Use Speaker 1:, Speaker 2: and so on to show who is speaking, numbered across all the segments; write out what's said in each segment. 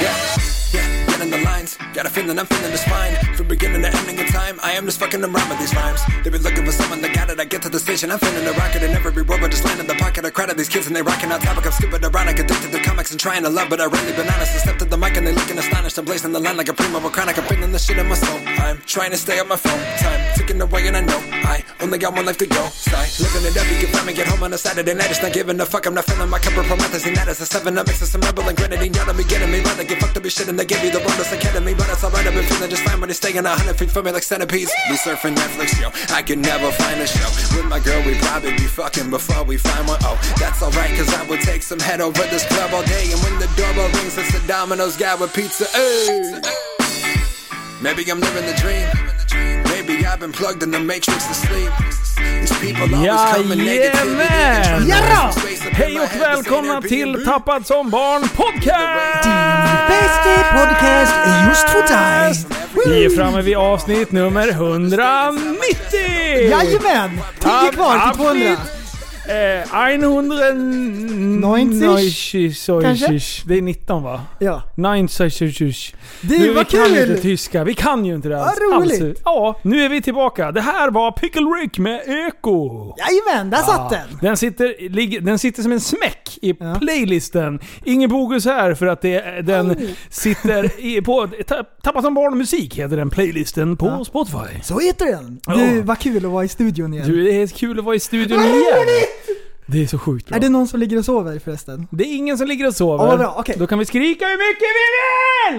Speaker 1: Yeah, yeah, get in the lines. Got a feeling I'm feeling this fine. From beginning to ending in time, I am just fucking around with these rhymes. They be looking for someone that got it. I get to the station, I'm feeling the rocket. And every word but just land in the pocket. I crowd of these kids and they rocking on topic. I'm skipping ironic, addicted to comics and trying to love. But I really been honest. I stepped to the mic and they looking astonished. I'm blazing the line like a primo or chronic. I'm feeling the shit in my soul. I'm trying to stay on my phone. Time ticking away and I know I only got one life to go. Sigh, living it up. You can find me get home on a Saturday night. It's not giving a fuck. I'm not feeling my cup of promethazine. That is a seven. I'm mixing some rebel and grenadine. Y'all don't be getting me right. I get fucked up and shit and they give you the wildest academy. But it's alright. I've been feeling just fine when they staying a hundred feet from me like centipedes. Be surfing Netflix, yo. I could never find a show. With my girl, we probably be fucking before we find one. Oh, that's alright. Cause I would take some head over this club all day. And when the doorbell rings, it's the Domino's guy with pizza. Ayy. Maybe I'm living the dream. Maybe I've been plugged in the matrix to sleep. These people always come and negativity and try
Speaker 2: Jajamän!
Speaker 1: to raise
Speaker 2: Jadå!
Speaker 1: the space up in
Speaker 2: Hej
Speaker 1: my
Speaker 2: och
Speaker 1: head. This
Speaker 2: välkomna
Speaker 1: ain't
Speaker 2: till
Speaker 1: Airbnb.
Speaker 2: Tappad som barn podcast!
Speaker 3: Bästa podcast just för dig!
Speaker 2: Vi är framme vid avsnitt nummer 190!
Speaker 3: Jajamän! 10 kvar till 200.
Speaker 2: Eh, 190.
Speaker 3: Kanske?
Speaker 2: Det är 19 va?
Speaker 3: Ja.
Speaker 2: 90.
Speaker 3: Du,
Speaker 2: Nu, vi
Speaker 3: vad
Speaker 2: kan ju inte
Speaker 3: kul!
Speaker 2: tyska, vi kan ju inte det alls.
Speaker 3: Vad roligt.
Speaker 2: Alltså, ja, nu är vi tillbaka. Det här var Pickle Rick med Eko.
Speaker 3: Jajamän, där
Speaker 2: Ah.
Speaker 3: satt den!
Speaker 2: Den sitter, ligger- den sitter som en smäck i playlisten. Ingen Bogus här för att det, den sitter i, på ta- Tappa som barn musik heter den playlisten på Spotify.
Speaker 3: Så heter den. Du,
Speaker 2: Ja.
Speaker 3: vad kul att vara i studion igen.
Speaker 2: Du, det är kul att vara i studion igen. Det är så sjukt bra.
Speaker 3: Är det någon som ligger och sover förresten?
Speaker 2: Det är ingen som ligger och
Speaker 3: Ja,
Speaker 2: sover.
Speaker 3: vad bra, okej.
Speaker 2: Då kan vi skrika hur mycket vi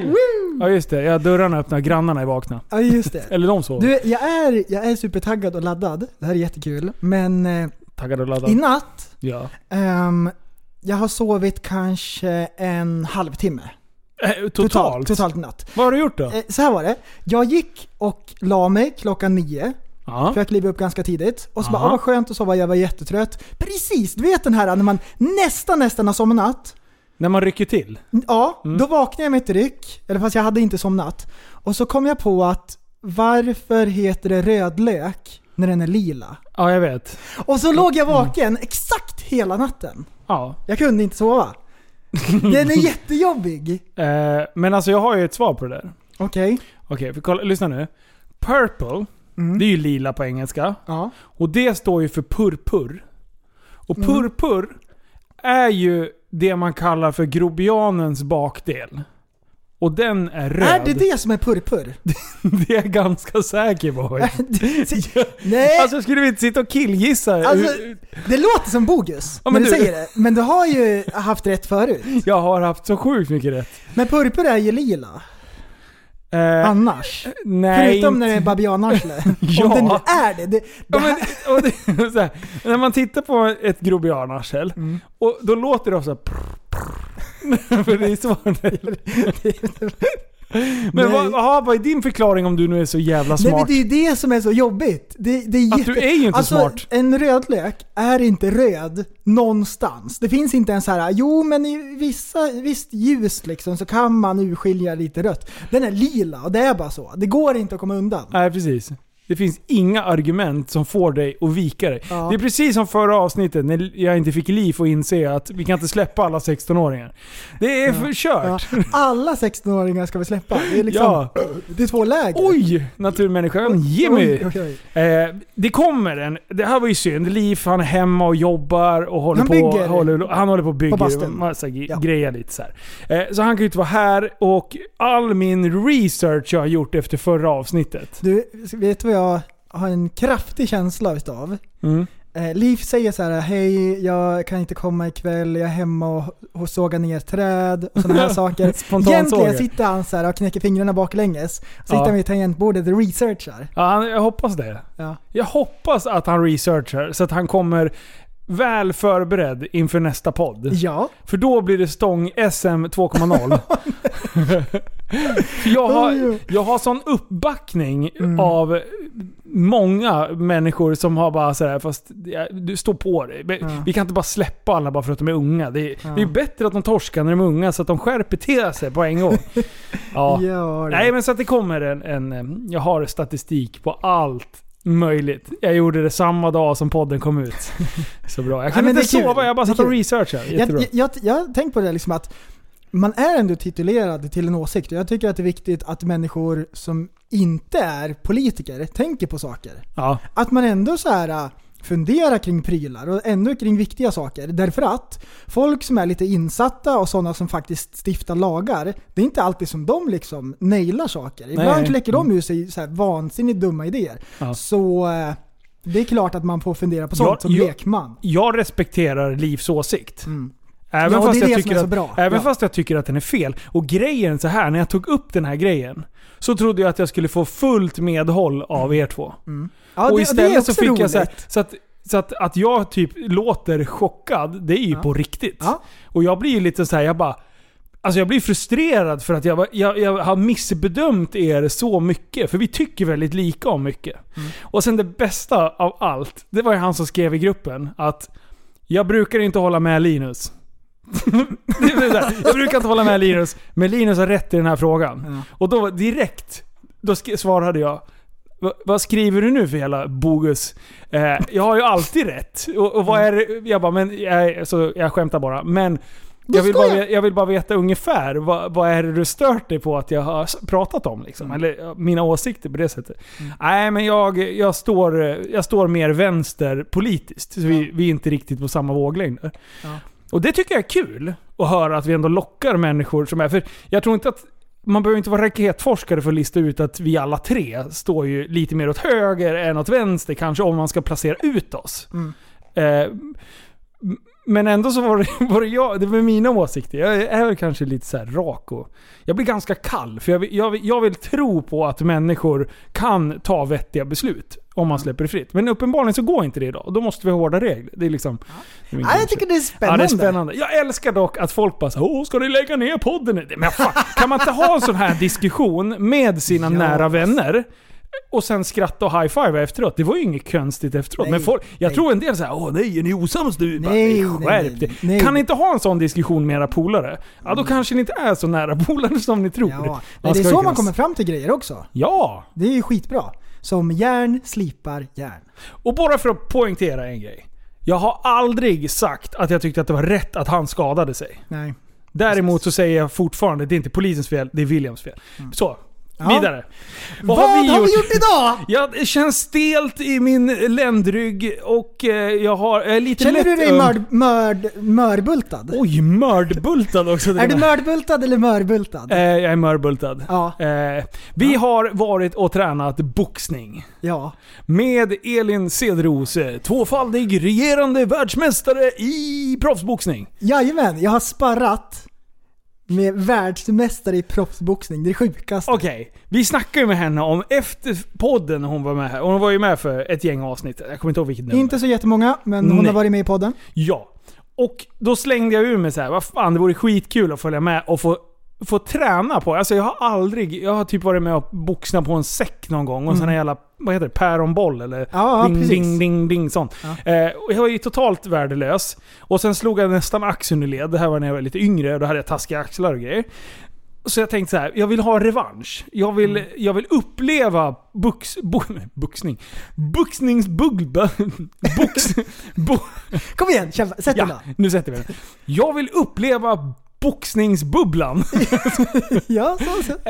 Speaker 2: vill! Ja just det, ja, dörrarna är öppna, grannarna är vakna.
Speaker 3: Ja, just det.
Speaker 2: Eller de sover.
Speaker 3: Du, jag är, jag är supertaggad och laddad. Det här är jättekul. Men eh,
Speaker 2: Taggade och laddade.
Speaker 3: i natt,
Speaker 2: ja.
Speaker 3: ehm, jag har sovit kanske en halvtimme.
Speaker 2: Eh, totalt.
Speaker 3: Totalt i natt.
Speaker 2: Vad har du gjort då?
Speaker 3: Eh, så här var det. Jag gick och la mig klockan nio.
Speaker 2: Ja.
Speaker 3: För jag klev upp ganska tidigt. Och så bara,
Speaker 2: Aha.
Speaker 3: ah, vad skönt och sova, jag var jättetrött. Precis, du vet den här när man nästan, nästan har somnat.
Speaker 2: När man rycker till.
Speaker 3: Ja,
Speaker 2: Mm.
Speaker 3: då vaknade jag med ett ryck. Eller fast jag hade inte somnat. Och så kom jag på att varför heter det rödlök när den är lila?
Speaker 2: Ja, jag vet.
Speaker 3: Och så låg jag vaken exakt hela natten.
Speaker 2: Ja.
Speaker 3: Jag kunde inte sova. Den är jättejobbig.
Speaker 2: Eh, men alltså jag har ju ett svar på det där.
Speaker 3: Okej.
Speaker 2: Okej, för kolla, lyssna nu. Purple,
Speaker 3: Mm.
Speaker 2: det är ju lila på engelska.
Speaker 3: Ja.
Speaker 2: Och det står ju för purpur. Och
Speaker 3: Mm.
Speaker 2: purpur är ju det man kallar för grobianens bakdel. Och den är röd.
Speaker 3: Är det det som är purpur?
Speaker 2: Det är jag ganska säker
Speaker 3: Äh.
Speaker 2: på.
Speaker 3: Nej,
Speaker 2: alltså skulle vi inte sitta och killgissa?
Speaker 3: Alltså,
Speaker 2: Hur-
Speaker 3: det låter som bogus
Speaker 2: Ja, men
Speaker 3: när du
Speaker 2: du-
Speaker 3: säger det. Men du har ju haft rätt förut.
Speaker 2: jag har haft så sjukt mycket rätt.
Speaker 3: Men purpur är ju lila
Speaker 2: Eh,
Speaker 3: annars.
Speaker 2: nej,
Speaker 3: Förutom när
Speaker 2: inte-
Speaker 3: det är babianarsle.
Speaker 2: Ja.
Speaker 3: Om det nu är det. det, det
Speaker 2: Ja,
Speaker 3: här,
Speaker 2: men, och det, så här, när man tittar på ett grobianarsel,
Speaker 3: Mm.
Speaker 2: och då låter det ofta prr, prr, För det är så Men vad, aha, vad är din förklaring om du nu är så jävla
Speaker 3: Nej, men
Speaker 2: smart?
Speaker 3: det är ju det som är så jobbigt. Det, det är
Speaker 2: Att
Speaker 3: jätte-
Speaker 2: du är ju inte
Speaker 3: alltså,
Speaker 2: smart.
Speaker 3: En rödlök är inte röd någonstans. Det finns inte ens så här, jo men i vissa, visst ljus liksom så kan man urskilja lite rött. Den är lila och det är bara så. Det går inte att komma undan.
Speaker 2: Nej, precis. Det finns inga argument som får dig att vika dig.
Speaker 3: Ja.
Speaker 2: Det är precis som förra avsnittet när jag inte fick liv och inse att vi kan inte släppa alla 16-åringar. Det är för
Speaker 3: Ja,
Speaker 2: kört.
Speaker 3: alla 16-åringar ska vi släppa. Det är, liksom,
Speaker 2: Ja.
Speaker 3: det är två läger.
Speaker 2: Oj! Naturmänniskan Jimmy!
Speaker 3: Oj, oj, oj.
Speaker 2: Eh, det kommer en. Det här var ju synd. Liv han är hemma och jobbar och håller
Speaker 3: Han
Speaker 2: på
Speaker 3: bygger.
Speaker 2: håller, Han håller på och bygger
Speaker 3: På bastun.
Speaker 2: massa ge-
Speaker 3: Ja.
Speaker 2: grejer lite så här. Eh, så han kan ju inte vara här och all min research jag har gjort efter förra avsnittet.
Speaker 3: Du, vet du vad jag har en kraftig känsla utav?
Speaker 2: Mm.
Speaker 3: Eh, Liv säger så här, hej, jag kan inte komma ikväll, jag är hemma och, och sågar ner träd och sådana här saker.
Speaker 2: Spontansågar.
Speaker 3: Egentligen sitter han så här och knäcker fingrarna baklänges, sitter
Speaker 2: Ja.
Speaker 3: han vid tangentbordet och researchar.
Speaker 2: Ja, han- jag hoppas det.
Speaker 3: Ja.
Speaker 2: Jag hoppas att han researchar så att han kommer väl förberedd inför nästa podd.
Speaker 3: Ja,
Speaker 2: För då blir det stång SM 2.0. För jag, har, jag har sån uppbackning
Speaker 3: Mm.
Speaker 2: av många människor som har bara sådär, fast ja, du står på dig. Men
Speaker 3: Ja.
Speaker 2: Vi kan inte bara släppa alla bara för att de är unga. Det är, det är bättre att de torskar när de är unga så att de skärper till sig på en gång. Ja.
Speaker 3: ja.
Speaker 2: Nej men så att det kommer en, en... em, Jag har statistik på allt möjligt. Jag gjorde det samma dag som podden kom ut. Så bra. Jag kunde
Speaker 3: men
Speaker 2: inte
Speaker 3: det är kul.
Speaker 2: sova, jag bara
Speaker 3: Det är
Speaker 2: satt och
Speaker 3: kul.
Speaker 2: researchade.
Speaker 3: Jag,
Speaker 2: Jättebra.
Speaker 3: jag, jag, jag har tänkt på det liksom att man är ändå titulerad till en åsikt och jag tycker att det är viktigt att människor som inte är politiker tänker på saker.
Speaker 2: Ja.
Speaker 3: Att man ändå så här äh, funderar kring prylar och ändå kring viktiga saker. Därför att folk som är lite insatta och sådana som faktiskt stiftar lagar, det är inte alltid som de liksom nailar saker. Ibland
Speaker 2: Nej. Mm.
Speaker 3: kläcker de ur sig så här vansinnigt dumma idéer.
Speaker 2: Ja.
Speaker 3: Så äh, det är klart att man får fundera på sånt
Speaker 2: Ja,
Speaker 3: som
Speaker 2: ja.
Speaker 3: lekman.
Speaker 2: Jag respekterar Livs åsikt.
Speaker 3: Mm.
Speaker 2: Även,
Speaker 3: Ja, och det
Speaker 2: fast,
Speaker 3: är det
Speaker 2: jag
Speaker 3: som
Speaker 2: tycker
Speaker 3: är så
Speaker 2: att,
Speaker 3: bra.
Speaker 2: även
Speaker 3: Ja.
Speaker 2: fast jag tycker att den är fel. Och grejen så här när jag tog upp den här grejen. Så trodde jag att jag skulle få fullt medhåll av er två.
Speaker 3: Mm. Ja,
Speaker 2: och
Speaker 3: det,
Speaker 2: istället
Speaker 3: och det är också
Speaker 2: så fick
Speaker 3: roligt.
Speaker 2: jag så, här, så att så att, att jag typ låter chockad, det är ju
Speaker 3: Ja.
Speaker 2: på riktigt.
Speaker 3: Ja.
Speaker 2: Och jag blir ju lite så här, jag bara... Alltså jag blir frustrerad för att jag, var- jag, jag har missbedömt er så mycket. För vi tycker väldigt lika om mycket. Och sen det bästa av allt, det var ju han som skrev i gruppen att jag brukar inte hålla med Linus. Det är så här, jag brukar inte hålla med Linus, men Linus har rätt i den här frågan.
Speaker 3: Ja.
Speaker 2: Och då direkt, då sk- svarade jag "Va- vad skriver du nu för jävla bogus? Eh, jag har ju alltid rätt. Och, och vad är det? Jag bara, men jag, så jag skämtar bara. Men jag vill, bara, ve- jag vill bara veta ungefär vad, vad är det du stört dig på att jag har s- pratat om? Liksom? Eller ja, mina åsikter på det sättet. Nej, men jag, jag, står, eh, jag står mer vänster politiskt. Så vi, vi är inte riktigt på samma våglängd. där.
Speaker 3: Ja.
Speaker 2: Och det tycker jag är kul. Att höra att vi ändå lockar människor som är... För jag tror inte att... Man behöver inte vara raketforskare för att lista ut att vi alla tre står ju lite mer åt höger än åt vänster kanske om man ska placera ut oss.
Speaker 3: Mm.
Speaker 2: Eh, m- men ändå så var det, var det jag, det var mina åsikter. Jag är väl kanske lite så här rak och... Jag blir ganska kall för jag vill, jag, vill, jag vill tro på att människor kan ta vettiga beslut om man släpper det fritt. Men uppenbarligen så går inte det idag. Då måste vi ha hårda regler. Det är liksom... det är min
Speaker 3: Ja, jag
Speaker 2: åsikt.
Speaker 3: tycker det är spännande.
Speaker 2: Ja, det är spännande. Jag älskar dock att folk bara så, Åh, ska ni lägga ner podden nu? Men fan, kan man inte ha en sån här diskussion med sina
Speaker 3: Ja.
Speaker 2: nära vänner? Och sen skratta och high-five efteråt. Det var ju inget konstigt efteråt.
Speaker 3: Nej,
Speaker 2: Men folk, jag
Speaker 3: nej.
Speaker 2: tror en del säger åh nej, är ni osams nu? Bara, "Nej,
Speaker 3: Nej, nej,
Speaker 2: skärp
Speaker 3: nej,
Speaker 2: dig."
Speaker 3: nej. Mm.
Speaker 2: Kan ni inte ha en sån diskussion med era polare? Ja, då kanske ni inte är så nära polare som ni tror.
Speaker 3: Ja.
Speaker 2: Man
Speaker 3: Nej, det är
Speaker 2: ska
Speaker 3: så
Speaker 2: ju
Speaker 3: man
Speaker 2: kunna-
Speaker 3: kommer fram till grejer också.
Speaker 2: Ja!
Speaker 3: Det är ju skitbra. Som järn slipar järn.
Speaker 2: Och bara för att poängtera en grej. Jag har aldrig sagt att jag tyckte att det var rätt att han skadade sig.
Speaker 3: Nej.
Speaker 2: Däremot så säger jag fortfarande, det är inte polisens fel, det är Williams fel. Så,
Speaker 3: Mm. Ja.
Speaker 2: vidare.
Speaker 3: Vad, har vi, gjort idag?
Speaker 2: Ja, det känns stelt i min ländrygg och eh, jag har... Jag är lite
Speaker 3: Känner
Speaker 2: lätt
Speaker 3: du dig
Speaker 2: öm-
Speaker 3: mörd, mörd, mörbultad?
Speaker 2: Oj, mördbultad också.
Speaker 3: är du mördbultad eller mörbultad?
Speaker 2: Eh, jag är mörbultad.
Speaker 3: Ja.
Speaker 2: Eh, vi har varit och tränat boxning.
Speaker 3: Ja.
Speaker 2: Med Elin Cederose, tvåfaldig regerande världsmästare i proffsboxning.
Speaker 3: Jajamän, jag har sparrat med världsmästare i proffsboxning. Det är sjukast.
Speaker 2: Okej, vi snackade ju med henne om efter podden hon var med här. Hon var ju med för ett gäng avsnitt. Jag kommer inte ihåg vilket nummer.
Speaker 3: Inte så jättemånga, men hon
Speaker 2: Nej.
Speaker 3: har varit med i podden.
Speaker 2: Ja. Och då slängde jag ur mig så här, vad fan det vore skitkul att följa med och få, få träna på. Alltså jag har aldrig, jag har typ varit med och boxat på en säck någon gång och sån här jävla, vad heter det, päronboll eller
Speaker 3: Mm. Ja, ja,
Speaker 2: ding,
Speaker 3: precis.
Speaker 2: ding, ding, ding sånt. Eh, och jag var ju totalt värdelös. Och sen slog jag nästan axeln ur led. Det här var när jag var lite yngre, då hade jag taskiga axlar och grejer. Så jag tänkte så här, jag vill ha revansch. Jag vill,
Speaker 3: Mm.
Speaker 2: jag vill uppleva bux, bo, boxning. Boxningsbugba... Box, bo,
Speaker 3: Kom igen, kämpa. Sätt dig
Speaker 2: Ja,
Speaker 3: då.
Speaker 2: nu sätter vi den. Jag vill uppleva boxningsbubblan.
Speaker 3: Ja, så, så.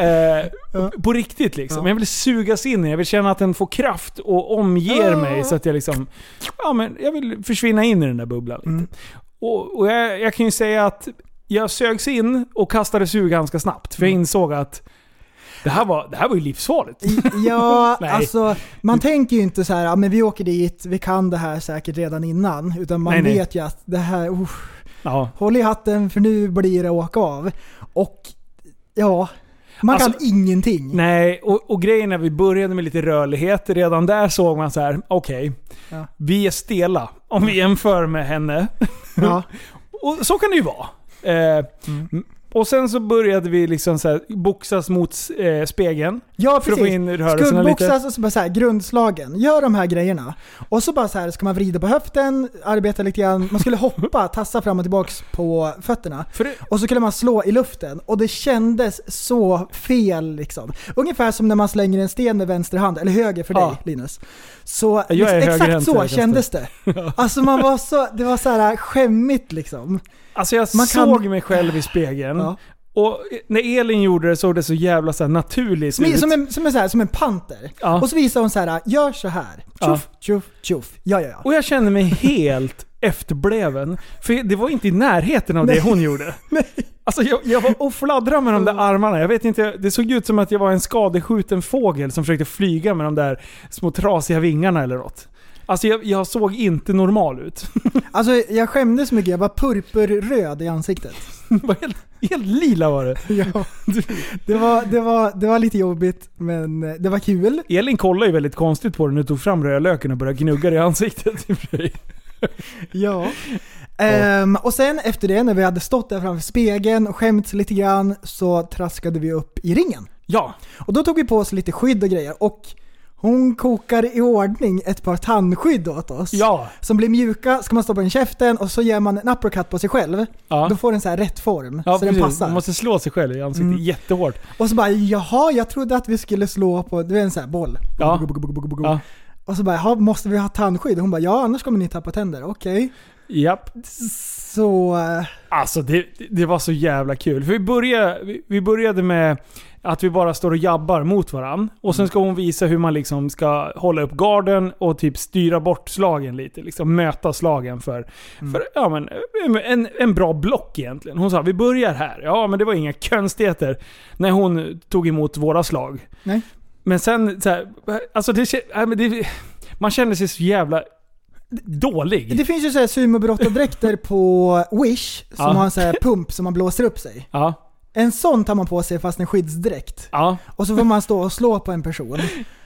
Speaker 2: Eh, På riktigt liksom.
Speaker 3: Ja.
Speaker 2: Jag vill sugas in i den. Jag vill känna att den får kraft och omger
Speaker 3: Ja.
Speaker 2: mig så att jag liksom... Ja, men jag vill försvinna in i den där bubblan lite.
Speaker 3: Mm.
Speaker 2: Och, och jag, jag kan ju säga att jag sögs in och kastades ur ganska snabbt. För jag insåg att Det här var, det här var ju livsfarligt.
Speaker 3: Mm. Ja,
Speaker 2: Nej.
Speaker 3: alltså man tänker ju inte så här, ja, men vi åker dit, vi kan det här säkert redan innan. Utan man
Speaker 2: Nej, nej.
Speaker 3: vet ju att det här, oh,
Speaker 2: Ja.
Speaker 3: håll i hatten för nu blir det åka av. Och ja, man
Speaker 2: Alltså,
Speaker 3: kan ingenting.
Speaker 2: Nej, och, och grejen när vi började med lite rörlighet, redan där såg man så här: okej,
Speaker 3: Ja. Mm.
Speaker 2: vi är stela om vi jämför med henne.
Speaker 3: Ja.
Speaker 2: Och så kan det ju vara. Eh,
Speaker 3: Mm.
Speaker 2: Och sen så började vi liksom så här, boxas mot eh, spegeln.
Speaker 3: Ja,
Speaker 2: För att få
Speaker 3: precis.
Speaker 2: in rörelserna lite.
Speaker 3: Skuggboxas och så bara så här, grundslagen. Gör de här grejerna. Och så bara så här, ska man vrida på höften, arbeta lite grann. Man skulle hoppa, tassa fram och tillbaks på fötterna.
Speaker 2: För det,
Speaker 3: Och så kunde man slå i luften och det kändes så fel liksom. Ungefär som när man slänger en sten med vänster hand, eller höger för
Speaker 2: Ja.
Speaker 3: dig Linus. Så
Speaker 2: är
Speaker 3: liksom, exakt
Speaker 2: högerhänt,
Speaker 3: så
Speaker 2: säger
Speaker 3: kändes det. Alltså man var så, det var så här äh, skämmigt liksom.
Speaker 2: alltså jag
Speaker 3: Man kan-
Speaker 2: såg mig själv i spegeln.
Speaker 3: Ja.
Speaker 2: Och när Elin gjorde det såg det så jävla så här naturligt
Speaker 3: Som,
Speaker 2: ut.
Speaker 3: som, en, som, en, så här, som en panter.
Speaker 2: Ja.
Speaker 3: Och så visade hon så här, äh, gör så här. Tjoff, tjoff, tjoff. Ja, ja, ja.
Speaker 2: Och jag kände mig helt efterbleven. För det var inte i närheten av det hon gjorde. Alltså jag, jag var och fladdrade med de där armarna. Jag vet inte, det såg ut som att jag var en skadeskjuten fågel som försökte flyga med de där små trasiga vingarna eller något. Alltså jag, jag såg inte normal ut.
Speaker 3: Alltså jag skämdes så mycket, jag var purpurröd i ansiktet.
Speaker 2: Det var helt, helt lila var det.
Speaker 3: Ja. Det, var, det, var, det var lite jobbigt, men eh, det var kul.
Speaker 2: Elin kollade ju väldigt konstigt på den och tog fram rödlöken och började gnugga det i ansiktet. i och för sig.
Speaker 3: Ja. Ehm, och sen efter det, när vi hade stått där framför spegeln och skämts lite grann, så traskade vi upp i ringen.
Speaker 2: Ja,
Speaker 3: Och då tog vi på oss lite skydd och grejer och hon kokar i ordning ett par tandskydd åt oss.
Speaker 2: ja,
Speaker 3: Som blir mjuka, ska man stoppa in i käften och så ger man en uppercut på sig själv.
Speaker 2: Ja.
Speaker 3: Då får den så här rätt form,
Speaker 2: ja
Speaker 3: så
Speaker 2: precis.
Speaker 3: den passar. Mm.
Speaker 2: Man måste slå sig själv i ansiktet jättehårt.
Speaker 3: Och så bara jaha, jag trodde att vi skulle slå på, du vet en sån här boll.
Speaker 2: Ja. Ja.
Speaker 3: Och så bara jaha, måste vi ha tandskydd? Och hon bara ja, annars kommer ni tappa tänder. Okej.
Speaker 2: Japp.
Speaker 3: Så... eh,
Speaker 2: Alltså det, det var så jävla kul. För vi började, vi- vi började med att vi bara står och jabbar mot varann. Och sen ska hon visa hur man liksom ska hålla upp garden och typ styra bort slagen lite. Liksom möta slagen för, för ja, men, en, en bra block egentligen. Hon sa vi börjar här. Ja men det var inga konstigheter när hon tog emot våra slag.
Speaker 3: Nej.
Speaker 2: Men sen så här, alltså det, kä- nej, men det, man kände sig så jävla dålig.
Speaker 3: Det finns ju så här sumobrotardräkter på Wish som
Speaker 2: Ja.
Speaker 3: har en så här pump som man blåser upp sig.
Speaker 2: Ja,
Speaker 3: En sån tar man på sig fast en skyddsdräkt.
Speaker 2: ja,
Speaker 3: Och så får man stå och slå på en person.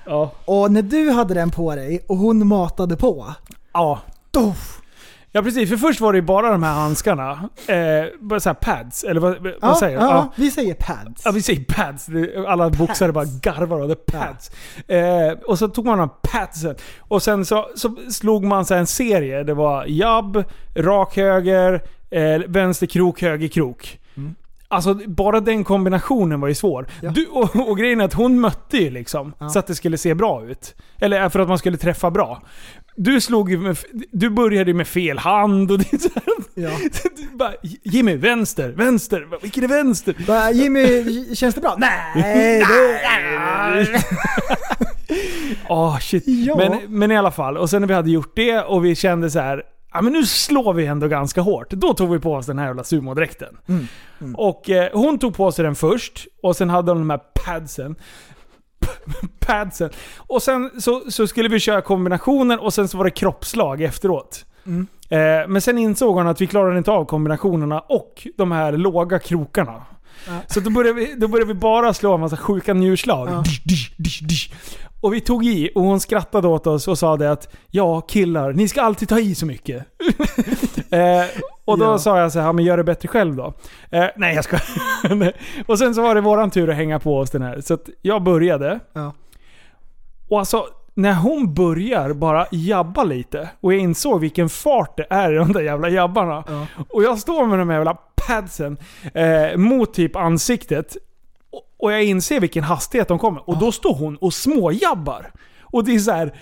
Speaker 2: ja.
Speaker 3: Och när du hade den på dig och hon matade på.
Speaker 2: ja.
Speaker 3: Då,
Speaker 2: Ja precis, för först var det ju bara de här handskarna. Eh, bara så här pads, eller vad,
Speaker 3: ja,
Speaker 2: vad säger
Speaker 3: ja,
Speaker 2: jag? Ja.
Speaker 3: vi säger pads.
Speaker 2: Ja, vi säger pads. Det- Alla boxare bara garvar av det. Pads. Eh, och så tog man de här padsen. Och sen så, så slog man så här en serie. Det var jabb, rak höger, eh, vänster krok, höger krok. Alltså bara den kombinationen var ju svår.
Speaker 3: Mm. Ja.
Speaker 2: Du, och, och grejen är att hon mötte ju liksom.
Speaker 3: Ja.
Speaker 2: Så att det skulle se bra ut. Eller eh, för att man skulle träffa bra. Du slog ju med, f- du började ju med fel hand och det är så här,
Speaker 3: Ja.
Speaker 2: du bara, Jimmy, vänster, vänster, vilken är vänster?
Speaker 3: Bara, Jimmy, känns det bra? Nej! Det,
Speaker 2: Ah shit.
Speaker 3: Ja.
Speaker 2: Men, men i alla fall, och sen när vi hade gjort det och vi kände så här, ja men nu slår vi ändå ganska hårt. Då tog vi på oss den här jävla sumodräkten.
Speaker 3: Mm.
Speaker 2: Och eh, hon tog på sig den först, och sen hade hon de här padsen. padsen. Och sen så, så skulle vi köra kombinationen och sen så var det kroppslag efteråt. Eh, men sen insåg hon att vi klarade inte av kombinationerna och de här låga krokarna. Så då började, vi, då började vi bara slå en massa sjuka njurslag. Dish, dish, dish, dish. Och vi tog i och hon skrattade åt oss och sa det att ja killar, ni ska alltid ta i så mycket. eh, och då
Speaker 3: Ja.
Speaker 2: sa jag så här, "Ja, men gör det bättre själv då. Eh, nej jag ska. och sen så var det våran tur att hänga på oss den här. Så att jag började.
Speaker 3: Ja.
Speaker 2: Och alltså, när hon börjar bara jabba lite och jag insåg vilken fart det är i de där jävla jabbarna.
Speaker 3: Ja.
Speaker 2: Och jag står med de här jävla padsen eh, mot typ ansiktet. Och, och jag inser vilken hastighet de kommer. Och då står hon och småjabbar. Och det är så här.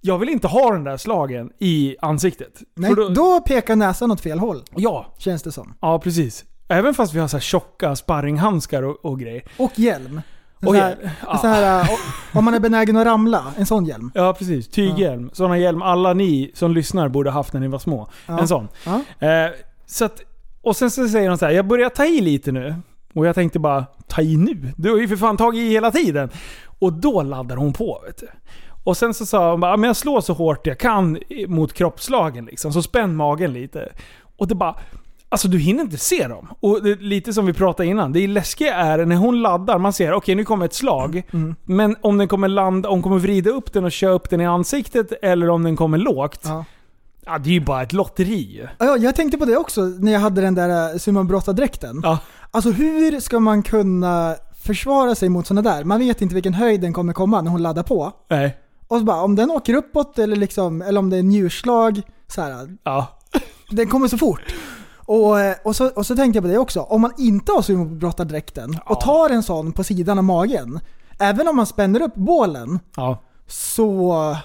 Speaker 2: Jag vill inte ha den där slagen i ansiktet.
Speaker 3: nej,
Speaker 2: För
Speaker 3: då, pekar näsan åt fel håll,
Speaker 2: Ja,
Speaker 3: känns det som.
Speaker 2: ja precis. Även fast vi har så här tjocka sparringhandskar och, och grejer.
Speaker 3: Och hjälm. En
Speaker 2: Och
Speaker 3: sån här,
Speaker 2: hjälm.
Speaker 3: en sån här, eh, om man är benägen att ramla, en sån hjälm.
Speaker 2: Ja precis, tyghjälm. Sådana hjälm alla ni som lyssnar borde haft när ni var små.
Speaker 3: Ja.
Speaker 2: En sån.
Speaker 3: Ja.
Speaker 2: Eh, så att, och sen så säger de så här, jag börjar ta i lite nu. Och jag tänkte bara, ta i nu. Du har ju för fan tagit i hela tiden. Och då laddar hon på vet du. Och sen så sa hon bara, "Ja, men jag slår så hårt jag kan i- mot kroppslagen liksom. Så spänn magen lite. Och det bara, alltså du hinner inte se dem. Och det, är lite som vi pratade innan, det läskiga är när hon laddar, man ser okej nu kommer ett slag. Men om den kommer landa, om hon kommer vrida upp den och köra upp den i ansiktet eller om den kommer lågt. Ja.
Speaker 3: Ja.
Speaker 2: det är ju bara ett lotteri ju.
Speaker 3: Ja, jag tänkte på det också när jag hade den där eh, Simon Brotta-dräkten.
Speaker 2: Ja.
Speaker 3: Alltså hur ska man kunna försvara sig mot sådana där? Man vet inte vilken höjd den kommer komma när hon laddar på.
Speaker 2: Nej.
Speaker 3: Och så bara, om den åker uppåt eller, liksom, eller om det är njurslag, så här,
Speaker 2: Ja.
Speaker 3: den kommer så fort. Och, eh, och, så, och så tänkte jag på det också, om man inte har sumobrottardräkten och tar en sån på sidan av magen, även om man spänner upp bålen,
Speaker 2: ja.
Speaker 3: så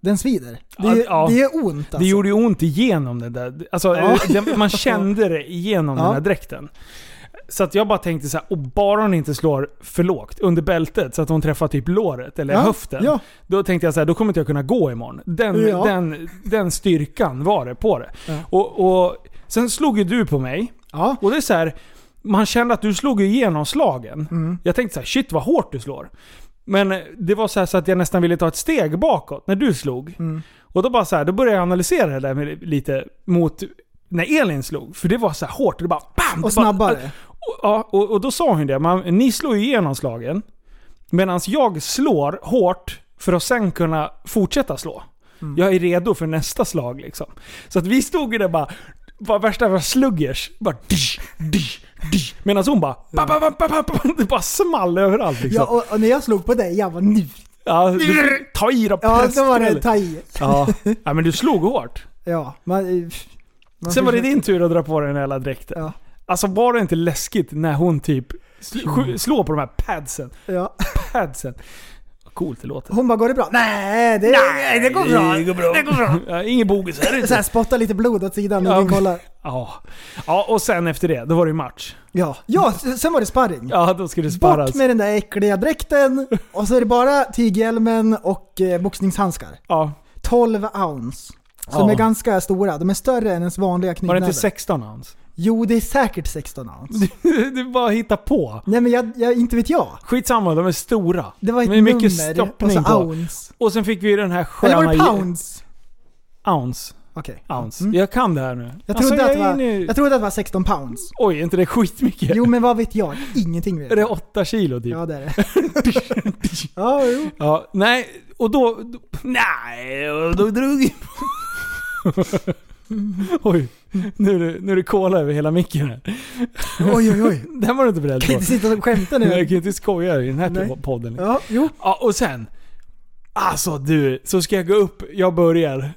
Speaker 3: den svider. Det,
Speaker 2: Ja,
Speaker 3: är
Speaker 2: ja.
Speaker 3: det är ont alltså.
Speaker 2: Det gjorde ju ont igenom den där. Alltså,
Speaker 3: Ja.
Speaker 2: den, man kände det igenom
Speaker 3: Ja.
Speaker 2: den här dräkten. Så att jag bara tänkte så här, och bara hon inte slår för lågt under bältet så att hon träffar typ låret eller
Speaker 3: Ja,
Speaker 2: höften.
Speaker 3: ja.
Speaker 2: Då tänkte jag så här, då kommer inte jag kunna gå imorgon. Den,
Speaker 3: Ja.
Speaker 2: den, den styrkan var det på det.
Speaker 3: Ja.
Speaker 2: Och, och Sen slog ju du på mig.
Speaker 3: Ja.
Speaker 2: Och det är så här, man kände att du slog ju igenom slagen.
Speaker 3: Mm.
Speaker 2: Jag tänkte så här, shit vad hårt du slår. Men eh, det var så, här så att jag nästan ville ta ett steg bakåt när du slog.
Speaker 3: Mm.
Speaker 2: Och då bara så här, då började jag analysera det där med, lite mot när Elin slog. För det var så här hårt. Det bara bam!
Speaker 3: Och
Speaker 2: det bara-
Speaker 3: snabbare.
Speaker 2: och, ja, och, och då sa hon det. Man, ni slår ju igenom slagen. Medan jag slår hårt för att sen kunna fortsätta slå.
Speaker 3: Mm.
Speaker 2: Jag är redo för nästa slag liksom. Så att vi stod ju där bara, bara värsta var sluggers. Bara dish, dish, dish. Medan hon bara, ba, ba, ba, ba, ba, ba. det bara small överallt liksom.
Speaker 3: Ja, och, och när jag slog på dig, jag var nu.
Speaker 2: ja, du, ta i då
Speaker 3: Ja, då
Speaker 2: prästen,
Speaker 3: var det
Speaker 2: eller?
Speaker 3: ta i.
Speaker 2: ja. ja, men du slog hårt.
Speaker 3: Ja, man, man
Speaker 2: Sen var det
Speaker 3: försöker-
Speaker 2: din tur att dra på dig den hela dräkten.
Speaker 3: Ja.
Speaker 2: Alltså var det inte läskigt när hon typ sl- sj- slår på de här padsen?
Speaker 3: Ja.
Speaker 2: Padsen. Vad coolt det låter.
Speaker 3: Hon bara, går det bra? Nej, det, Nej, det går bra.
Speaker 2: Det går bra. Det går bra. Ja, ingen bogus här
Speaker 3: Så här,
Speaker 2: inte.
Speaker 3: spotta lite blod åt sidan och
Speaker 2: Ja.
Speaker 3: ja. kollar.
Speaker 2: Ja. ja, och sen efter det, då var det ju match.
Speaker 3: Ja. ja, s- sen var det sparring.
Speaker 2: Ja, då skulle det
Speaker 3: Bort
Speaker 2: sparras.
Speaker 3: med den där äckliga dräkten och så är det bara tyghjälmen och eh, boxningshandskar.
Speaker 2: Ja.
Speaker 3: 12 ounce. Som
Speaker 2: Ja.
Speaker 3: är ganska stora. De är större än ens vanliga
Speaker 2: Var det inte
Speaker 3: knytnäve.
Speaker 2: 16 ounce?
Speaker 3: Jo, det är säkert 16 ounce.
Speaker 2: det är bara att hitta på.
Speaker 3: Nej men jag, jag, inte vet jag.
Speaker 2: Skitsamma, de är stora.
Speaker 3: Det var ett
Speaker 2: Men mycket
Speaker 3: nummer och
Speaker 2: stoppning
Speaker 3: så
Speaker 2: på.
Speaker 3: ounce.
Speaker 2: Och sen fick vi ju den här sköna...
Speaker 3: Eller var det pounds?
Speaker 2: Ounce.
Speaker 3: Okej.
Speaker 2: Ounce.
Speaker 3: Mm.
Speaker 2: Jag kan det här nu.
Speaker 3: Jag, trodde
Speaker 2: Alltså,
Speaker 3: att
Speaker 2: jag
Speaker 3: det
Speaker 2: är
Speaker 3: var,
Speaker 2: nu-
Speaker 3: jag trodde att det var 16 pounds.
Speaker 2: Oj, är inte det skitmycket?
Speaker 3: Jo men vad vet jag? Ingenting vet
Speaker 2: Är det
Speaker 3: jag.
Speaker 2: 8 kilo typ?
Speaker 3: Ja det är det. ja, jo.
Speaker 2: Ja, nej, och då... då nej, och då drog jag Oj, nu är, det, nu är det cola över hela micken här.
Speaker 3: Oj oj oj.
Speaker 2: Den var du inte beredd
Speaker 3: Kan
Speaker 2: på.
Speaker 3: inte sitta och skämta
Speaker 2: Nej, Jag
Speaker 3: nu.
Speaker 2: kan inte skoja i den här
Speaker 3: Nej.
Speaker 2: podden. Ja.
Speaker 3: Ja, jo.
Speaker 2: och sen... Alltså du, så ska jag gå upp, jag börjar.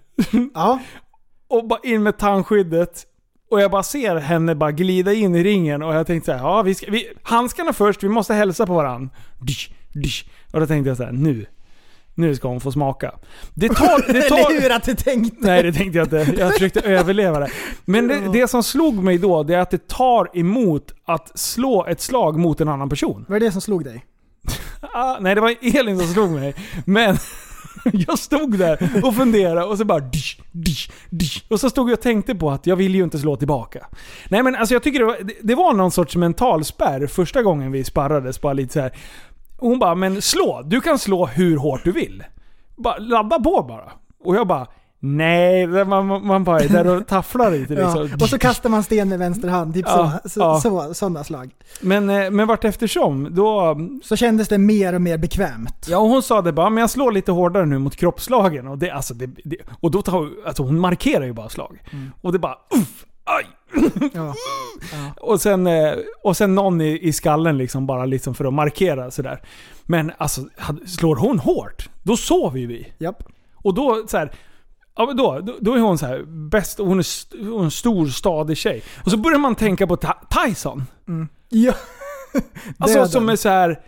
Speaker 3: Ja.
Speaker 2: Och bara in med tandskyddet. Och jag bara ser henne bara glida in i ringen och jag tänkte så här, ja vi ska, vi, handskarna först, vi måste hälsa på varandra. Dish, dish. Och då tänkte jag så här, nu. Nu ska hon få smaka. Det tar... Det tar
Speaker 3: Eller hur att du tänkte?
Speaker 2: Nej det tänkte jag inte. Jag försökte överleva det. Men det, det som slog mig då, det är att det tar emot att slå ett slag mot en annan person.
Speaker 3: Var det det som slog dig?
Speaker 2: Ah, nej, det var Elin som slog mig. Men jag stod där och funderade och så bara... Dish, dish, dish. Och så stod jag och tänkte på att jag vill ju inte slå tillbaka. Nej men alltså jag tycker det var, det- det var någon sorts mental spärr första gången vi sparrades. Bara lite så här. Hon bara, men slå. Du kan slå hur hårt du vill. Bara, ladda på bara. Och jag bara, nej. Man, man- man bara är där och tafflar lite liksom.
Speaker 3: Ja. Och så kastar man sten med vänster hand, typ
Speaker 2: Ja,
Speaker 3: så, så,
Speaker 2: ja.
Speaker 3: så, sådana slag.
Speaker 2: Men, eh, men vart eftersom, då...
Speaker 3: Så kändes det mer och mer bekvämt.
Speaker 2: Ja, och hon sa det bara, men jag slår lite hårdare nu mot kroppslagen. Och, det, alltså, det, det, och då tar, alltså, hon markerar ju bara slag. Och det bara uff, aj.
Speaker 3: Mm. Ja.
Speaker 2: Och sen, eh, och sen någon i, i skallen liksom bara liksom för att markera sådär. Men alltså, hade- slår hon hårt, då sover ju vi.
Speaker 3: Japp.
Speaker 2: Och då så här, ja, men då, då, då är hon så här bäst, och hon är st- hon är en stor stadig tjej. Och så börjar man tänka på Ty- Tyson.
Speaker 3: Ja.
Speaker 2: Alltså
Speaker 3: Döden.
Speaker 2: som är så här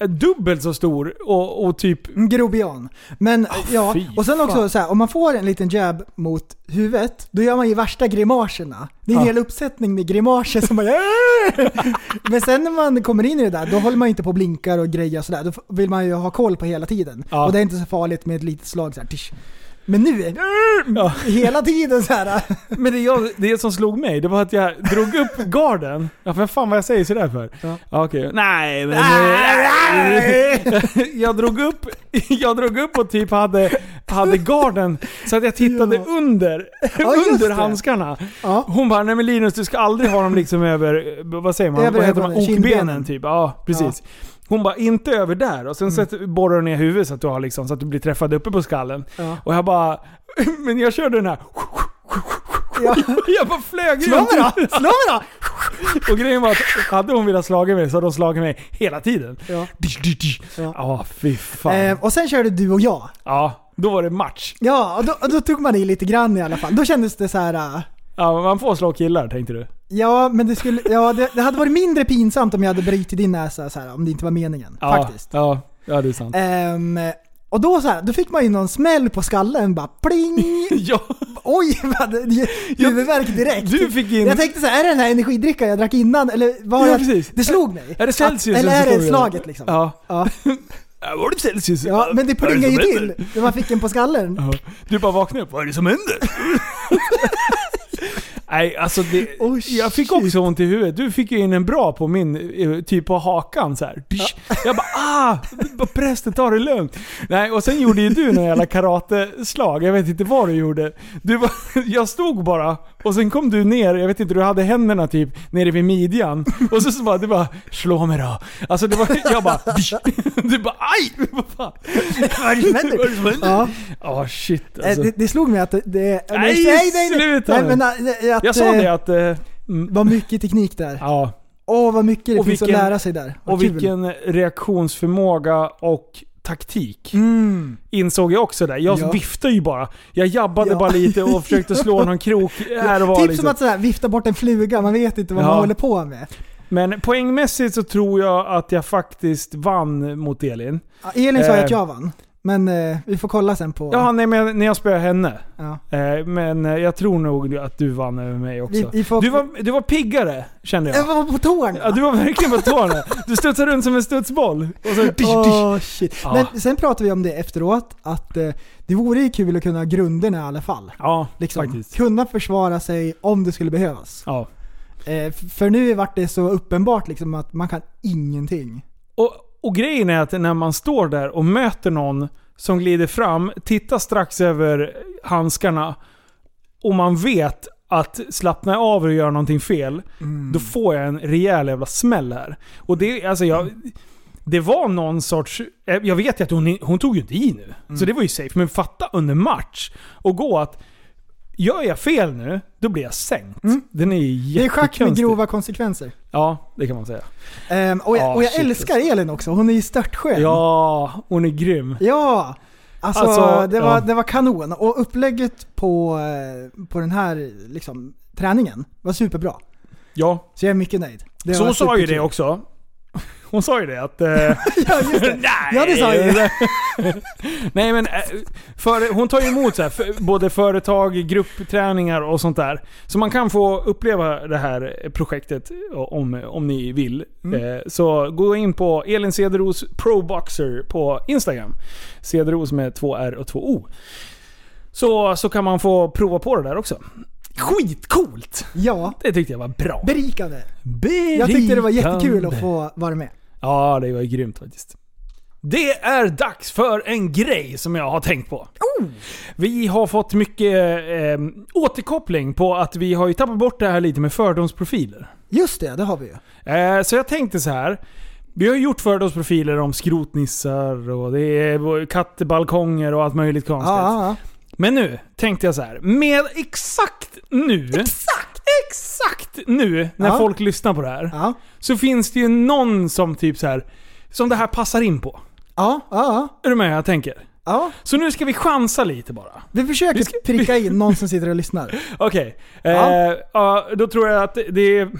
Speaker 2: eh, dubbelt så stor och, och typ
Speaker 3: Mm, Grobian. Men ja,
Speaker 2: fy
Speaker 3: och sen också
Speaker 2: fan.
Speaker 3: så här, om man får en liten jab mot huvudet, då gör man ju värsta grimaserna. Det är en
Speaker 2: Ja.
Speaker 3: hel uppsättning med grimaser som man Men sen när man kommer in i det där, då håller man ju inte på och blinkar och grejer och sådär. Då f- vill man ju ha koll på hela tiden.
Speaker 2: Ja.
Speaker 3: Och det är inte så farligt med ett litet slag så här, tisch. Men nu, Mm.
Speaker 2: Ja.
Speaker 3: hela tiden så här.
Speaker 2: Men det, jag, det som slog mig, det var att jag drog upp garden. Ja, för fan vad jag säger sådär för. Ja. Okej. Nej, men... jag, drog upp, jag drog upp och typ hade, hade garden så att jag tittade
Speaker 3: Ja.
Speaker 2: under,
Speaker 3: Ja, just
Speaker 2: under
Speaker 3: det.
Speaker 2: handskarna.
Speaker 3: Ja.
Speaker 2: Hon bara, nej men Linus du ska aldrig ha dem liksom över, eh, vad säger man?
Speaker 3: Över
Speaker 2: vad heter man?
Speaker 3: ögonen,
Speaker 2: Okbenen
Speaker 3: kindbenen.
Speaker 2: typ. Ja, precis. Hon bara, inte över där. Och sen
Speaker 3: Mm.
Speaker 2: sätter, borrar hon ner huvudet så att, du har liksom, så att du blir träffad uppe på skallen.
Speaker 3: Ja.
Speaker 2: Och jag bara, men jag körde den här.
Speaker 3: Ja.
Speaker 2: Jag bara flög
Speaker 3: Slå mig då!
Speaker 2: runt.
Speaker 3: Slå mig då!
Speaker 2: Och grejen var att hade hon velat slaga mig så hade hon slagit mig hela tiden.
Speaker 3: Ja.
Speaker 2: Ja,
Speaker 3: Ja.
Speaker 2: fy fan.
Speaker 3: Eh, och sen körde du och jag.
Speaker 2: Ja, då var det match.
Speaker 3: Ja, och då, och då tog man i lite grann i alla fall. Då kändes det så här. eh,
Speaker 2: Ja, man får slå killar tänkte du.
Speaker 3: Ja, men det, skulle, ja, det, det hade varit mindre pinsamt om jag hade brutit din näsa så här, om det inte var meningen.
Speaker 2: Ja,
Speaker 3: Faktiskt.
Speaker 2: Ja, ja det är sant.
Speaker 3: Ehm, och då, så här, då fick man ju någon smäll på skallen, bara pling!
Speaker 2: Ja,
Speaker 3: Oj, vad det- det- huvudvärk direkt.
Speaker 2: du fick in...
Speaker 3: Jag tänkte så här, är det den här energidrickan jag drack innan? Eller vad har
Speaker 2: Ja,
Speaker 3: jag,
Speaker 2: precis.
Speaker 3: Det slog mig.
Speaker 2: Är det Celsius?
Speaker 3: Att, eller är
Speaker 2: som
Speaker 3: det
Speaker 2: står i den?
Speaker 3: slaget liksom?
Speaker 2: Ja.
Speaker 3: Ja.
Speaker 2: Äh, Var det Celsius?
Speaker 3: Ja, men det
Speaker 2: Vad är
Speaker 3: plingade ju
Speaker 2: som händer?
Speaker 3: till när man fick en på skallen.
Speaker 2: Ja. Du bara vaknar upp. Vad är det som händer? Nej, alltså det,
Speaker 3: Oh,
Speaker 2: Jag fick också ont i huvudet. Du fick ju in en bra på min, eh, typ på hakan så här. Jag bara ah! bara, Prästen, ta det lugnt. Nej, och sen gjorde ju du några jävla karateslag. Jag vet inte vad du gjorde. Du var, jag stod bara och sen kom du ner, jag vet inte, du hade händerna typ nere vid midjan. Och så, så bara, du bara slå mig då. Alltså det var, jag bara Du bara aj! Vad fan? Vad är det som händer?
Speaker 3: Ja.
Speaker 2: Ja, shit
Speaker 3: Eh,
Speaker 2: alltså.
Speaker 3: Det, det slog mig att det... det
Speaker 2: Nej, sluta
Speaker 3: nej,
Speaker 2: nu.
Speaker 3: men, eh, att,
Speaker 2: Jag sa
Speaker 3: eh,
Speaker 2: det att... eh, mm,
Speaker 3: Vad mycket teknik där.
Speaker 2: Ja.
Speaker 3: Åh, vad mycket det
Speaker 2: Och
Speaker 3: finns
Speaker 2: vilken-
Speaker 3: att lära sig där. Vad
Speaker 2: Och
Speaker 3: kul.
Speaker 2: vilken reaktionsförmåga och taktik.
Speaker 3: Mm.
Speaker 2: Insåg jag också där. Jag
Speaker 3: Ja.
Speaker 2: viftade ju bara. Jag jabbade
Speaker 3: Ja.
Speaker 2: bara lite och försökte slå någon krok här och var.
Speaker 3: typ
Speaker 2: liksom.
Speaker 3: som att sådär, vifta bort en fluga, man vet inte vad
Speaker 2: Ja.
Speaker 3: man håller på med.
Speaker 2: Men poängmässigt så tror jag att jag faktiskt vann mot Elin.
Speaker 3: Ja, Elin sa ju
Speaker 2: Eh.
Speaker 3: att jag vann, men eh, vi får kolla sen på...
Speaker 2: Ja, nej, men när jag spöade henne.
Speaker 3: Ja.
Speaker 2: Eh, Men eh, jag tror nog att du vann över mig
Speaker 3: Vi,
Speaker 2: också.
Speaker 3: vi får,
Speaker 2: Du var, du var piggare kände
Speaker 3: Jag
Speaker 2: jag.
Speaker 3: var på tårna!
Speaker 2: Ja, du var verkligen på tårna. Du studsade runt som en studsboll. Och så...
Speaker 3: Åh, shit.
Speaker 2: Ja.
Speaker 3: Men sen pratade vi om det efteråt, att eh, det vore ju kul att kunna grunderna i alla fall.
Speaker 2: Ja,
Speaker 3: Liksom,
Speaker 2: faktiskt.
Speaker 3: kunna försvara sig om det skulle behövas.
Speaker 2: Ja.
Speaker 3: Eh, f- för nu vart det så uppenbart liksom att man kan ingenting.
Speaker 2: Och, och grejen är att när man står där och möter någon som glider fram, tittar strax över handskarna och man vet att slappna av och göra någonting fel,
Speaker 3: Mm.
Speaker 2: då får jag en rejäl jävla smäll här. Och det, alltså jag, det var någon sorts... eh, Jag vet ju att hon, hon tog ju inte i nu,
Speaker 3: Mm.
Speaker 2: så det var ju safe. Men fatta under match och gå att gör jag fel nu, då blir jag sänkt. Den är ju
Speaker 3: Mm. Det är schack med
Speaker 2: jättekonstig.
Speaker 3: grova konsekvenser.
Speaker 2: Ja, det kan man säga.
Speaker 3: Ehm, och jag,
Speaker 2: Ah,
Speaker 3: och jag
Speaker 2: shit,
Speaker 3: älskar Elin också, hon är ju störtskön.
Speaker 2: Ja, hon är grym.
Speaker 3: Ja! Alltså,
Speaker 2: Alltså,
Speaker 3: det, var,
Speaker 2: ja.
Speaker 3: det var kanon. Och upplägget på, eh, på den här liksom, träningen var superbra.
Speaker 2: Ja,
Speaker 3: Så jag är mycket nöjd. Det
Speaker 2: Så
Speaker 3: var
Speaker 2: hon sa ju
Speaker 3: superkul.
Speaker 2: det också. Hon sa ju det att... Eh, ja,
Speaker 3: just det.
Speaker 2: Nej!
Speaker 3: Ja, det sa jag
Speaker 2: Nej men, eh, för, hon tar ju emot så här, för, både företag, gruppträningar och sånt där. Så man kan få uppleva det här projektet eh, om, om ni vill. Eh, så gå in på Elin Cederos Proboxer på Instagram. Cederos med två R och två O. Så, så kan man få prova på det där också. Skitcoolt!
Speaker 3: Ja,
Speaker 2: Det tyckte jag var bra.
Speaker 3: berikande. Jag tyckte det var jättekul att få vara med.
Speaker 2: Ja, det var ju grymt faktiskt. Det är dags för en grej som jag har tänkt på. Vi har fått mycket eh, återkoppling på att vi har ju tappat bort det här lite med fördomsprofiler.
Speaker 3: Just det, det har vi ju.
Speaker 2: Eh, så jag tänkte så här. Vi har ju gjort fördomsprofiler om skrotnissar och det är kattbalkonger och allt möjligt konstigt.
Speaker 3: Ja, ja,
Speaker 2: Men nu tänkte jag så här. Med exakt nu. Exakt! Exakt nu när
Speaker 3: Ja.
Speaker 2: folk lyssnar på det här.
Speaker 3: ja.
Speaker 2: Så finns det ju någon som typ så här som det här passar in på.
Speaker 3: Ja, ja, ja.
Speaker 2: Är du med jag tänker?
Speaker 3: ja.
Speaker 2: Så nu ska vi chansa lite bara.
Speaker 3: Vi försöker
Speaker 2: Vi ska-
Speaker 3: pricka in någon som sitter och lyssnar.
Speaker 2: Okej.
Speaker 3: Ja.
Speaker 2: Eh, ja, då tror jag att det är, eh,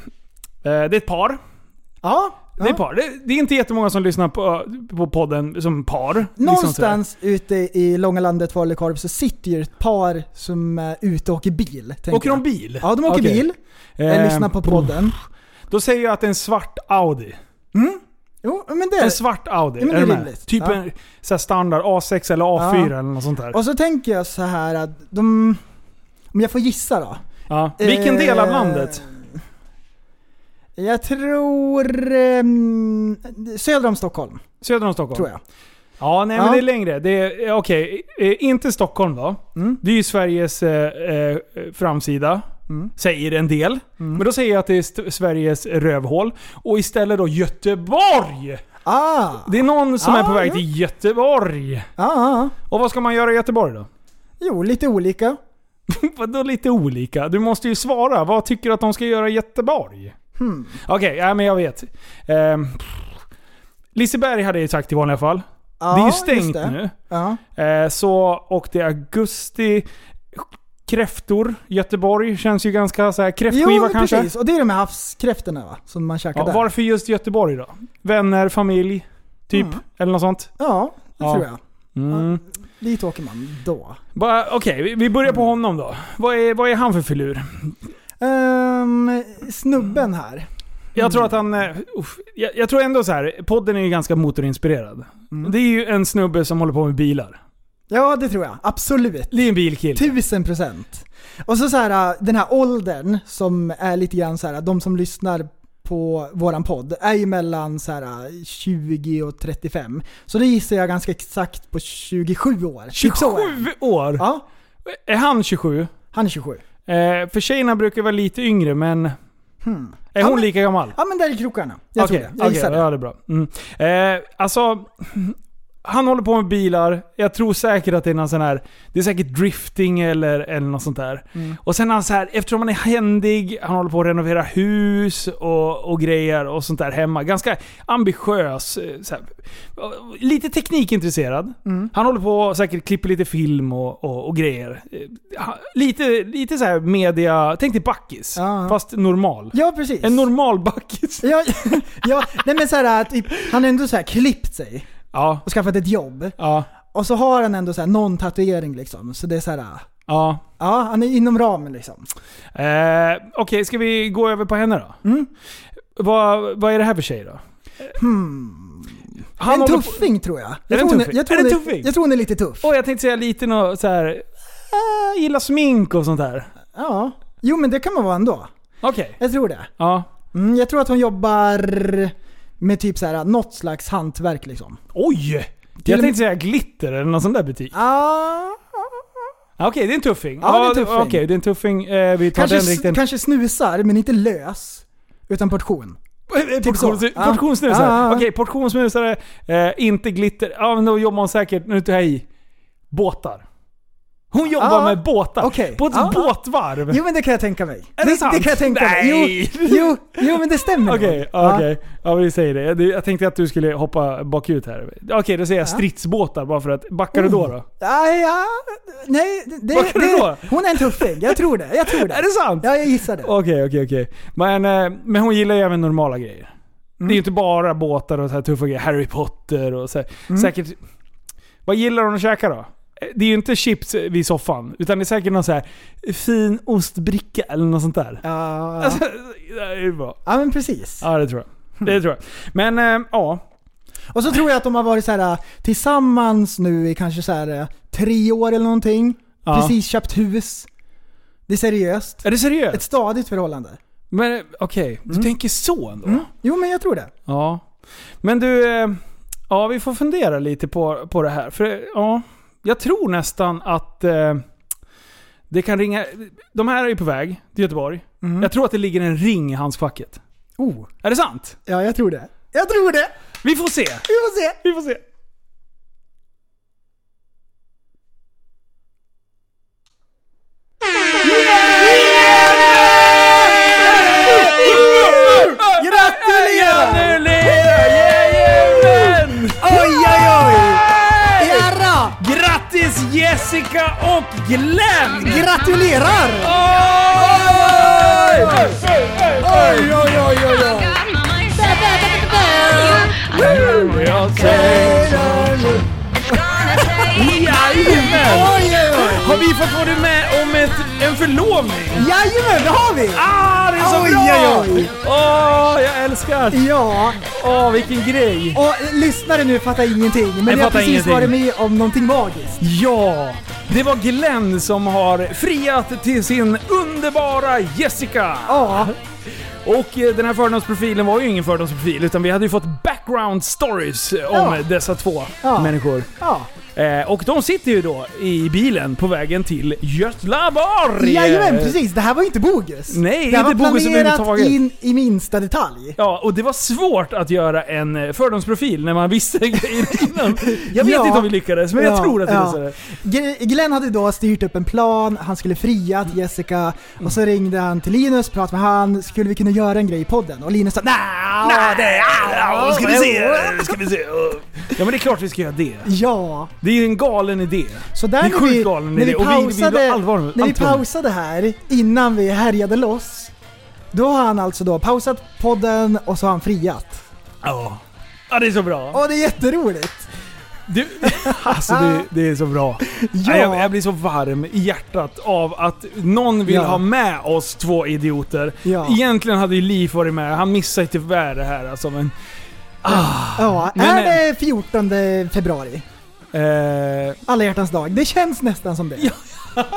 Speaker 2: det är ett par.
Speaker 3: Ja,
Speaker 2: Det är
Speaker 3: ja.
Speaker 2: ett par. Det, det är inte jättemånga som lyssnar på, på podden som par. Liksom
Speaker 3: Någonstans ute i långa landet Falukorv så sitter ju ett par som är ute och åker bil. tänker
Speaker 2: sådär. Åker de
Speaker 3: jag.
Speaker 2: bil?
Speaker 3: Ja, de åker
Speaker 2: Okej.
Speaker 3: bil.
Speaker 2: Eh,
Speaker 3: Jag lyssnar på podden.
Speaker 2: Då säger jag att det är en svart Audi.
Speaker 3: Jo, men det
Speaker 2: En
Speaker 3: är
Speaker 2: svart Audi.
Speaker 3: Ja, men det
Speaker 2: är
Speaker 3: är
Speaker 2: du med?
Speaker 3: rimligt.
Speaker 2: Typ
Speaker 3: Ja.
Speaker 2: en så här standard A6 eller A4
Speaker 3: Ja.
Speaker 2: eller något sånt där.
Speaker 3: Och så tänker jag så här att de... Om jag får gissa då.
Speaker 2: Ja. Vilken del av landet?
Speaker 3: Eh, Jag tror... ehm, söder om Stockholm,
Speaker 2: Söder om Stockholm?
Speaker 3: tror jag.
Speaker 2: Ja, nej men
Speaker 3: Ja.
Speaker 2: det är längre. Det är, eh, okej, eh, inte Stockholm då.
Speaker 3: Mm.
Speaker 2: Det är ju Sveriges eh, eh, framsida.
Speaker 3: Mm.
Speaker 2: Säger en del. Men då säger jag att det är st- Sveriges rövhål. Och istället då Göteborg!
Speaker 3: Ah!
Speaker 2: Det är någon som är på
Speaker 3: Ah,
Speaker 2: väg
Speaker 3: ja.
Speaker 2: till Göteborg.
Speaker 3: Ja, ah, ah.
Speaker 2: Och vad ska man göra i Göteborg då?
Speaker 3: Jo, lite olika.
Speaker 2: Vadå lite olika? Du måste ju svara. Vad tycker du att de ska göra i Göteborg?
Speaker 3: Hmm.
Speaker 2: Okej, ja, men jag vet. Ehm, Liseberg hade jag ju sagt i vanliga fall.
Speaker 3: Ja,
Speaker 2: det är ju
Speaker 3: just
Speaker 2: stängt
Speaker 3: det.
Speaker 2: nu.
Speaker 3: Ja.
Speaker 2: Eh, så, och det är augusti. Kräftor, Göteborg känns ju ganska så här
Speaker 3: Jo,
Speaker 2: kräftskiva kanske.
Speaker 3: precis. Och det är de här havskräftorna va? Som man käkar
Speaker 2: Ja,
Speaker 3: där.
Speaker 2: varför just Göteborg då? Vänner, familj, typ?
Speaker 3: Mm.
Speaker 2: Eller något sånt?
Speaker 3: Ja, det
Speaker 2: Ja.
Speaker 3: tror jag.
Speaker 2: Mm.
Speaker 3: Dit åker man då.
Speaker 2: Bara- Okej, vi, vi börjar på honom då. Vad är, vad är han för filur?
Speaker 3: Ehm, snubben här.
Speaker 2: Jag
Speaker 3: Mm.
Speaker 2: tror att han... eh, Uff, jag, jag tror ändå så här. podden är ju ganska motorinspirerad.
Speaker 3: Mm.
Speaker 2: Det är ju en snubbe som håller på med bilar.
Speaker 3: Ja, det tror jag. Absolut.
Speaker 2: Det är en bilkille.
Speaker 3: Tusen procent. Och så, så här, äh, den här åldern som är lite grann så här, de som lyssnar på våran podd är ju mellan så här, 20 och 35. Så det gissar jag ganska exakt på 27 år. Typ
Speaker 2: 27
Speaker 3: Så är han.
Speaker 2: år!
Speaker 3: Ja,
Speaker 2: Är han 27? Eh,
Speaker 3: han är 27.
Speaker 2: för tjejerna brukar vara lite yngre, men... Är
Speaker 3: Hmm. Ja,
Speaker 2: hon
Speaker 3: men-
Speaker 2: lika gammal?
Speaker 3: Ja men där är krokarna. Jag tror det. Jag
Speaker 2: okej,
Speaker 3: gissar det.
Speaker 2: ja, det är bra. Mm. Eh, alltså, han håller på med bilar. Jag tror säkert att det är någon sån här... Det är säkert drifting eller, eller något sånt där.
Speaker 3: Mm.
Speaker 2: Och sen är han så här, eftersom han är händig, han håller på att renovera hus och, och grejer och sånt där hemma. Ganska ambitiös. eh, Så här, lite teknikintresserad.
Speaker 3: Mm.
Speaker 2: Han håller på och säkert klipper lite film och, och, och grejer. Eh, han- Lite, lite så här media... Tänk dig Backis,
Speaker 3: Ja.
Speaker 2: fast normal.
Speaker 3: Ja precis.
Speaker 2: En normal Backis.
Speaker 3: ja, ja, nej men så här, typ, han har ändå så här klippt sig
Speaker 2: Ja.
Speaker 3: och skaffat ett jobb.
Speaker 2: Ja.
Speaker 3: Och så har han ändå så här någon tatuering liksom. Så det är så här,
Speaker 2: Ja.
Speaker 3: ja han är inom ramen liksom.
Speaker 2: Eh, Okej, ska vi gå över på henne då?
Speaker 3: Mm.
Speaker 2: Vad, vad är det här för tjej då? Han
Speaker 3: Hmm. en
Speaker 2: håller
Speaker 3: tuffing tror jag. jag
Speaker 2: det en
Speaker 3: tror hon
Speaker 2: tuffing?
Speaker 3: Jag tror,
Speaker 2: Är det
Speaker 3: hon
Speaker 2: en tuffing?
Speaker 3: jag tror hon är lite tuff.
Speaker 2: På, oh, jag tänkte säga lite nå så här. eh, gillar smink och sånt där.
Speaker 3: Ja. Jo men det kan man vara ändå.
Speaker 2: Okej.
Speaker 3: Jag tror det.
Speaker 2: Ja.
Speaker 3: Mm, jag tror att hon jobbar med typ så här, något slags hantverk liksom.
Speaker 2: Oj!
Speaker 3: och
Speaker 2: Jag
Speaker 3: med-
Speaker 2: tänkte säga glitter eller någon sån där butik.
Speaker 3: Ah,
Speaker 2: Ah, Okej, det är en tuffing.
Speaker 3: Ja, det är en
Speaker 2: det-
Speaker 3: tuffing.
Speaker 2: Okej, det är en tuffing. Eh, vi tar
Speaker 3: kanske,
Speaker 2: den riktigt.
Speaker 3: kanske snusar men inte lös. Utan portion.
Speaker 2: Portions,
Speaker 3: Typ så. Ja.
Speaker 2: Portionssnusare.
Speaker 3: Ja, ja, ja.
Speaker 2: Okej, portionssnusare. Eh, inte glitter. Ja, men då jobbar hon säkert, nu tar jag i, båtar. Hon jobbar
Speaker 3: Ja.
Speaker 2: med båtar.
Speaker 3: Okej.
Speaker 2: På ett
Speaker 3: Ja.
Speaker 2: båtvarv.
Speaker 3: Jo men det kan jag tänka mig.
Speaker 2: Är det sant?
Speaker 3: det kan jag tänka mig.
Speaker 2: Nej.
Speaker 3: Jo, jo, jo men det stämmer nog.
Speaker 2: Okej,
Speaker 3: Ja.
Speaker 2: okej. Ja, vi säger det. Jag- Jag tänkte att du skulle hoppa bakut här. Okej, då säger jag stridsbåtar bara för att... Backar
Speaker 3: Oh.
Speaker 2: du då? då?
Speaker 3: Ja, ja, nej, det,
Speaker 2: Vad kan det vara?
Speaker 3: det, hon är en tuffing. Jag tror det. Jag tror det.
Speaker 2: Är det sant?
Speaker 3: Ja, jag gissar det.
Speaker 2: Okej, okej, okej. Men, eh, men hon gillar ju även normala grejer. Det är ju inte bara båtar och så här tuffa grejer. Harry Potter och så här.
Speaker 3: Mm.
Speaker 2: Säkert... Vad gillar hon att käka då? Eh, Det är ju inte chips eh, vid soffan, utan det är säkert någon så här fin ostbricka eller något sånt där.
Speaker 3: Ja, ja.
Speaker 2: Alltså, det är ju bra.
Speaker 3: ja men precis.
Speaker 2: Ja, det tror jag. Det tror jag. Men, eh, ja.
Speaker 3: Och så tror jag att de har varit så här äh, tillsammans nu i kanske så här äh, tre år eller någonting.
Speaker 2: Ja.
Speaker 3: Precis köpt hus. Det är seriöst.
Speaker 2: Är det seriöst?
Speaker 3: Ett Mm. stadigt förhållande.
Speaker 2: Men eh, okej, du tänker så ändå?
Speaker 3: Jo men jag tror det.
Speaker 2: Ja. Men du, eh, ja vi får fundera lite på, på det här. För eh, ja, jag tror nästan att eh, det kan ringa... De här är ju på väg till Göteborg. Jag tror att det ligger en ring i handskfacket.
Speaker 3: Oh,
Speaker 2: Är det sant?
Speaker 3: ja jag tror det. Jag tror det!
Speaker 2: Vi får se!
Speaker 3: Vi får se!
Speaker 2: Vi får se.
Speaker 3: Gratulerar! Oj oj oj! Ära!
Speaker 2: Grattis Jessica och Glenn!
Speaker 3: Gratulerar! Oj oj oj oj oj!
Speaker 2: Jajamän!
Speaker 3: Oj oj oj!
Speaker 2: Har vi fått vara med om ett, en förlovning?
Speaker 3: Jajamän, det har vi!
Speaker 2: Ah, det är så
Speaker 3: Oj,
Speaker 2: bra!
Speaker 3: oj, oj.
Speaker 2: Åh, jag älskar!
Speaker 3: Ja,
Speaker 2: Åh, vilken grej!
Speaker 3: och eh, lyssnare nu fattar ingenting, men
Speaker 2: Jag
Speaker 3: jag har
Speaker 2: fattar
Speaker 3: precis
Speaker 2: ingenting.
Speaker 3: varit med om någonting magiskt.
Speaker 2: Ja! Det var Glenn som har friat till sin underbara Jessica!
Speaker 3: Ja,
Speaker 2: Och eh, den här fördomsprofilen var ju ingen fördomsprofil, utan vi hade ju fått background stories eh, om
Speaker 3: Ja.
Speaker 2: dessa två
Speaker 3: Ja.
Speaker 2: människor.
Speaker 3: ja.
Speaker 2: Eh, och de sitter ju då i bilen på vägen till Götlaborg!
Speaker 3: Jajamän, precis. Det här var ju inte bogus.
Speaker 2: Nej,
Speaker 3: det här
Speaker 2: inte
Speaker 3: var
Speaker 2: bogus
Speaker 3: planerat
Speaker 2: överhuvudtaget.
Speaker 3: in i minsta detalj.
Speaker 2: Ja, och det var svårt att göra en eh, fördomsprofil när man visste grejer innan. Jag vet
Speaker 3: Ja.
Speaker 2: inte om vi lyckades, men jag
Speaker 3: Ja,
Speaker 2: tror att vi
Speaker 3: ja.
Speaker 2: lyckades.
Speaker 3: G- Glenn hade då styrt upp en plan, han skulle fria till Jessica och så ringde han till Linus, pratade med han, skulle vi kunna göra en grej i podden? Och Linus sa nej.
Speaker 2: Ja, det... Ja, ska vi se! Ska vi se. Ja, men det är klart vi ska göra det.
Speaker 3: Ja,
Speaker 2: Det är ju en galen idé.
Speaker 3: så där
Speaker 2: Det är
Speaker 3: när
Speaker 2: sjukt
Speaker 3: vi,
Speaker 2: galen
Speaker 3: när
Speaker 2: idé
Speaker 3: vi
Speaker 2: och vi- vi var
Speaker 3: pausade,
Speaker 2: allvar-
Speaker 3: när vi
Speaker 2: allvar.
Speaker 3: pausade här innan vi härjade loss, då har han alltså då pausat podden och så har han friat.
Speaker 2: Ja. Ja, det är så bra.
Speaker 3: Åh, det är jätteroligt!
Speaker 2: Du, alltså det, det är så bra.
Speaker 3: Ja.
Speaker 2: Nej, Jag, jag blir så varm i hjärtat av att någon vill
Speaker 3: Ja.
Speaker 2: ha med oss två idioter.
Speaker 3: Ja.
Speaker 2: Egentligen hade ju Liv varit med, han missar ju tyvärr det här alltså. Men, Ah.
Speaker 3: Ja,
Speaker 2: Men,
Speaker 3: är det 14 februari?
Speaker 2: eh,
Speaker 3: Alla hjärtans dag. Det känns nästan som det.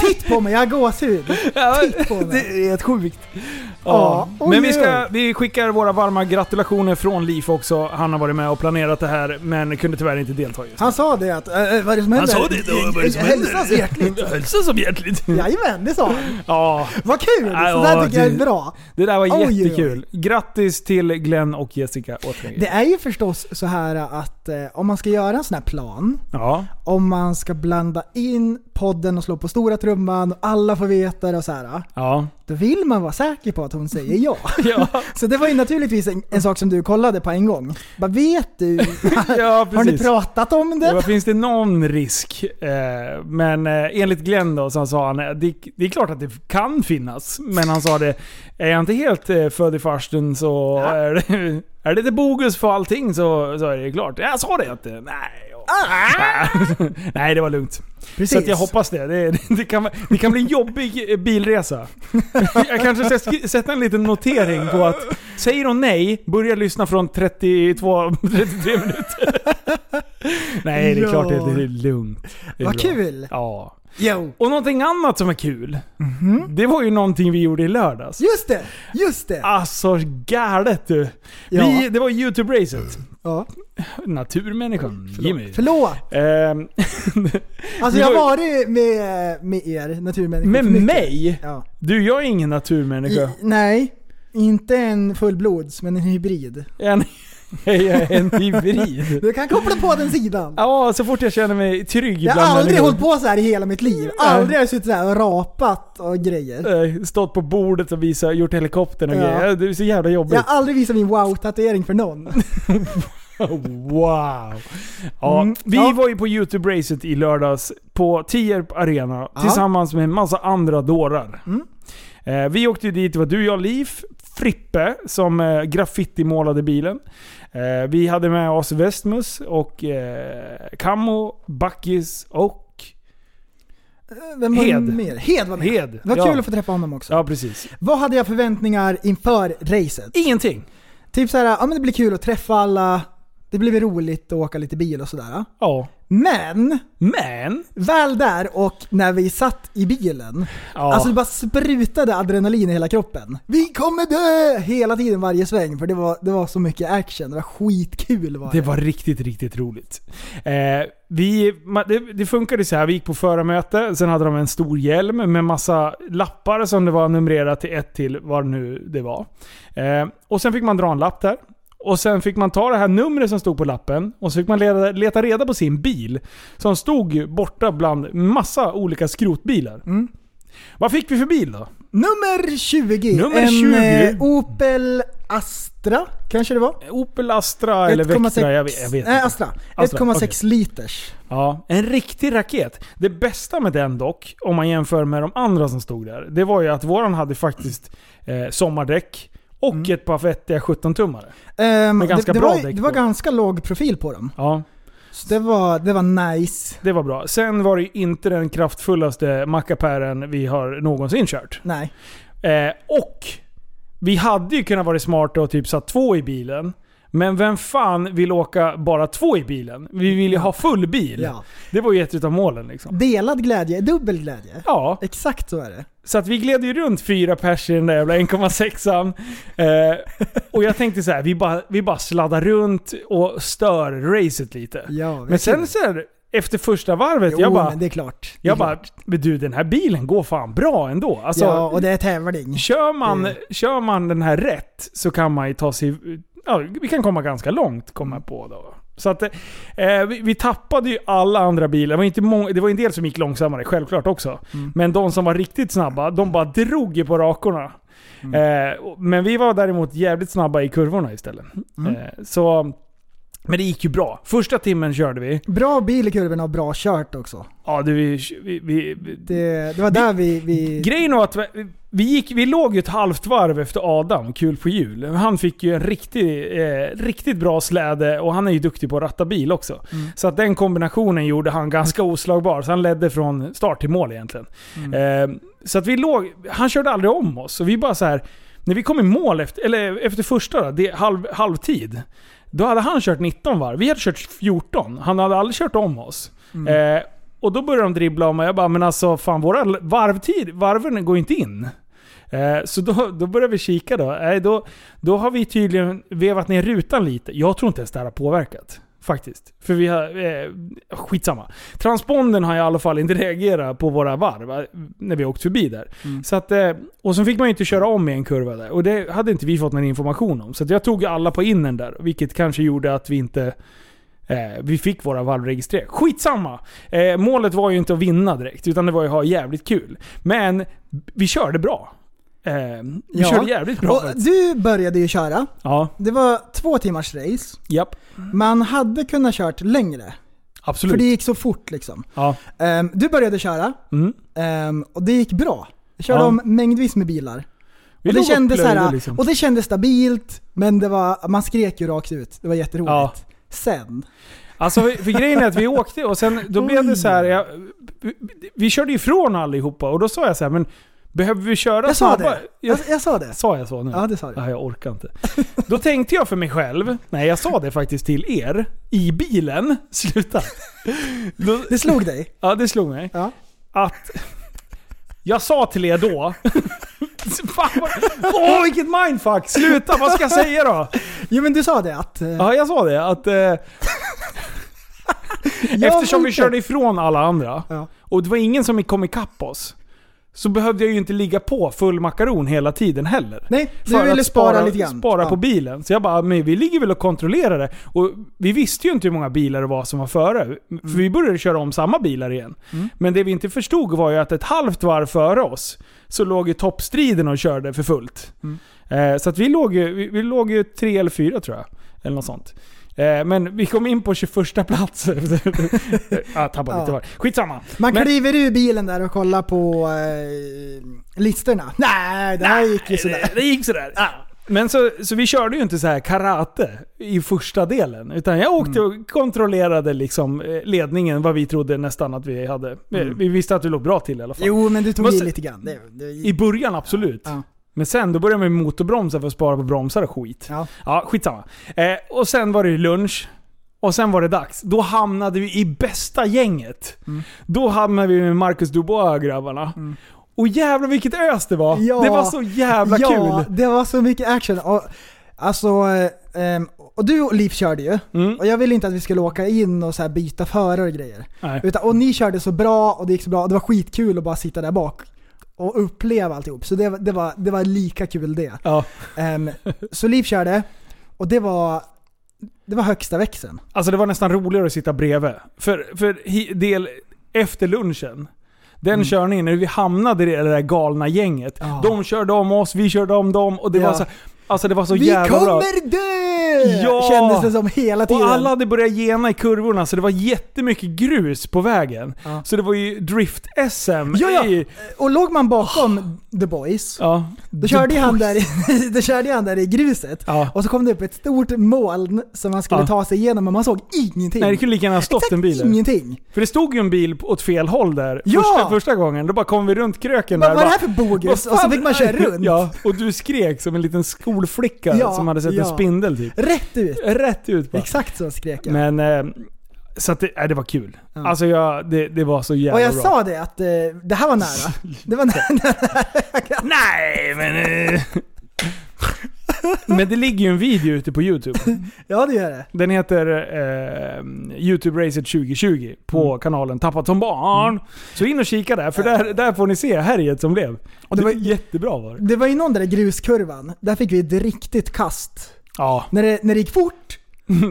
Speaker 3: Titt på mig, jag har gåshud.
Speaker 2: ja,
Speaker 3: Titt på mig.
Speaker 2: det är helt sjukt. Ja.
Speaker 3: Ja,
Speaker 2: men
Speaker 3: oj,
Speaker 2: vi,
Speaker 3: oj,
Speaker 2: ska, vi skickar våra varma gratulationer från Liv också. Han har varit med och planerat det här men kunde tyvärr inte delta just.
Speaker 3: Han sa det att, äh, vad är det som händer?
Speaker 2: eh,
Speaker 3: Hälsas hjärtligt.
Speaker 2: Hälsa så hjärtligt.
Speaker 3: Jajamän, det sa han.
Speaker 2: Ja,
Speaker 3: Vad kul!
Speaker 2: Ja,
Speaker 3: Så där tycker jag
Speaker 2: Mm. det-
Speaker 3: är bra.
Speaker 2: det där var
Speaker 3: Oj, oj, oj.
Speaker 2: jättekul. Grattis till Glenn och Jessica återigen.
Speaker 3: Det är ju förstås så här att eh, om man ska göra en sån här plan,
Speaker 2: Ja.
Speaker 3: om man ska blanda in podden och slå på stora trumman och alla får veta det och så här,
Speaker 2: Ja.
Speaker 3: då vill man vara säker på att hon säger ja.
Speaker 2: Ja,
Speaker 3: Så det var ju naturligtvis en, en sak som du kollade på en gång. Vad vet du?
Speaker 2: ja
Speaker 3: Har ni
Speaker 2: precis.
Speaker 3: pratat om
Speaker 2: Ja,
Speaker 3: det?
Speaker 2: finns det någon risk? Eh, men eh, enligt Glenn då så sa han eh, det, det är klart att det kan finnas. Men han sa det, är jag inte helt eh, född i farstun så är, det, är det lite bogus för allting så, så är det ju klart. Jag sa det inte. Nej. och-
Speaker 3: Ah!
Speaker 2: Nej, det var lugnt.
Speaker 3: Precis.
Speaker 2: Så att jag hoppas det. Det, det, kan, det kan bli en jobbig eh, bilresa. Jag kanske ska skri- sätta en liten notering på att säger hon nej, börja lyssna från 32, 33 minuter. Nej, det är
Speaker 3: Ja.
Speaker 2: klart det, det är lugnt. Det är
Speaker 3: Vad
Speaker 2: bra.
Speaker 3: kul!
Speaker 2: Ja.
Speaker 3: Jo.
Speaker 2: Och någonting annat som är kul.
Speaker 3: Mhm.
Speaker 2: Det var ju någonting vi gjorde i lördags.
Speaker 3: Just det! Just det!
Speaker 2: Alltså galet du.
Speaker 3: Ja.
Speaker 2: Vi, det var YouTube-racet.
Speaker 3: Ja.
Speaker 2: Naturmänniskan Jimmy.
Speaker 3: Förlåt!
Speaker 2: Ehm,
Speaker 3: Alltså
Speaker 2: Vi
Speaker 3: jag har
Speaker 2: var-
Speaker 3: varit med, med er naturmänniskor
Speaker 2: med
Speaker 3: för mycket.
Speaker 2: mig?
Speaker 3: Ja.
Speaker 2: Du, jag är ingen
Speaker 3: I,
Speaker 2: naturmänniska.
Speaker 3: nej, inte en fullblods, men en hybrid.
Speaker 2: En, jag är en hybrid.
Speaker 3: Du kan koppla på den sidan.
Speaker 2: Ja, så fort jag känner mig trygg
Speaker 3: Jag har
Speaker 2: bland
Speaker 3: aldrig
Speaker 2: människor.
Speaker 3: hållit på så här i hela mitt liv. Aldrig har jag suttit så här och rapat och grejer.
Speaker 2: Eh, Stått på bordet och visat, gjort helikoptern och
Speaker 3: Ja.
Speaker 2: grejer. Det är så jävla jobbigt.
Speaker 3: Jag har aldrig visat min wow-tatuering för någon.
Speaker 2: Wow! Ja,
Speaker 3: Mm,
Speaker 2: vi
Speaker 3: ja.
Speaker 2: var ju på YouTube-racet i lördags på Tierp Arena
Speaker 3: Ja.
Speaker 2: tillsammans med en massa andra dårar.
Speaker 3: Mm.
Speaker 2: Eh, vi åkte ju dit, det var du, jag, Liv, Frippe som eh, graffitimålade bilen. Eh, vi hade med oss Westmus och eh, Camo, Backis och
Speaker 3: Vem var
Speaker 2: Hed.
Speaker 3: Mer? Hed var med.
Speaker 2: Hed.
Speaker 3: Det var
Speaker 2: Ja.
Speaker 3: kul att få träffa honom också.
Speaker 2: Ja, precis.
Speaker 3: Vad hade jag förväntningar inför racet?
Speaker 2: Ingenting.
Speaker 3: Typ så här, ja men det blir kul att träffa alla, det blir väl roligt att åka lite bil och sådär.
Speaker 2: Ja.
Speaker 3: Men,
Speaker 2: Men...
Speaker 3: väl där och när vi satt i bilen,
Speaker 2: Ja.
Speaker 3: alltså det bara sprutade adrenalin i hela kroppen. Vi kommer dö! Hela tiden varje sväng, för det var, det var så mycket action, det var skitkul var det.
Speaker 2: Det var riktigt, riktigt roligt. Eh, vi, ma- det, det funkade så här, vi gick på förarmöte, sen hade de en stor hjälm med massa lappar som det var numrerat till ett till vad nu det var. Eh, och sen fick man dra en lapp där. Och sen fick man ta det här numret som stod på lappen och så fick man leta, leta reda på sin bil. Som stod borta bland massa olika skrotbilar.
Speaker 3: Mm.
Speaker 2: Vad fick vi för bil då?
Speaker 3: Nummer 20!
Speaker 2: Nummer
Speaker 3: en
Speaker 2: 20.
Speaker 3: eh, Opel Astra, kanske det var?
Speaker 2: Opel Astra eller
Speaker 3: 1,6
Speaker 2: Vectra? Jag vet, jag vet
Speaker 3: Nej,
Speaker 2: inte.
Speaker 3: Astra.
Speaker 2: Astra,
Speaker 3: 1,6
Speaker 2: okej.
Speaker 3: liters.
Speaker 2: Ja, en riktig raket. Det bästa med den dock, om man jämför med de andra som stod där, det var ju att våran hade faktiskt eh, sommardäck och
Speaker 3: Mm.
Speaker 2: ett par vettiga 17-tummare.
Speaker 3: Ehm,
Speaker 2: Med ganska
Speaker 3: det, det,
Speaker 2: bra
Speaker 3: var,
Speaker 2: däck
Speaker 3: det var
Speaker 2: på.
Speaker 3: ganska låg profil på dem.
Speaker 2: Ja,
Speaker 3: Så det var, det var nice.
Speaker 2: det var bra. Sen var det ju inte den kraftfullaste mackapären vi har någonsin kört.
Speaker 3: Nej.
Speaker 2: Eh, och Vi hade ju kunnat vara smarta och typ satt två i bilen. Men vem fan vill åka bara två i bilen? Vi vill ju ha full bil.
Speaker 3: Ja.
Speaker 2: Det var ju ett utav målen liksom.
Speaker 3: Delad glädje är dubbel glädje.
Speaker 2: Ja,
Speaker 3: Exakt så är det.
Speaker 2: så att vi gled ju runt fyra pers i den där jävla 1,6an. Eh, och jag tänkte så här, vi bara, vi bara sladdar runt och stör racet lite.
Speaker 3: Ja, verkligen.
Speaker 2: men sen så här, efter första varvet,
Speaker 3: Jo,
Speaker 2: jag bara...
Speaker 3: men det är klart. Det är
Speaker 2: Jag bara,
Speaker 3: klart.
Speaker 2: men du den här bilen går fan bra ändå. Alltså,
Speaker 3: ja, och det är tävling.
Speaker 2: kör, man,
Speaker 3: Mm.
Speaker 2: kör man den här rätt så kan man ju ta sig... Ja, vi kan komma ganska långt, komma på då. Så att, eh, vi, vi tappade ju alla andra bilar. Det var, inte många, det var en del som gick långsammare, självklart också. Men de som var riktigt snabba, de bara drog ju på rakorna. Eh, och- men vi var däremot jävligt snabba i kurvorna istället. Eh, så, men det gick ju bra. Första timmen körde vi.
Speaker 3: Bra bil i kurvorna och bra kört också.
Speaker 2: Ja, du, vi, vi, vi,
Speaker 3: Det, det var där vi... vi
Speaker 2: Grejen var att vi- vi, gick, vi låg ju ett halvt varv efter Adam, kul på jul. Han fick ju en riktig, eh, riktigt bra släde och han är ju duktig på att ratta bil också. Så att den kombinationen gjorde han ganska oslagbar. Så han ledde från start till mål egentligen. Eh, så att vi låg, han körde aldrig om oss. Så vi bara så här, när vi kom i mål efter, eller efter första då, det, halv, halvtid. Då hade han kört 19 varv. Vi hade kört 14. Han hade aldrig kört om oss. Eh, och då började de dribbla om och jag bara, men alltså fan våra l- varvtid, varven går inte in. Eh, så då, då började vi kika då. Eh, då. Då har vi tydligen vevat ner rutan lite. Jag tror inte ens det här har påverkat. Faktiskt. För vi har... Eh, skitsamma. Transpondern har i alla fall inte reagerat på våra varv eh, när vi har åkt förbi där.
Speaker 3: Mm.
Speaker 2: Så att, eh, och så fick man ju inte köra om i en kurva där. Och det hade inte vi fått någon information om. Så att jag tog alla på innen där. Vilket kanske gjorde att vi inte... Eh, vi fick våra varv registrerade. Skitsamma! Eh, målet var ju inte att vinna direkt, utan det var ju att ha jävligt kul. Men vi körde bra. Eh, vi
Speaker 3: Ja.
Speaker 2: körde jävligt bra.
Speaker 3: och
Speaker 2: faktiskt.
Speaker 3: du började ju köra.
Speaker 2: Ja,
Speaker 3: Det var två timmars race.
Speaker 2: japp.
Speaker 3: Man hade kunnat kört längre.
Speaker 2: Absolut.
Speaker 3: För det gick så fort liksom.
Speaker 2: Ja.
Speaker 3: Ehm, du började köra
Speaker 2: Mm.
Speaker 3: ehm, och det gick bra. Jag körde
Speaker 2: Ja.
Speaker 3: om mängdvis med bilar.
Speaker 2: Vi
Speaker 3: och, det
Speaker 2: låg och
Speaker 3: kändes så
Speaker 2: plöjde,
Speaker 3: här, ah,
Speaker 2: liksom.
Speaker 3: och det kändes stabilt, men det var, man skrek ju rakt ut. Det var jätteroligt.
Speaker 2: Ja.
Speaker 3: Sen.
Speaker 2: Alltså för, för grejen är att vi åkte och sen då blev det så här. Jag, vi, vi körde ifrån allihopa och då sa jag så här, men behöver vi köra
Speaker 3: Jag sa
Speaker 2: snabbare?"
Speaker 3: det.
Speaker 2: Jag,
Speaker 3: Jag, jag sa det.
Speaker 2: sa jag så nu?
Speaker 3: Ja, det sa du.
Speaker 2: Nej, jag orkar inte. Då tänkte jag för mig själv, nej jag sa det faktiskt till er, i bilen, sluta. Då,
Speaker 3: Det slog dig.
Speaker 2: ja det slog mig.
Speaker 3: Ja.
Speaker 2: Att jag sa till er då, fan vad, åh vilket mindfuck, sluta, vad ska jag säga då?
Speaker 3: Jo men du sa det att... eh,
Speaker 2: Ja, jag sa det. Att, eh,
Speaker 3: jag
Speaker 2: eftersom vi
Speaker 3: tänkte-
Speaker 2: körde ifrån alla andra
Speaker 3: Ja.
Speaker 2: och det var ingen som kom ikapp oss. Så behövde jag ju inte ligga på full makaron hela tiden heller.
Speaker 3: Nej, du
Speaker 2: För att
Speaker 3: ville spara, lite grann.
Speaker 2: Spara
Speaker 3: ja.
Speaker 2: på bilen. Så jag bara, men vi ligger väl och kontrollerar det. Och vi visste ju inte hur många bilar det var som var före.
Speaker 3: Mm.
Speaker 2: För vi började köra om samma bilar igen. Men det vi inte förstod var ju att ett halvt varv före oss så låg ju toppstriden och körde för fullt.
Speaker 3: Mm.
Speaker 2: Eh, så att vi låg ju, vi, vi låg ju tre eller fyra tror jag. Eller något sånt. Eh, men vi kom in på 21 plats. ah, tappade lite
Speaker 3: Ja.
Speaker 2: var. Skitsamma.
Speaker 3: Man
Speaker 2: Men-
Speaker 3: kliver ur bilen där och kollar på eh, listorna. Nej, det här gick ju sådär.
Speaker 2: Det, det gick sådär. Ah. Men så, så vi körde ju inte så här karate i första delen. Utan jag åkte
Speaker 3: Mm.
Speaker 2: och kontrollerade liksom eh, ledningen, vad vi trodde nästan att vi hade. Vi, vi visste att vi låg bra till i alla fall.
Speaker 3: Mm. Jo, men du tog
Speaker 2: Måste-
Speaker 3: i lite grann. Det, det,
Speaker 2: I början absolut.
Speaker 3: Ja.
Speaker 2: Men sen då började man med motorbromsa för att spara på bromsar och skit.
Speaker 3: Ja.
Speaker 2: Ja, skitsamma. Eh, och sen var det ju lunch. Och sen var det dags. Då hamnade vi i bästa gänget.
Speaker 3: Mm.
Speaker 2: Då hamnade vi med Marcus Dubois och grabbarna. Och jävlar vilket ös det var!
Speaker 3: Ja.
Speaker 2: Det var så jävla
Speaker 3: ja,
Speaker 2: kul!
Speaker 3: det var så mycket action. Och, alltså, eh, ehm, och du och Liv körde ju.
Speaker 2: Mm.
Speaker 3: Och jag ville inte att vi skulle åka in och så här byta förare och grejer.
Speaker 2: Nej.
Speaker 3: Utan, och ni körde så bra och det gick så bra. Och det var skitkul att bara sitta där bak och uppleva alltihop. Så det, var- det, var, det var lika kul det.
Speaker 2: Ja.
Speaker 3: Ehm, så Liv körde och det var, det var högsta växeln.
Speaker 2: Alltså det var nästan roligare att sitta bredvid. För, för hi- del efter lunchen, den körningen, när vi hamnade i det där galna gänget.
Speaker 3: Mm. Ja.
Speaker 2: De körde om oss, vi körde om dem och det
Speaker 3: Ja.
Speaker 2: var så här, Alltså det var så
Speaker 3: Vi
Speaker 2: jävla bra.
Speaker 3: kommer dö!
Speaker 2: Ja!
Speaker 3: Kändes det som hela tiden.
Speaker 2: Och alla hade börjat gena i kurvorna så det var jättemycket grus på vägen.
Speaker 3: Ja.
Speaker 2: Så det var ju drift-SM
Speaker 3: Ja, ja.
Speaker 2: i...
Speaker 3: Och låg man bakom
Speaker 2: Ah.
Speaker 3: The Boys,
Speaker 2: Ja.
Speaker 3: då körde, ju han där, i- då körde ju han där i gruset.
Speaker 2: Ja.
Speaker 3: Och så kom det upp ett stort moln som man skulle
Speaker 2: Ja.
Speaker 3: ta sig igenom och man såg ingenting.
Speaker 2: Nej, det kunde lika gärna ha stått
Speaker 3: Exakt
Speaker 2: en bil där.
Speaker 3: ingenting.
Speaker 2: För det stod ju en bil åt fel håll där
Speaker 3: Ja!
Speaker 2: första, första gången. Då bara kom vi runt kröken
Speaker 3: Vad
Speaker 2: där.
Speaker 3: vad är det
Speaker 2: bara,
Speaker 3: här för bogus?
Speaker 2: "Vad
Speaker 3: Och så
Speaker 2: fan
Speaker 3: fick man köra
Speaker 2: är det?"
Speaker 3: runt.
Speaker 2: Ja, och du skrek som en liten skolflicka
Speaker 3: Ja,
Speaker 2: som hade sett
Speaker 3: ja.
Speaker 2: en spindel typ.
Speaker 3: Rätt ut.
Speaker 2: Rätt ut bara.
Speaker 3: Exakt så skrek jag.
Speaker 2: Men... Eh, så att det, nej, det var kul. Alltså jag, det, det var så jävla
Speaker 3: och jag
Speaker 2: bra.
Speaker 3: sa det att eh, det här var nära. Det var nära.
Speaker 2: Nej men... eh. men det ligger ju en video ute på Youtube.
Speaker 3: Ja det gör det.
Speaker 2: Den heter eh, Youtube Racet 2020 på kanalen Tappat som barn. Så in och kika där, för där, där får ni se härjet som blev. Och det var jättebra var det.
Speaker 3: Det var ju någon där i gruskurvan, där fick vi ett riktigt kast.
Speaker 2: Ja.
Speaker 3: När det, när det gick fort.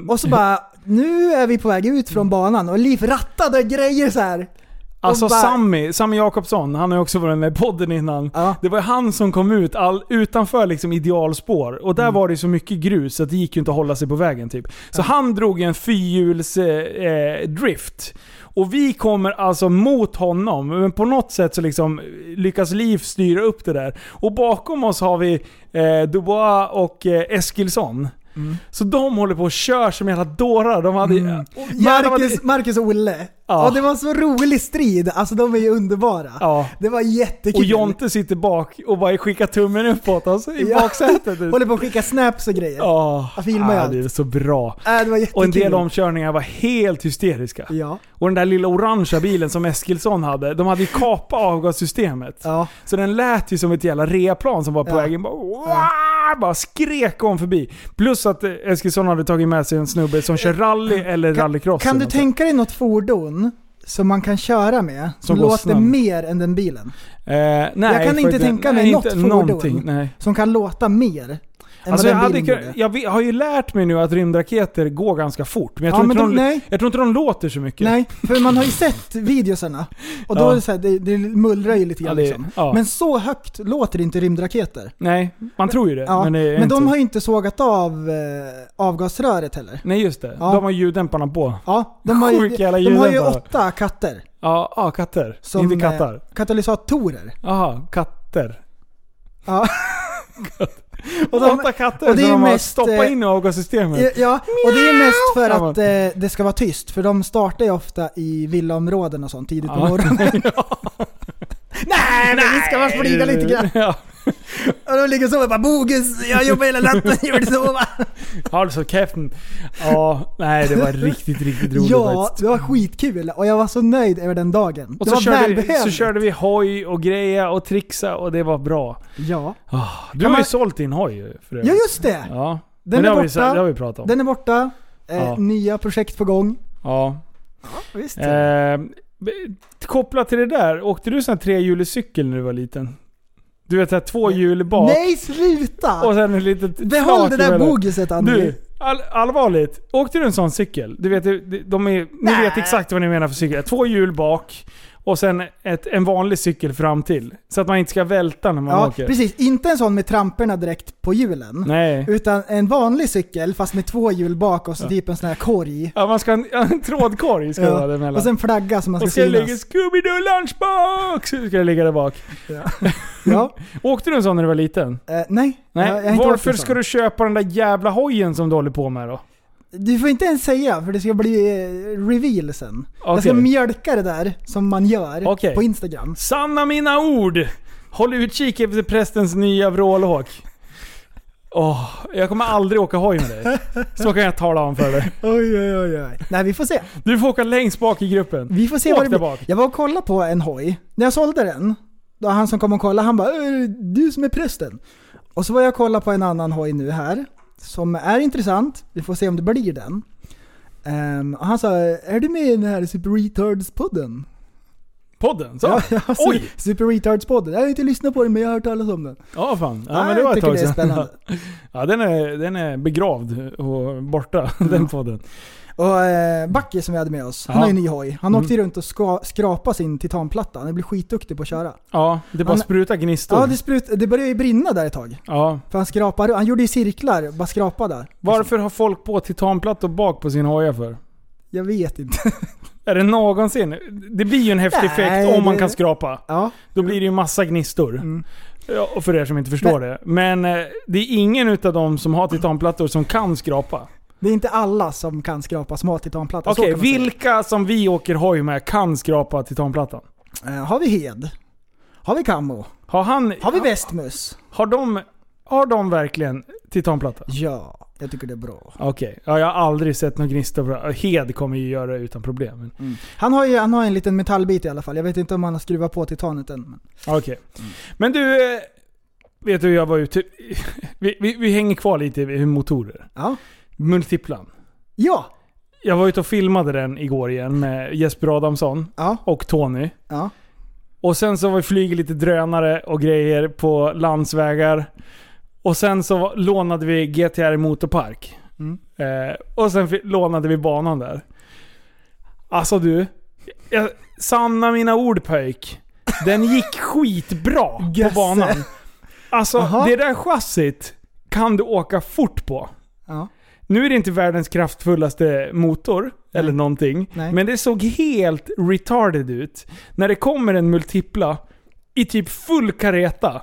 Speaker 3: Och så bara, nu är vi på väg ut från banan och Liv rattade grejer så här.
Speaker 2: Alltså
Speaker 3: Och bara-
Speaker 2: Sammy, Sammy Jakobsson, han har ju också varit med i podden innan.
Speaker 3: Ja.
Speaker 2: Det var ju han som kom ut all, utanför liksom idealspår. Och där
Speaker 3: Mm.
Speaker 2: var det ju så mycket grus så att det gick ju inte att hålla sig på vägen typ. Så han drog ju en fyrhjuls eh, eh, drift. Och vi kommer alltså mot honom, men på något sätt så liksom lyckas Liv styra upp det där. Och bakom oss har vi eh, Dubois och eh, Eskilsson.
Speaker 3: Mm.
Speaker 2: Så de håller på och kör som jävla dårar. De hade... Och jävlar vad det-
Speaker 3: Marcus, Marcus och Olle.
Speaker 2: Ja.
Speaker 3: Ja. det var så rolig strid. Alltså de är ju underbara.
Speaker 2: Ja.
Speaker 3: Det var jättekul.
Speaker 2: Och Jonte sitter bak och bara skickar tummen uppåt alltså, i
Speaker 3: Ja.
Speaker 2: baksätet.
Speaker 3: Håller på att skicka snaps och grejer. Ja.
Speaker 2: Ja,
Speaker 3: Jag filmar ju
Speaker 2: ja,
Speaker 3: allt.
Speaker 2: det är så bra.
Speaker 3: det var jättekul.
Speaker 2: Och en del omkörningar var helt hysteriska.
Speaker 3: Ja.
Speaker 2: Och den där lilla orangea bilen som Eskilsson hade, de hade ju kapat avgassystemet.
Speaker 3: Ja.
Speaker 2: Så den lät ju som ett jävla replan som var på
Speaker 3: Ja.
Speaker 2: vägen. Bara, "Wah!" bara skrek om förbi. Plus att eh, Eskilsson hade tagit med sig en snubbe som kör rally eller rallycross.
Speaker 3: Kan
Speaker 2: eller
Speaker 3: du
Speaker 2: något
Speaker 3: tänka dig något fordon som man kan köra med som,
Speaker 2: Som går
Speaker 3: låter
Speaker 2: snabbt.
Speaker 3: mer än den bilen?
Speaker 2: sånt. Eh, nej,
Speaker 3: Jag kan
Speaker 2: för
Speaker 3: inte
Speaker 2: den-
Speaker 3: tänka
Speaker 2: nej,
Speaker 3: mig
Speaker 2: inte
Speaker 3: något fordon.
Speaker 2: någonting, Nej.
Speaker 3: Som kan låta mer än
Speaker 2: Alltså jag,
Speaker 3: vad den
Speaker 2: hade,
Speaker 3: bilen
Speaker 2: kun-
Speaker 3: gjorde?
Speaker 2: jag vet- har ju lärt mig nu att rymdraketer går ganska fort, men jag
Speaker 3: Ja,
Speaker 2: tror,
Speaker 3: men
Speaker 2: inte,
Speaker 3: de-
Speaker 2: de,
Speaker 3: nej.
Speaker 2: jag tror inte de låter så mycket.
Speaker 3: Nej, för man har ju sett videosarna. Och då
Speaker 2: Ja.
Speaker 3: är det, så här, det, det mullrar ju lite
Speaker 2: Ja,
Speaker 3: grann.
Speaker 2: det-
Speaker 3: liksom.
Speaker 2: ja.
Speaker 3: Men så högt låter inte rymdraketer.
Speaker 2: Nej, man tror ju det.
Speaker 3: Ja,
Speaker 2: men
Speaker 3: men,
Speaker 2: det är inte
Speaker 3: de
Speaker 2: så.
Speaker 3: har ju inte sågat av eh, avgasröret heller.
Speaker 2: Nej just det,
Speaker 3: Ja.
Speaker 2: de har ljuddämparna på.
Speaker 3: Ja, de har ju,
Speaker 2: Sjuka jävla
Speaker 3: de har ju
Speaker 2: ljuddämpare.
Speaker 3: åtta katter.
Speaker 2: Ja, ja katter.
Speaker 3: Som,
Speaker 2: inte kattar.
Speaker 3: eh, katalysatorer.
Speaker 2: Jaha, katter.
Speaker 3: Ja.
Speaker 2: Och de,
Speaker 3: de-
Speaker 2: Åtta katter
Speaker 3: och det är
Speaker 2: som de har
Speaker 3: mest,
Speaker 2: stoppat
Speaker 3: eh,
Speaker 2: in i avgassystemet.
Speaker 3: Ja, och det är mest för
Speaker 2: Ja,
Speaker 3: att eh, det ska vara tyst, för de startar ju ofta i villaområden och sånt tidigt på
Speaker 2: Ja.
Speaker 3: morgonen. Nej, men vi ska bara flyga lite grann.
Speaker 2: Ja.
Speaker 3: Och de ligger och sover bara bogus, jag jobbar hela natten, jag vill sova.
Speaker 2: Alltså käften. Ja, nej det var riktigt, riktigt roligt
Speaker 3: Ja,
Speaker 2: faktiskt.
Speaker 3: det var skitkul och jag var så nöjd över den dagen.
Speaker 2: Och
Speaker 3: det
Speaker 2: så
Speaker 3: var
Speaker 2: körde,
Speaker 3: välbehövligt.
Speaker 2: så körde vi hoj och greja och trixa och det var bra. Ah,
Speaker 3: Ja.
Speaker 2: Du har ju sålt din hoj ju, för övrigt.
Speaker 3: ja, just det!
Speaker 2: Ja.
Speaker 3: Den
Speaker 2: Men det
Speaker 3: är
Speaker 2: har, vi,
Speaker 3: borta.
Speaker 2: det har vi pratat om.
Speaker 3: Den är borta, eh,
Speaker 2: Ja.
Speaker 3: nya projekt på gång.
Speaker 2: Ja.
Speaker 3: Visst.
Speaker 2: Eh, be- kopplat till det där, åkte du sån här trehjulig cykel när du var liten? Du vet såhär tvåhjulig bak
Speaker 3: Nej, sluta!
Speaker 2: och sen ett litet
Speaker 3: Behåll
Speaker 2: flak
Speaker 3: det
Speaker 2: i
Speaker 3: där
Speaker 2: mellan.
Speaker 3: boguset Annelie.
Speaker 2: Du, all, allvarligt. Åkte du en sån cykel? Du vet, de- de är, ni vet exakt vad ni menar för cykel. Två hjul bak och sen ett, en vanlig cykel fram till. Så att man inte ska välta när man
Speaker 3: Ja,
Speaker 2: åker.
Speaker 3: precis. Inte en sån med tramporna direkt på hjulen.
Speaker 2: Nej.
Speaker 3: Utan en vanlig cykel fast med två hjul bak och så typ en sån här korg.
Speaker 2: Ja, man ska ha en, en trådkorg ska det vara
Speaker 3: Ja.
Speaker 2: emellan.
Speaker 3: Och sen flagga som man ska
Speaker 2: Och ska det ligga
Speaker 3: synas.
Speaker 2: Scooby-Doo lunchbox! Så Ska det ligga där bak.
Speaker 3: Ja.
Speaker 2: Åkte du en sån när du var liten?
Speaker 3: Eh, nej,
Speaker 2: Nej.
Speaker 3: jag, jag har inte
Speaker 2: Varför
Speaker 3: varit en
Speaker 2: ska
Speaker 3: sån.
Speaker 2: du köpa den där jävla hojen som du håller på med då?
Speaker 3: Du får inte ens säga för det ska bli eh, reveal sen. Jag ska
Speaker 2: Okej.
Speaker 3: mjölka det där som man gör
Speaker 2: Okej.
Speaker 3: på Instagram.
Speaker 2: Sanna mina ord! Håll utkik efter prästens nya vrålhåk. Åh, jag kommer aldrig åka hoj med dig. Så kan jag tala om för dig.
Speaker 3: Oj, oj, oj, oj. Nej, vi får se.
Speaker 2: Du får åka längst bak i gruppen.
Speaker 3: Vi får se
Speaker 2: Åk
Speaker 3: vad det
Speaker 2: där
Speaker 3: blir.
Speaker 2: bak.
Speaker 3: Jag var och kollade på en hoj. När jag sålde den, då han som kom och kollade, han bara "Ö, du som är prästen. Och så var jag och kollade på en annan hoj nu här, som är intressant. Vi får se om det blir den. Ehm, och han sa, är du med i den här Super Retards-podden?
Speaker 2: Podden? Så?
Speaker 3: Ja, ja,
Speaker 2: Oj!
Speaker 3: Oj! Super Retards-podden. Jag har inte lyssnat på den men jag har hört talas om den.
Speaker 2: Ja, fan. Ja,
Speaker 3: Nej,
Speaker 2: men det
Speaker 3: jag
Speaker 2: var ett
Speaker 3: tycker
Speaker 2: tag
Speaker 3: det är
Speaker 2: sedan.
Speaker 3: spännande.
Speaker 2: Ja, den är, den är begravd och borta, den podden.
Speaker 3: Och eh, Backe som vi hade med oss, han
Speaker 2: Ja.
Speaker 3: har ju en ny hoj. Han
Speaker 2: Mm.
Speaker 3: åkte ju runt och ska, skrapa sin titanplatta. Han blir skitduktig på att köra.
Speaker 2: Ja, det bara
Speaker 3: Han-
Speaker 2: sprutar gnistor.
Speaker 3: Ja, det, sprut, det började ju brinna där ett tag.
Speaker 2: ja.
Speaker 3: För han skrapade, han gjorde ju cirklar, bara skrapade där.
Speaker 2: Varför har folk på titanplattor bak på sin hoja för?
Speaker 3: Jag vet inte.
Speaker 2: Är det någonsin? Det blir ju en häftig
Speaker 3: Nej,
Speaker 2: effekt om man
Speaker 3: det-
Speaker 2: kan skrapa.
Speaker 3: Ja.
Speaker 2: Då blir det ju massa gnistor.
Speaker 3: Mm.
Speaker 2: Ja, och för er som inte förstår det. Men eh, det är ingen utav dem som har titanplattor som kan skrapa.
Speaker 3: Det är inte alla som kan skrapa som har titanplatta. så
Speaker 2: Okej,
Speaker 3: kan man säga.
Speaker 2: vilka som vi åker hoj med kan skrapa titanplattan?
Speaker 3: Eh, har vi Hed? Har vi Kammo?
Speaker 2: Har han...
Speaker 3: Har vi Westmus?
Speaker 2: Har de, har de verkligen titanplatta?
Speaker 3: Ja, jag tycker det är bra.
Speaker 2: Okej, ja, jag har aldrig sett någon gnista på det. Hed kommer ju göra det utan problem. Men,
Speaker 3: Han har ju han har en liten metallbit i alla fall. Jag vet inte om han har skruvat på titanet än. Men...
Speaker 2: okej. men du, eh, vet du hur jag var ute... Vi, vi, vi hänger kvar lite vid motorer.
Speaker 3: Ja.
Speaker 2: Multiplan.
Speaker 3: Ja!
Speaker 2: Jag var ute och filmade den igår igen med Jesper Adamsson
Speaker 3: Ja.
Speaker 2: och Tony.
Speaker 3: Ja.
Speaker 2: Och sen så var vi flyger lite drönare och grejer på landsvägar. Och sen så var- lånade vi GTR Motorpark.
Speaker 3: Mm.
Speaker 2: Eh, och sen fi- lånade vi banan där. Alltså du. Jag, sanna mina ord pöjk. Den gick skitbra på
Speaker 3: Jösse.
Speaker 2: banan. Alltså
Speaker 3: Aha.
Speaker 2: det där chassit kan du åka fort på.
Speaker 3: Ja.
Speaker 2: Nu är det inte världens kraftfullaste motor eller någonting.
Speaker 3: Nej.
Speaker 2: Men det såg helt retarded ut. När det kommer en multipla i typ full kareta.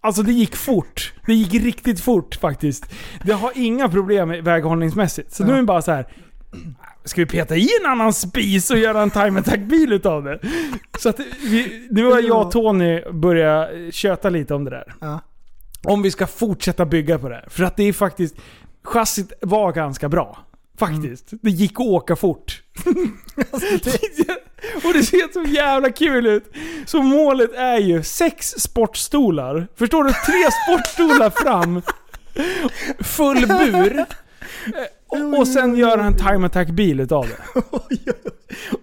Speaker 2: Alltså det gick fort. Det gick riktigt fort faktiskt. Det har inga problem väghållningsmässigt. Så nu är det bara så här. Ska vi peta i en annan spis och göra en time attack-bil utav det? Så att vi, nu har jag och Tony börjat köta lite om det där.
Speaker 3: Ja.
Speaker 2: Om vi ska fortsätta bygga på det här. För att det är faktiskt... Chassit var ganska bra. Faktiskt. Det gick att åka fort. och det ser så jävla kul ut. Så målet är ju sex sportstolar. Förstår du? Tre sportstolar fram. Full bur. Eh, Och, och sen gör han time attack-bil utav det.
Speaker 3: Oj,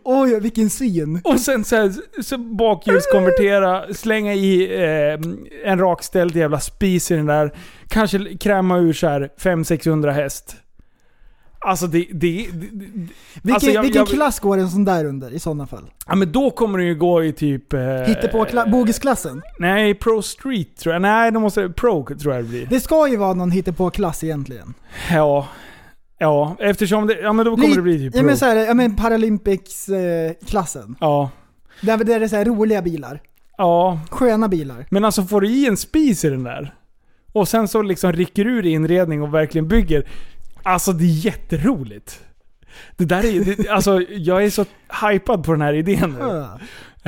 Speaker 3: oj, oj, vilken syn!
Speaker 2: Och sen så, här, så bakhjulskonvertera, slänga i eh, en rakställd jävla spis i den där. Kanske kräma ur så här 500-600 häst. Alltså det, det, det, det...
Speaker 3: Vilken,
Speaker 2: Alltså, jag-
Speaker 3: vilken
Speaker 2: jag-
Speaker 3: klass går en sån där under i sådana fall?
Speaker 2: Ja men då kommer den ju gå i typ... Eh,
Speaker 3: Hitta på kla- bogisklassen?
Speaker 2: Nej, Pro Street tror jag. Nej, då måste Pro tror jag det blir.
Speaker 3: Det ska ju vara någon hittepåklass egentligen.
Speaker 2: Ja. Ja, eftersom det... Ja men då kommer
Speaker 3: Lite-
Speaker 2: det bli typ
Speaker 3: Ja
Speaker 2: Pro.
Speaker 3: men såhär, ja men Paralympics-klassen.
Speaker 2: Ja.
Speaker 3: Där, där det är så här roliga bilar.
Speaker 2: Ja,
Speaker 3: Sköna bilar.
Speaker 2: Men alltså får du i en spis i den där och sen så liksom rycker ur i inredning och verkligen bygger. Alltså det är jätteroligt. Det där är, det, alltså, jag är så hypad på den här idén nu.
Speaker 3: Ja.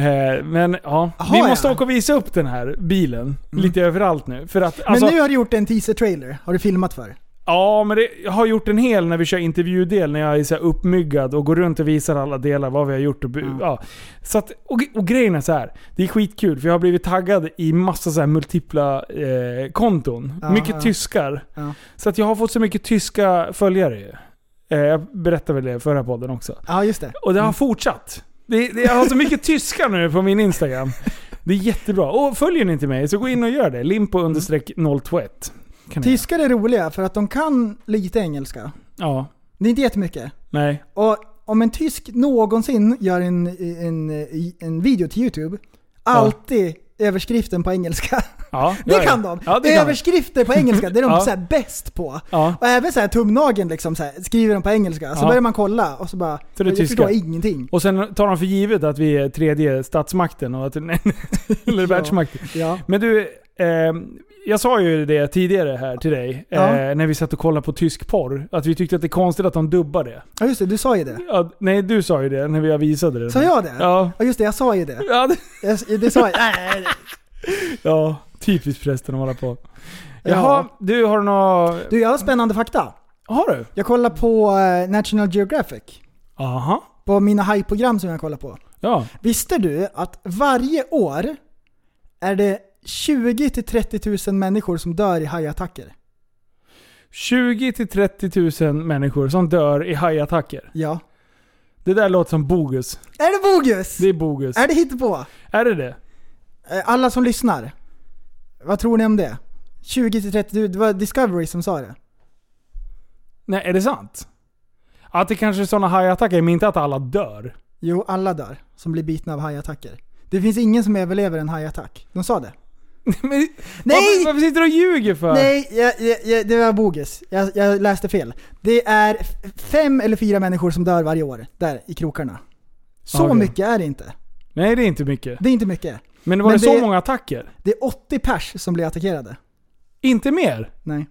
Speaker 2: Eh, men ja,
Speaker 3: Aha,
Speaker 2: vi måste
Speaker 3: ja.
Speaker 2: åka och visa upp den här bilen lite överallt nu. För att, alltså,
Speaker 3: Mm. men nu har du gjort en teaser-trailer. Har du filmat för?
Speaker 2: Ja, men det, jag har gjort en hel när vi kör intervjudel, när jag är så här uppmyggad och går runt och visar alla delar, vad vi har gjort. Och, bu-
Speaker 3: Mm.
Speaker 2: ja. så att, och, och grejen är så här. det är skitkul för jag har blivit taggad i massa så här multipla eh, konton.
Speaker 3: Ja,
Speaker 2: mycket
Speaker 3: ja.
Speaker 2: tyskar.
Speaker 3: Ja.
Speaker 2: Så att jag har fått så mycket tyska följare ju. eh, Jag berättade väl det i förra podden också.
Speaker 3: Ja, just det.
Speaker 2: Och det har fortsatt. Det, det, jag har så mycket tyskar nu på min Instagram. Det är jättebra. Och följer ni inte mig så gå in och gör det. Limpo-021. Kan ni göra.
Speaker 3: Tyskar är roliga för att de kan lite engelska.
Speaker 2: Ja.
Speaker 3: Det är inte jättemycket.
Speaker 2: Nej.
Speaker 3: Och om en tysk någonsin gör en, en, en video till YouTube, alltid överskriften på engelska.
Speaker 2: Ja,
Speaker 3: Det
Speaker 2: ja, ja.
Speaker 3: kan de!
Speaker 2: Ja, det kan de.
Speaker 3: Överskrifter på engelska, det är de
Speaker 2: Ja.
Speaker 3: så här bäst på.
Speaker 2: Ja.
Speaker 3: Och även så här tumnageln liksom, så här, skriver de på engelska. Så
Speaker 2: Ja.
Speaker 3: börjar man kolla och så bara...
Speaker 2: Så det är
Speaker 3: jag
Speaker 2: tyska.
Speaker 3: förstår ingenting.
Speaker 2: Och sen tar de för givet att vi är tredje statsmakten, och att, nej, eller världsmakten.
Speaker 3: Ja.
Speaker 2: Men du, eh, jag sa ju det tidigare här till dig,
Speaker 3: Ja.
Speaker 2: eh, när vi satt och kollade på tysk porr, att vi tyckte att det är konstigt att de dubbar det.
Speaker 3: ja, just det. Du sa ju det.
Speaker 2: Ja, nej, du sa ju det när vi visade det.
Speaker 3: Sa jag det?
Speaker 2: Mm. Ja.
Speaker 3: Ja, just det. Jag sa ju det.
Speaker 2: Ja, det-
Speaker 3: Jag, det sa jag. Nej,
Speaker 2: ja, typiskt förresten att hålla på.
Speaker 3: Ja.
Speaker 2: Jaha, du har några...
Speaker 3: Du, jag har spännande fakta.
Speaker 2: Har du?
Speaker 3: Jag kollar på eh, National Geographic.
Speaker 2: Aha.
Speaker 3: På mina hajprogram som jag kollar på.
Speaker 2: Ja.
Speaker 3: Visste du att varje år är det 20 till 30 000 människor som dör i hajattacker?
Speaker 2: 20 till 30 000 människor som dör i hajattacker.
Speaker 3: Ja.
Speaker 2: Det där låter som bogus.
Speaker 3: Är det bogus?
Speaker 2: Det är bogus.
Speaker 3: Är det hittepå?
Speaker 2: Är det det?
Speaker 3: Eh, Alla som lyssnar, vad tror ni om det? 20-30, det var Discovery som sa det.
Speaker 2: Nej, är det sant? Att det kanske är sådana hajattacker, men inte att alla dör.
Speaker 3: Jo, alla dör som blir bitna av hajattacker. Det finns ingen som överlever en hajattack. De sa det.
Speaker 2: Men, Nej! Varför, varför sitter du och ljuger för?
Speaker 3: Nej, jag, jag, jag, det var bogus. Jag, jag läste fel. Det är f- fem eller fyra människor som dör varje år där i krokarna. Så
Speaker 2: Okej.
Speaker 3: mycket är det inte.
Speaker 2: Nej, det är inte mycket.
Speaker 3: Det är inte mycket.
Speaker 2: Men var
Speaker 3: Men
Speaker 2: det så
Speaker 3: det-
Speaker 2: många attacker?
Speaker 3: Det är 80 pers som blir attackerade.
Speaker 2: Inte mer?
Speaker 3: Nej.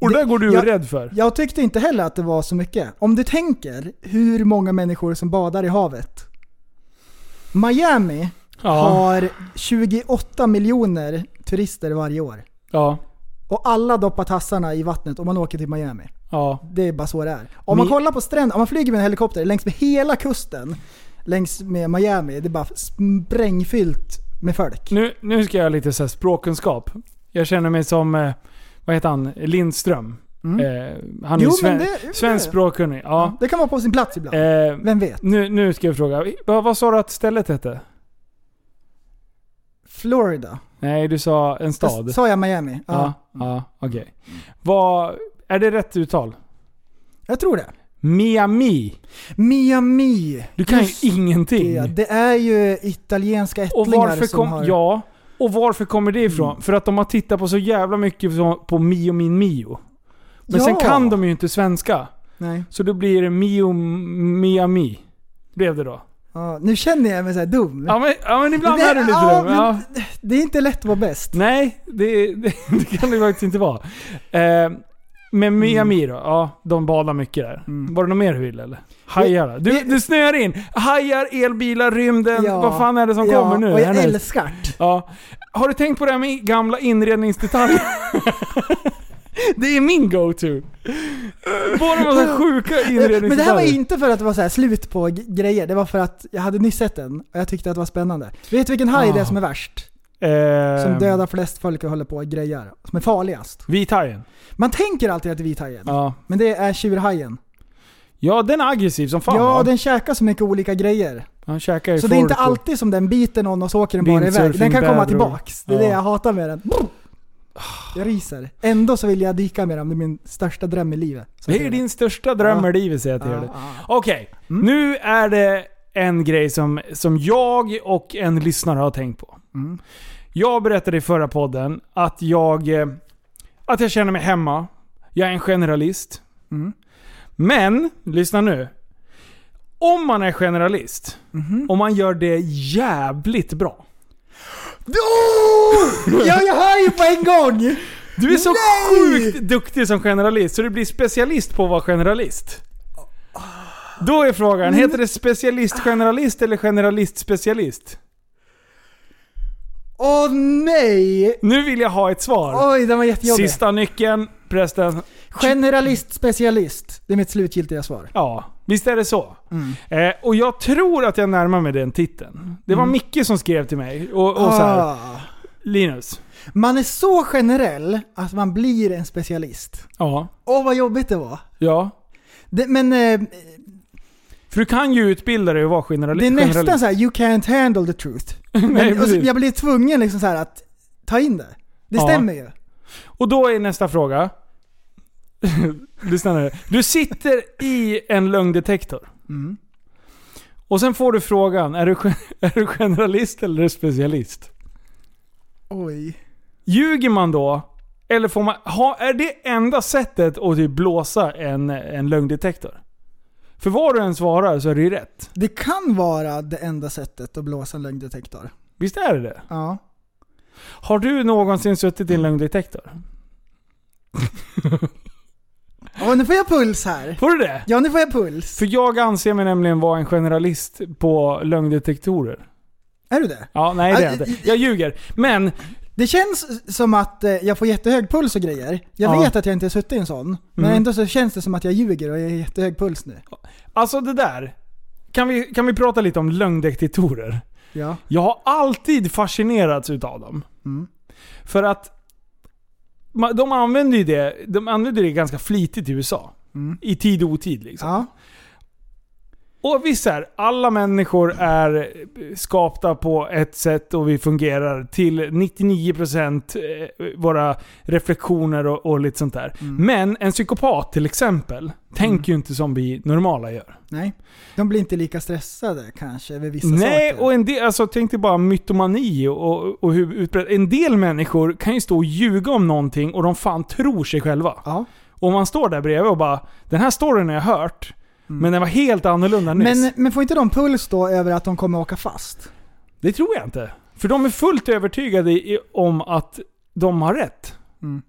Speaker 2: Och det där går du
Speaker 3: jag-
Speaker 2: rädd för?
Speaker 3: Jag tyckte inte heller att det var så mycket. Om du tänker hur många människor som badar i havet. Miami
Speaker 2: Ja.
Speaker 3: har 28 miljoner turister varje år.
Speaker 2: Ja.
Speaker 3: Och alla doppar tassarna i vattnet om man åker till Miami.
Speaker 2: Ja.
Speaker 3: Det är bara så det är. Om man
Speaker 2: Men-
Speaker 3: kollar på stränder, om man flyger med en helikopter längs med hela kusten, längs med Miami, det är bara sprängfyllt med folk.
Speaker 2: Nu, nu ska jag ha lite så här språkkunskap. Jag känner mig som, eh, vad heter han, Lindström. Eh, han är
Speaker 3: Mm. Jo,
Speaker 2: ju
Speaker 3: men
Speaker 2: sven-
Speaker 3: det- jo, men
Speaker 2: svensk
Speaker 3: det-
Speaker 2: språkkunnig. Ja.
Speaker 3: Det kan vara på sin plats ibland.
Speaker 2: Eh,
Speaker 3: Vem vet?
Speaker 2: nu, nu ska jag fråga. Vad, vad sa du att stället hette?
Speaker 3: Florida.
Speaker 2: Nej, du sa en
Speaker 3: Där
Speaker 2: stad.
Speaker 3: Sa jag Miami? Ja.
Speaker 2: Ja, ja okej. Vad... Är det rätt uttal?
Speaker 3: Jag tror det.
Speaker 2: Miami.
Speaker 3: Miami.
Speaker 2: Du kan ju
Speaker 3: Just
Speaker 2: ingenting.
Speaker 3: Det, det är ju italienska
Speaker 2: och
Speaker 3: ättlingar
Speaker 2: varför
Speaker 3: som
Speaker 2: kom...
Speaker 3: har... Mm.
Speaker 2: Ja. Och varför kommer det ifrån? För att de har tittat på så jävla mycket så- på Mio min Mio. Men sen
Speaker 3: Ja.
Speaker 2: kan de ju inte svenska.
Speaker 3: Nej.
Speaker 2: Så då blir det Mio Miami. Blev det då?
Speaker 3: Ja, nu känner jag mig så här dum.
Speaker 2: Ja men, ja, men ibland
Speaker 3: Det-
Speaker 2: är du lite
Speaker 3: ja,
Speaker 2: dum. Ja.
Speaker 3: men Det är inte lätt att vara bäst.
Speaker 2: Nej, det, det, det kan det faktiskt inte vara. Eh, men
Speaker 3: Mm.
Speaker 2: Miami då? Ja, de badar mycket där. Var det något mer du ville eller? Hajar då? Du,
Speaker 3: Vi-
Speaker 2: du snöar in. Hajar, elbilar, rymden.
Speaker 3: Ja.
Speaker 2: Vad fan är det som
Speaker 3: Ja,
Speaker 2: kommer nu?
Speaker 3: Och jag
Speaker 2: Härnäst?
Speaker 3: älskar det.
Speaker 2: ja. Har du tänkt på det här med gamla inredningsdetaljer? det är min go-to. Bara massa sjuka inredningsdetaljer.
Speaker 3: Men det här var inte för att det var så här slut på g- grejer, det var för att jag hade nyss sett den och jag tyckte att det var spännande. Vet du vilken haj
Speaker 2: Ah.
Speaker 3: det är som är värst?
Speaker 2: eh,
Speaker 3: Som dödar flest folk och håller på och grejar. Som är farligast.
Speaker 2: Vithajen.
Speaker 3: Man tänker alltid att det är vithajen,
Speaker 2: Ja.
Speaker 3: men det är tjurhajen.
Speaker 2: ja, den är aggressiv som fan va?
Speaker 3: Ja, den käkar så mycket olika grejer.
Speaker 2: Han käkar ju
Speaker 3: Så det är inte
Speaker 2: folk och-
Speaker 3: alltid som den biter någon och så åker den bara iväg.
Speaker 2: Windsurfing,
Speaker 3: Den kan komma
Speaker 2: bävror.
Speaker 3: tillbaks. Det är
Speaker 2: Ja.
Speaker 3: det jag hatar med den. Jag ryser. Ändå så vill jag dyka med dem, det är min största dröm i livet. Så
Speaker 2: Det är din största dröm i livet säger jag till
Speaker 3: Ja,
Speaker 2: dig.
Speaker 3: ja.
Speaker 2: Okej, nu är det en grej som, som jag och en lyssnare har tänkt på. Jag berättade i förra podden att jag, eh, att jag känner mig hemma. Jag är en generalist. Men, lyssna nu. Om man är generalist, och man gör det jävligt bra.
Speaker 3: Ja, jag hör ju på en gång!
Speaker 2: Du är så
Speaker 3: Nej!
Speaker 2: sjukt duktig som generalist så du blir specialist på att vara generalist. Då är frågan, heter det specialist-generalist eller generalist-specialist?
Speaker 3: Åh nej!
Speaker 2: Nu vill jag ha ett svar.
Speaker 3: Oj, den var jättejobbig.
Speaker 2: Sista nyckeln, prästen.
Speaker 3: Generalist, specialist. Det är mitt slutgiltiga svar.
Speaker 2: Ja, visst är det så?
Speaker 3: Mm.
Speaker 2: Eh, och jag tror att jag närmar mig den titeln. Det var Micke som skrev till mig och, och så här,
Speaker 3: Mm. Ah.
Speaker 2: Linus.
Speaker 3: Man är så generell att man blir en specialist.
Speaker 2: Ja,
Speaker 3: Åh, vad jobbigt det var.
Speaker 2: ja.
Speaker 3: Det, men eh,
Speaker 2: För du kan ju utbilda dig och vara generali-
Speaker 3: det är
Speaker 2: generalist.
Speaker 3: nästan så här: you can't handle the truth.
Speaker 2: Nej,
Speaker 3: Men, och så,
Speaker 2: precis.
Speaker 3: jag blir tvungen liksom så här att ta in det. Det
Speaker 2: Ja.
Speaker 3: stämmer ju.
Speaker 2: Och då är nästa fråga. Lyssna nu. Du sitter i en lögndetektor. Och sen får du frågan, är du, gen- är du generalist eller är du specialist?
Speaker 3: Oj.
Speaker 2: Ljuger man då? Eller får man, ha, är det enda sättet att typ blåsa en, en lögndetektor? För vad du än svarar så är det ju rätt.
Speaker 3: Det kan vara det enda sättet att blåsa en lögndetektor.
Speaker 2: Visst är det det?
Speaker 3: Ja.
Speaker 2: Har du någonsin suttit i en lögndetektor?
Speaker 3: Åh, nu får jag puls här.
Speaker 2: Får du det?
Speaker 3: Ja, nu får jag puls.
Speaker 2: För jag anser mig nämligen vara en generalist på lögndetektorer.
Speaker 3: Är du det?
Speaker 2: Ja, nej det är jag
Speaker 3: Ah,
Speaker 2: inte. Jag ljuger. Men
Speaker 3: Det känns som att eh, jag får jättehög puls och grejer. Jag
Speaker 2: Ja.
Speaker 3: vet att jag inte har suttit i en sån. Men
Speaker 2: Mm.
Speaker 3: ändå så känns det som att jag ljuger och jag har jättehög puls nu.
Speaker 2: Alltså det där. Kan vi, kan vi prata lite om lögndetektorer?
Speaker 3: Ja.
Speaker 2: Jag har alltid fascinerats utav dem.
Speaker 3: Mm.
Speaker 2: För att ma- de använder ju det, de använder det ganska flitigt i USA.
Speaker 3: Mm.
Speaker 2: I tid och otid liksom.
Speaker 3: Ja.
Speaker 2: Och visst är alla människor är skapta på ett sätt och vi fungerar till 99% eh, våra reflektioner och, och lite sånt där.
Speaker 3: Mm.
Speaker 2: Men en psykopat till exempel, tänker ju inte som vi normala gör.
Speaker 3: Nej. De blir inte lika stressade kanske över vissa
Speaker 2: Nej,
Speaker 3: saker.
Speaker 2: och en del, alltså, tänk dig bara mytomani och, och hur utbrett. En del människor kan ju stå och ljuga om någonting och de fan tror sig själva.
Speaker 3: ja.
Speaker 2: Och man står där bredvid och bara Den här storyn har jag hört, men den var helt annorlunda nyss.
Speaker 3: Mm. men, men får inte de puls då över att de kommer åka fast?
Speaker 2: Det tror jag inte. För de är fullt övertygade i, om att de har rätt.
Speaker 3: Mm.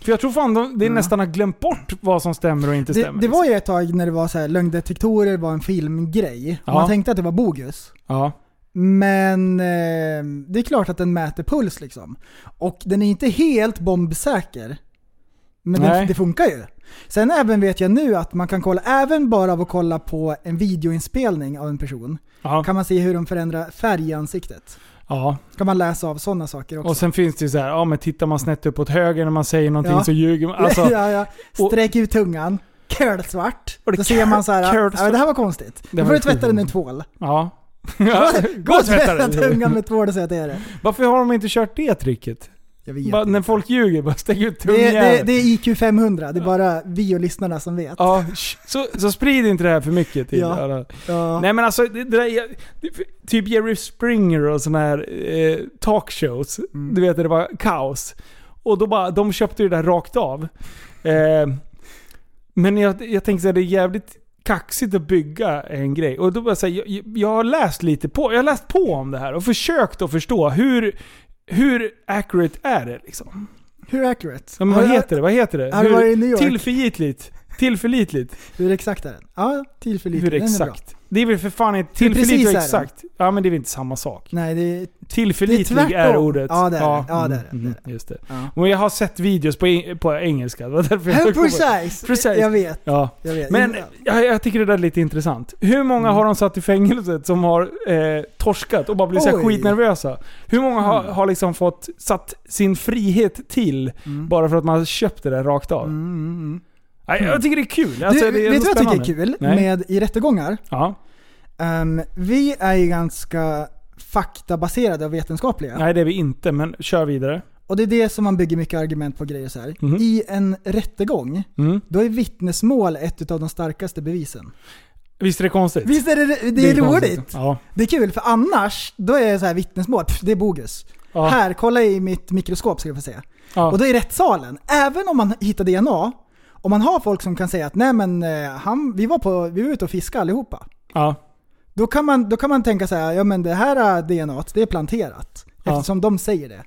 Speaker 2: För jag tror fan de, de
Speaker 3: Mm.
Speaker 2: nästan har glömt bort vad som stämmer och inte
Speaker 3: Det,
Speaker 2: stämmer. liksom.
Speaker 3: det var ju ett tag när det var så här, lögndetektorer var en filmgrej.
Speaker 2: Ja.
Speaker 3: Man tänkte att det var bogus.
Speaker 2: liksom. Ja.
Speaker 3: Men eh, det är klart att den mäter puls liksom. Och den är inte helt bombsäker. Men
Speaker 2: Nej.
Speaker 3: den, det funkar ju. Sen även vet jag nu att man kan kolla, även bara av att kolla på en videoinspelning av en person,
Speaker 2: Ja.
Speaker 3: kan man se hur de förändrar färg i ansiktet.
Speaker 2: ja.
Speaker 3: Kan man läsa av sådana saker också.
Speaker 2: Och sen finns det ju så här, ja men tittar man snett uppåt höger när man säger någonting
Speaker 3: Ja.
Speaker 2: så ljuger man. Alltså,
Speaker 3: ja, ja. Sträck ut tungan, kölsvart.
Speaker 2: Och det
Speaker 3: Då ser man så här,
Speaker 2: curlsvart.
Speaker 3: ja, det här var konstigt.
Speaker 2: var
Speaker 3: Då får du
Speaker 2: sjukt.
Speaker 3: tvätta den med tvål.
Speaker 2: ja. ja.
Speaker 3: Gå och tvätta
Speaker 2: dig.
Speaker 3: tungan med tvål och säg att det är det.
Speaker 2: Varför har de inte kört det tricket?
Speaker 3: Jag vet
Speaker 2: Bara,
Speaker 3: inte.
Speaker 2: när folk ljuger, bara stäng ut tungan.
Speaker 3: Det, det, det är IQ 500, det är bara vi och lyssnarna som vet.
Speaker 2: Ja, sh- så, så sprid inte det här för mycket till
Speaker 3: Ja.
Speaker 2: alla.
Speaker 3: Ja.
Speaker 2: Nej men alltså, det, det där, jag- det- typ Jerry Springer och sådana här eh, talkshows.
Speaker 3: Mm.
Speaker 2: Du vet det var kaos. Och då bara, de köpte ju det där rakt av. Eh, men jag, jag tänkte att det är jävligt kaxigt att bygga en grej. Och då bara säga, jag, jag- jag har läst lite på, jag har läst på om det här och försökt att förstå hur, hur accurate är det liksom?
Speaker 3: Hur accurate?
Speaker 2: Ja, men
Speaker 3: Har
Speaker 2: vad
Speaker 3: du-
Speaker 2: heter det? Vad heter det?
Speaker 3: Har du varit i New York?
Speaker 2: tillförlitligt? Tillförlitligt?
Speaker 3: Hur exakt är den? Ja, tillförlitlig.
Speaker 2: Hur
Speaker 3: Den är bra.
Speaker 2: exakt? Det är väl för fan inte
Speaker 3: Hur precis
Speaker 2: tillförlitlig
Speaker 3: är
Speaker 2: och
Speaker 3: den?
Speaker 2: exakt? Ja men det är väl inte samma sak?
Speaker 3: Nej, det är...
Speaker 2: Tillförlitlig
Speaker 3: Det är
Speaker 2: är,
Speaker 3: tvärtom.
Speaker 2: ordet.
Speaker 3: Ja, det är det. Ja, det är det.
Speaker 2: mm,
Speaker 3: Det är
Speaker 2: mm, Just det.
Speaker 3: Ja.
Speaker 2: Men jag har sett videos på, eng- på engelska. Det var därför jag kom på-
Speaker 3: Precise!
Speaker 2: Precis.
Speaker 3: Jag vet,
Speaker 2: Ja.
Speaker 3: jag vet.
Speaker 2: Men jag, jag tycker det där är lite intressant. Hur många
Speaker 3: Mm.
Speaker 2: har de satt i fängelset som har eh, torskat och bara blivit så här
Speaker 3: Oj. Mm.
Speaker 2: skitnervösa? Hur många har, har liksom fått satt sin frihet till bara för att man köpte det rakt av?
Speaker 3: Mm, mm, mm.
Speaker 2: Nej, jag tycker det är kul. Alltså,
Speaker 3: du,
Speaker 2: det är
Speaker 3: vet
Speaker 2: så
Speaker 3: du vad jag tycker är
Speaker 2: spännande.
Speaker 3: kul
Speaker 2: Nej.
Speaker 3: med i rättegångar?
Speaker 2: Ja.
Speaker 3: Ehm, vi är ju ganska faktabaserade och vetenskapliga.
Speaker 2: Nej det är vi inte, men kör vidare.
Speaker 3: Och det är det som man bygger mycket argument på grejer så här.
Speaker 2: Mhm.
Speaker 3: I en rättegång,
Speaker 2: Mm.
Speaker 3: då är vittnesmål ett av de starkaste bevisen.
Speaker 2: Visst är det konstigt?
Speaker 3: Visst är det, det är,
Speaker 2: konstigt.
Speaker 3: roligt?
Speaker 2: Ja.
Speaker 3: Det är kul, för annars, då är så här vittnesmål, pff, det är bogus.
Speaker 2: Ja.
Speaker 3: Här, kolla i mitt mikroskop ska du få se.
Speaker 2: Ja.
Speaker 3: Och då i rättssalen, även om man hittar DNA, om man har folk som kan säga att nej men eh, han, vi, var på, vi var ute och fiskade allihopa.
Speaker 2: ja.
Speaker 3: Då kan man, då kan man tänka så här, ja men det här eh, DNA, det är planterat.
Speaker 2: Ja.
Speaker 3: Eftersom de säger det.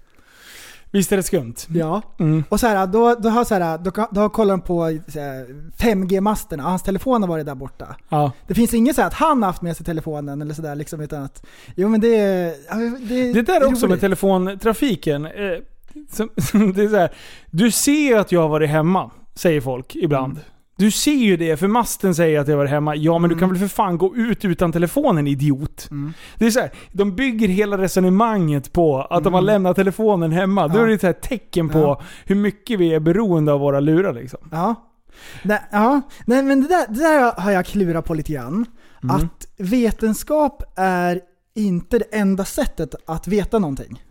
Speaker 2: Visst är det skumt?
Speaker 3: Ja.
Speaker 2: Mm.
Speaker 3: Och så här, då, då, har så här, då, kan- då kollar de på så här, 5G-masterna, hans telefon har varit där borta.
Speaker 2: Ja.
Speaker 3: Det finns inget så här att han har haft med sig telefonen eller sådär liksom utan att... Jo men det är... ja, Det,
Speaker 2: Det där är också med
Speaker 3: roligt.
Speaker 2: telefontrafiken. eh, Som, som det är så här, du ser ju att jag har varit hemma, säger folk ibland.
Speaker 3: Mm.
Speaker 2: Du ser ju det, för masten säger att jag har varit hemma. Ja, men du
Speaker 3: Mm.
Speaker 2: kan väl för fan gå ut utan telefonen, idiot. Det är så här, de bygger hela resonemanget på att de har lämnat telefonen hemma. Då
Speaker 3: Mm. Ja.
Speaker 2: är det ett så här tecken på
Speaker 3: Ja.
Speaker 2: hur mycket vi är beroende av våra lurar. Liksom.
Speaker 3: Ja. Nej, ja. Nej men det där, det där har jag klurat på lite grann.
Speaker 2: Mm.
Speaker 3: Att vetenskap är inte det enda sättet att veta någonting.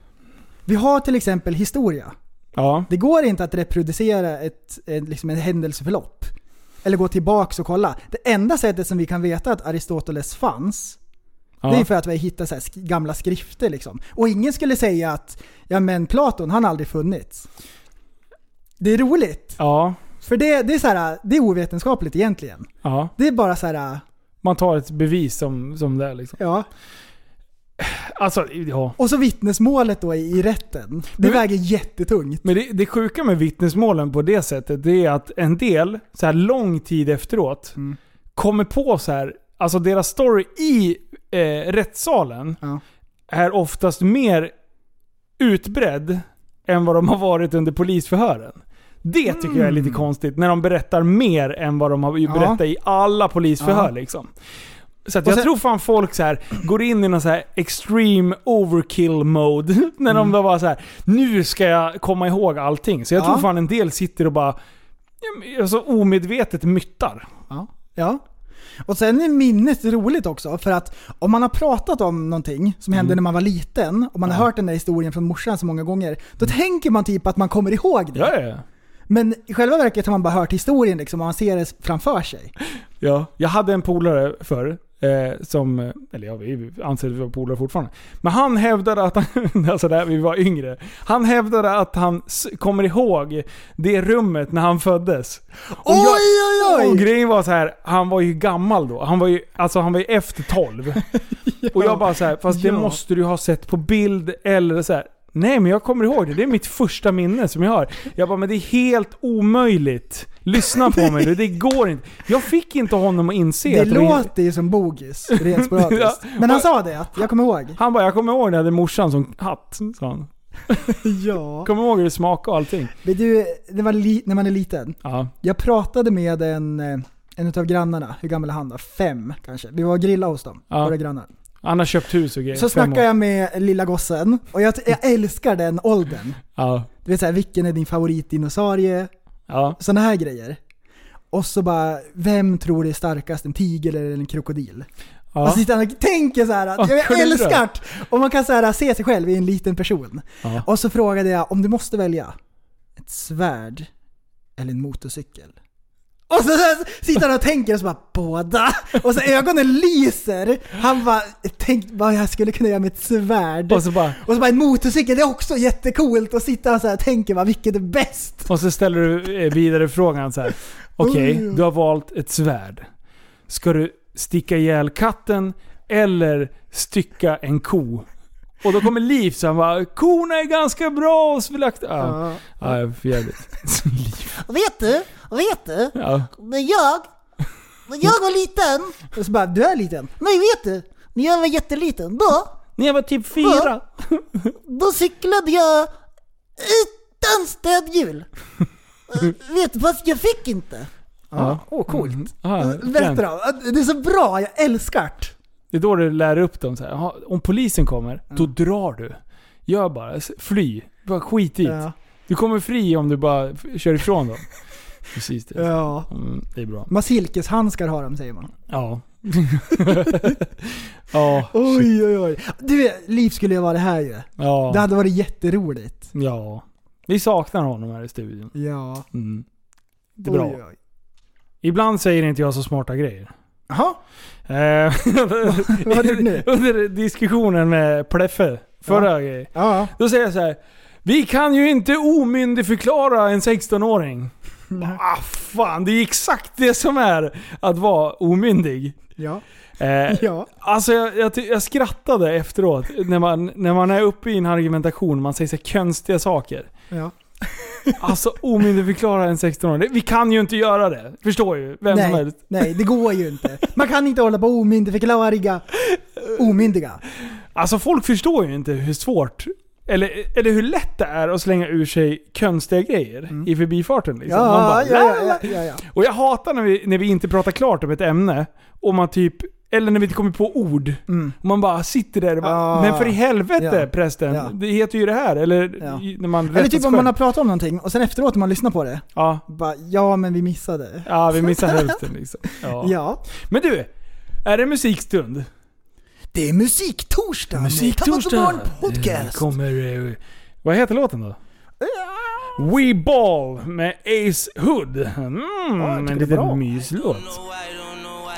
Speaker 3: Vi har till exempel historia.
Speaker 2: Ja.
Speaker 3: Det går inte att reproducera ett, ett, liksom ett händelseförlopp. Eller gå tillbaks och kolla. Det enda sättet som vi kan veta att Aristoteles fanns,
Speaker 2: Ja.
Speaker 3: det är för att vi har hittat så här sk- gamla skrifter liksom. Och ingen skulle säga att, ja men Platon, han har aldrig funnits. Det är roligt.
Speaker 2: ja.
Speaker 3: För det, det, är så här, det är ovetenskapligt egentligen.
Speaker 2: ja.
Speaker 3: Det är bara så här,
Speaker 2: Man tar ett bevis som, som det är. Liksom.
Speaker 3: ja.
Speaker 2: Alltså, ja.
Speaker 3: Och så vittnesmålet då i i rätten. Det
Speaker 2: Men-
Speaker 3: väger jättetungt.
Speaker 2: Men det, det sjuka med vittnesmålen på det sättet, det är att en del, så här lång tid efteråt,
Speaker 3: Mm.
Speaker 2: kommer på så här, alltså deras story i eh, rättssalen
Speaker 3: Ja.
Speaker 2: är oftast mer utbredd än vad de har varit under polisförhören. Det tycker jag är lite konstigt, när de berättar mer än vad de har ju
Speaker 3: Mm. Ja.
Speaker 2: berättat i alla polisförhör
Speaker 3: Ja.
Speaker 2: liksom. Så att
Speaker 3: Och
Speaker 2: jag
Speaker 3: sen-
Speaker 2: tror fan folk så här, går in i någon så här extreme overkill mode. När de bara var så här, nu ska jag komma ihåg allting. Så jag
Speaker 3: Ja.
Speaker 2: tror fan en del sitter och bara ja, men, alltså, omedvetet myttar.
Speaker 3: Ja. Och sen är minnet roligt också, för att om man har pratat om någonting som
Speaker 2: Mm.
Speaker 3: hände när man var liten, och man har hört den där historien från morsan så många gånger, då tänker man typ att man kommer ihåg det.
Speaker 2: Ja, ja, ja.
Speaker 3: Men i själva verket har man bara hört historien liksom, och man ser det framför sig.
Speaker 2: Ja, jag hade en polare förr. Eh, som, eller ja, vi anser att vi var polare fortfarande. Men han hävdade att, han, alltså där vi var yngre. Han hävdade att han s- kommer ihåg det rummet när han föddes. Och
Speaker 3: Oj, oj, oj!
Speaker 2: Och grejen var så här, han var ju gammal då. Han var ju, alltså han var ju efter 12. Och jag bara så här, fast det
Speaker 3: Ja.
Speaker 2: måste du ha sett på bild eller så här. Nej men jag kommer ihåg det, det är mitt första minne som jag har. Jag bara, men det är helt omöjligt. Lyssna på mig nu, det går inte. Jag fick inte honom att inse
Speaker 3: Det
Speaker 2: att var-
Speaker 3: låter ju som bogis, rent sporadiskt.
Speaker 2: Ja.
Speaker 3: Men han sa det, att jag kommer ihåg.
Speaker 2: Han bara, jag kommer ihåg när jag hade morsan som hatt. Sa han.
Speaker 3: Ja.
Speaker 2: Kommer ihåg hur det smakade och allting.
Speaker 3: Men du, det var li- när man är liten.
Speaker 2: Ja.
Speaker 3: Jag pratade med en, eh, en av grannarna, hur gammal är han då? Fem kanske. Vi var och grillade hos dem,
Speaker 2: Ja.
Speaker 3: våra grannar.
Speaker 2: Han har köpt hus och grejer.
Speaker 3: Så
Speaker 2: Fem
Speaker 3: snackar
Speaker 2: år.
Speaker 3: jag med lilla gossen och jag, jag älskar den åldern.
Speaker 2: Ja.
Speaker 3: Du vet såhär, vilken är din favoritdinosaurie?
Speaker 2: Ja.
Speaker 3: Sådana här grejer. Och så bara, vem tror du är starkast? En tiger eller en krokodil?
Speaker 2: ja.
Speaker 3: Alltså sitter han och tänker så här att
Speaker 2: Ja,
Speaker 3: jag
Speaker 2: kunde du
Speaker 3: älskar det. Och man kan så här, se sig själv i en liten person.
Speaker 2: Ja.
Speaker 3: Och så frågade jag om du måste välja ett svärd eller en motorcykel. Och så, så sitter han och tänker och så bara båda. Och så ögonen lyser. Han bara, tänk vad jag skulle kunna göra med ett svärd.
Speaker 2: Och så bara...
Speaker 3: Och så bara en motorcykel, det är också jättecoolt. Och sitter han så här och tänker bara, vilket är bäst?
Speaker 2: Och så ställer du eh, vidare frågan så här. Okej,
Speaker 3: Oj.
Speaker 2: du har valt ett svärd. Ska du sticka ihjäl katten eller stycka en ko? Och då kommer Liv så han bara 'Korna är ganska bra och så vill jag akta-" Ja, ja för jävligt. Liv.
Speaker 4: Vet du? Vet du?
Speaker 2: Ja.
Speaker 4: När jag, när jag var liten,
Speaker 3: Och så bara, du är liten.
Speaker 4: nej vet du? När jag var jätteliten, då,
Speaker 2: När jag var typ fyra.
Speaker 4: då cyklade jag utan stödhjul. Eh, vet du, fast jag fick inte.
Speaker 2: Ja.
Speaker 3: Åh, coolt.
Speaker 2: Ah,
Speaker 3: Berätta då. Det är så bra, jag älskar det.
Speaker 2: Det är då du lär upp dem. Så här, "Jaha, om polisen kommer, då drar du. Gör bara, s- fly. Bara skit i det.
Speaker 3: Ja.
Speaker 2: Du kommer fri om du bara f- kör ifrån dem. Precis det.
Speaker 3: Ja.
Speaker 2: Mm, det är bra.
Speaker 3: Man silkeshandskar har de säger man.
Speaker 2: Ja. ja.
Speaker 3: Oj oj oj. Du, Liv skulle ju vara det här ju. Det
Speaker 2: Ja.
Speaker 3: hade varit jätteroligt.
Speaker 2: Ja. Vi saknar honom här i studion.
Speaker 3: Ja.
Speaker 2: Mm. Det är bra.
Speaker 3: Oj, oj.
Speaker 2: Ibland säger inte jag så smarta grejer.
Speaker 3: Jaha.
Speaker 2: Eh,
Speaker 3: vad har du gjort nu?
Speaker 2: Under diskussionen med Pleffe, förra grejen.
Speaker 3: Ja.
Speaker 2: Då säger jag så här. Vi kan ju inte omyndigförklara en 16-åring. Ah fan, det är exakt det som är att vara omyndig.
Speaker 3: Ja.
Speaker 2: Eh,
Speaker 3: Ja.
Speaker 2: Alltså jag, jag, ty- jag skrattade efteråt när man, när man är uppe i en argumentation man säger så här konstiga saker.
Speaker 3: Ja.
Speaker 2: Alltså omyndigförklara en 16-åring. Vi kan ju inte göra det. Förstår ju vem som
Speaker 3: Nej,
Speaker 2: helst.
Speaker 3: nej, det går ju inte. Man kan inte hålla på omyndigförklara omyndiga.
Speaker 2: Alltså folk förstår ju inte hur svårt, eller, eller hur lätt det är att slänga ur sig konstiga grejer i förbifarten. Liksom. Man
Speaker 3: Mm. Ja,
Speaker 2: bara,
Speaker 3: ja, ja, ja, ja, ja.
Speaker 2: Och jag hatar när vi, när vi inte pratar klart om ett ämne, och man typ, eller när vi inte kommer på ord. Och man bara sitter där och bara,
Speaker 3: Mm. Ah.
Speaker 2: men för i helvete
Speaker 3: Ja.
Speaker 2: prästen,
Speaker 3: Ja. det
Speaker 2: det heter ju det här. Eller
Speaker 3: Ja.
Speaker 2: när man
Speaker 3: Eller typ om man har pratat om någonting och sen efteråt när man lyssnar på det,
Speaker 2: Ja.
Speaker 3: bara ja men vi missade.
Speaker 2: ja, vi missar hälften liksom. Ja.
Speaker 3: Ja.
Speaker 2: Men du, är det musikstund?
Speaker 3: Det är musiktorsdag med Tappat som barn podcast.
Speaker 2: kommer... eh, Vad heter låten då? We Ball med Ace Hood. Mm,
Speaker 3: tycker
Speaker 2: en
Speaker 3: det är bra.
Speaker 2: liten myslåt.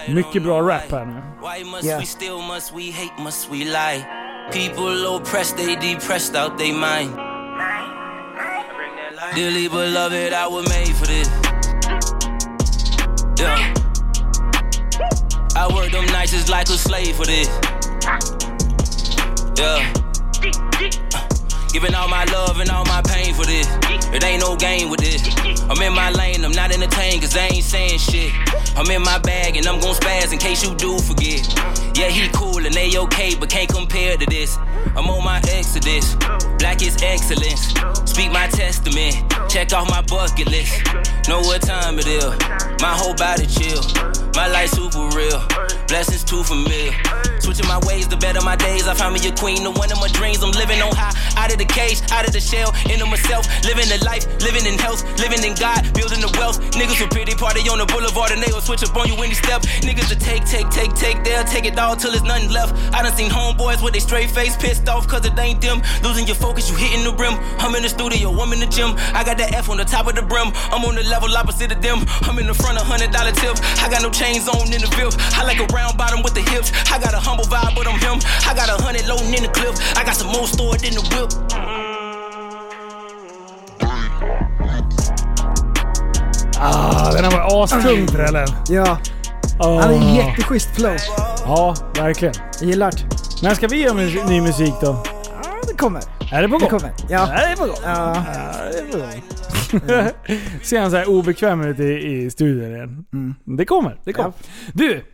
Speaker 2: Mycket bra rap här nu.
Speaker 5: Why must
Speaker 3: Yeah.
Speaker 5: we still, must we hate, must we lie? People oppressed, they depressed out they mind. Dearly beloved, I was made for this. Yeah. I work them nights just like a slave for this. Yeah. Giving all my love and all my pain for this. It ain't no game with this. I'm in my lane, I'm not entertained, cause they ain't saying shit. I'm in my bag and I'm gon' spaz in case you do forget. Yeah, he cool and they okay, but can't compare to this. I'm on my exodus. Black is excellence. Speak my testament. Check off my bucket list. Know what time it is. My whole body chill. My life super real. Blessings too familiar. Switching my ways to better my days. I found me a queen, the one of my dreams. I'm living on high, out of the cage, out of the shell, into myself. Living the life, living in health, living in God, building the wealth. Niggas who pretty party on the boulevard and they will switch up on you any step. Niggas will take, take, take, take, they'll take it all till there's nothing left. I done seen homeboys with they straight face pissed off cause it ain't them. Losing your focus, you hitting the rim. I'm in the studio, I'm in the gym. I got that F on the top of the brim. I'm on the level opposite of them. I'm in the front of hundred dollar tip. I got no chains on in the VIP. I like a round bottom with the hips. I got a humble vibe, but I'm him. I got a hundred loading in the clip. I got some more stored in the whip.
Speaker 2: Ah, den här var astung trällen.
Speaker 3: Ja,
Speaker 2: Oh.
Speaker 3: han är jätteschysst flow.
Speaker 2: Ja, verkligen.
Speaker 3: Jag gillar det.
Speaker 2: När ska vi göra mus- ny musik då?
Speaker 3: Ja, det kommer.
Speaker 2: Är det på gång?
Speaker 3: Det kommer. Ja.
Speaker 2: Är det på gång?
Speaker 3: Ja.
Speaker 2: Ser han så här obekväm ut i, i studion igen?
Speaker 3: Mm.
Speaker 2: Det kommer. Det kommer. Du!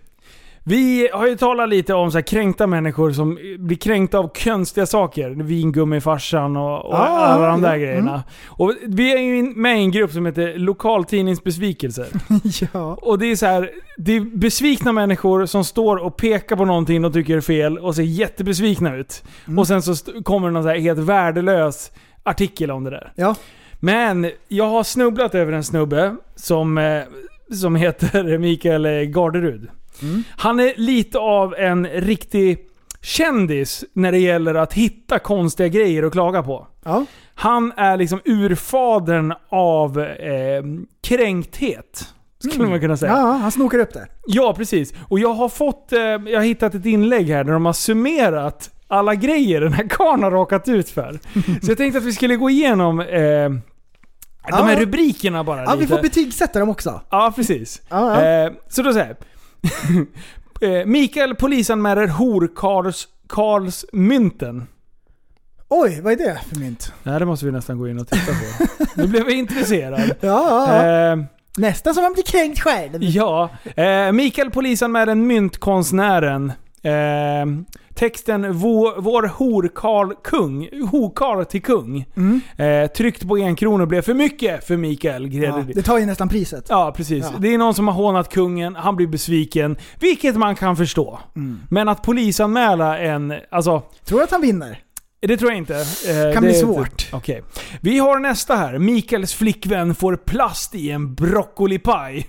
Speaker 2: Vi har ju talat lite om så här kränkta människor som blir kränkta av konstiga saker. Vingummifarsan och, och
Speaker 3: Ah,
Speaker 2: alla de där
Speaker 3: ja.
Speaker 2: grejerna. Och vi är ju in- med i en grupp som heter Lokaltidningsbesvikelser.
Speaker 3: ja.
Speaker 2: Och det är så här, det är besvikna människor som står och pekar på någonting de tycker är fel och ser jättebesvikna ut.
Speaker 3: Mm.
Speaker 2: Och sen så st- kommer det någon så här helt värdelös artikel om det där.
Speaker 3: Ja.
Speaker 2: Men jag har snubblat över en snubbe som, eh, som heter Mikael eh, Garderud.
Speaker 3: Mm.
Speaker 2: Han är lite av en riktig kändis när det gäller att hitta konstiga grejer att klaga på.
Speaker 3: Ja.
Speaker 2: Han är liksom urfadern av eh, kränkthet. Skulle man kunna säga.
Speaker 3: Mm. ja, han snokar upp det.
Speaker 2: Ja, precis. Och jag har fått, eh, jag har hittat ett inlägg här där de har summerat alla grejer den här karln har råkat ut för. Så jag tänkte att vi skulle gå igenom eh, de
Speaker 3: Ja.
Speaker 2: här rubrikerna bara
Speaker 3: Ja,
Speaker 2: lite.
Speaker 3: vi får betygsätta dem också.
Speaker 2: ja, precis.
Speaker 3: Ja, ja.
Speaker 2: Eh, så då säger jag. eh, Mikael polisanmäler horkarls Karls mynten.
Speaker 3: Oj, vad är det för mynt?
Speaker 2: Det här måste vi nästan gå in och titta på. nu blev jag intresserad.
Speaker 3: Ja, ja.
Speaker 2: Eh,
Speaker 3: nästan som man blir kränkt själv.
Speaker 2: Ja, eh, Mikael polisanmäler myntkonstnären. Eh, texten Vår, vår horkarl kung, hokarl till kung.
Speaker 3: Mm.
Speaker 2: Eh, tryckt på en krona blev för mycket för Mikael
Speaker 3: Ja,
Speaker 2: Gredryd.
Speaker 3: det
Speaker 2: Ja,
Speaker 3: tar ju nästan priset.
Speaker 2: precis.
Speaker 3: Ja.
Speaker 2: Det är någon som har hånat kungen, han blir besviken. Vilket man kan förstå.
Speaker 3: Mm.
Speaker 2: Men att polisanmäla en... Alltså,
Speaker 3: Tror du att han vinner?
Speaker 2: det tror jag inte. Eh,
Speaker 3: Kan
Speaker 2: det
Speaker 3: bli
Speaker 2: är-
Speaker 3: svårt.
Speaker 2: Okej. Vi har nästa här. Mikaels flickvän får plast i en broccolipaj.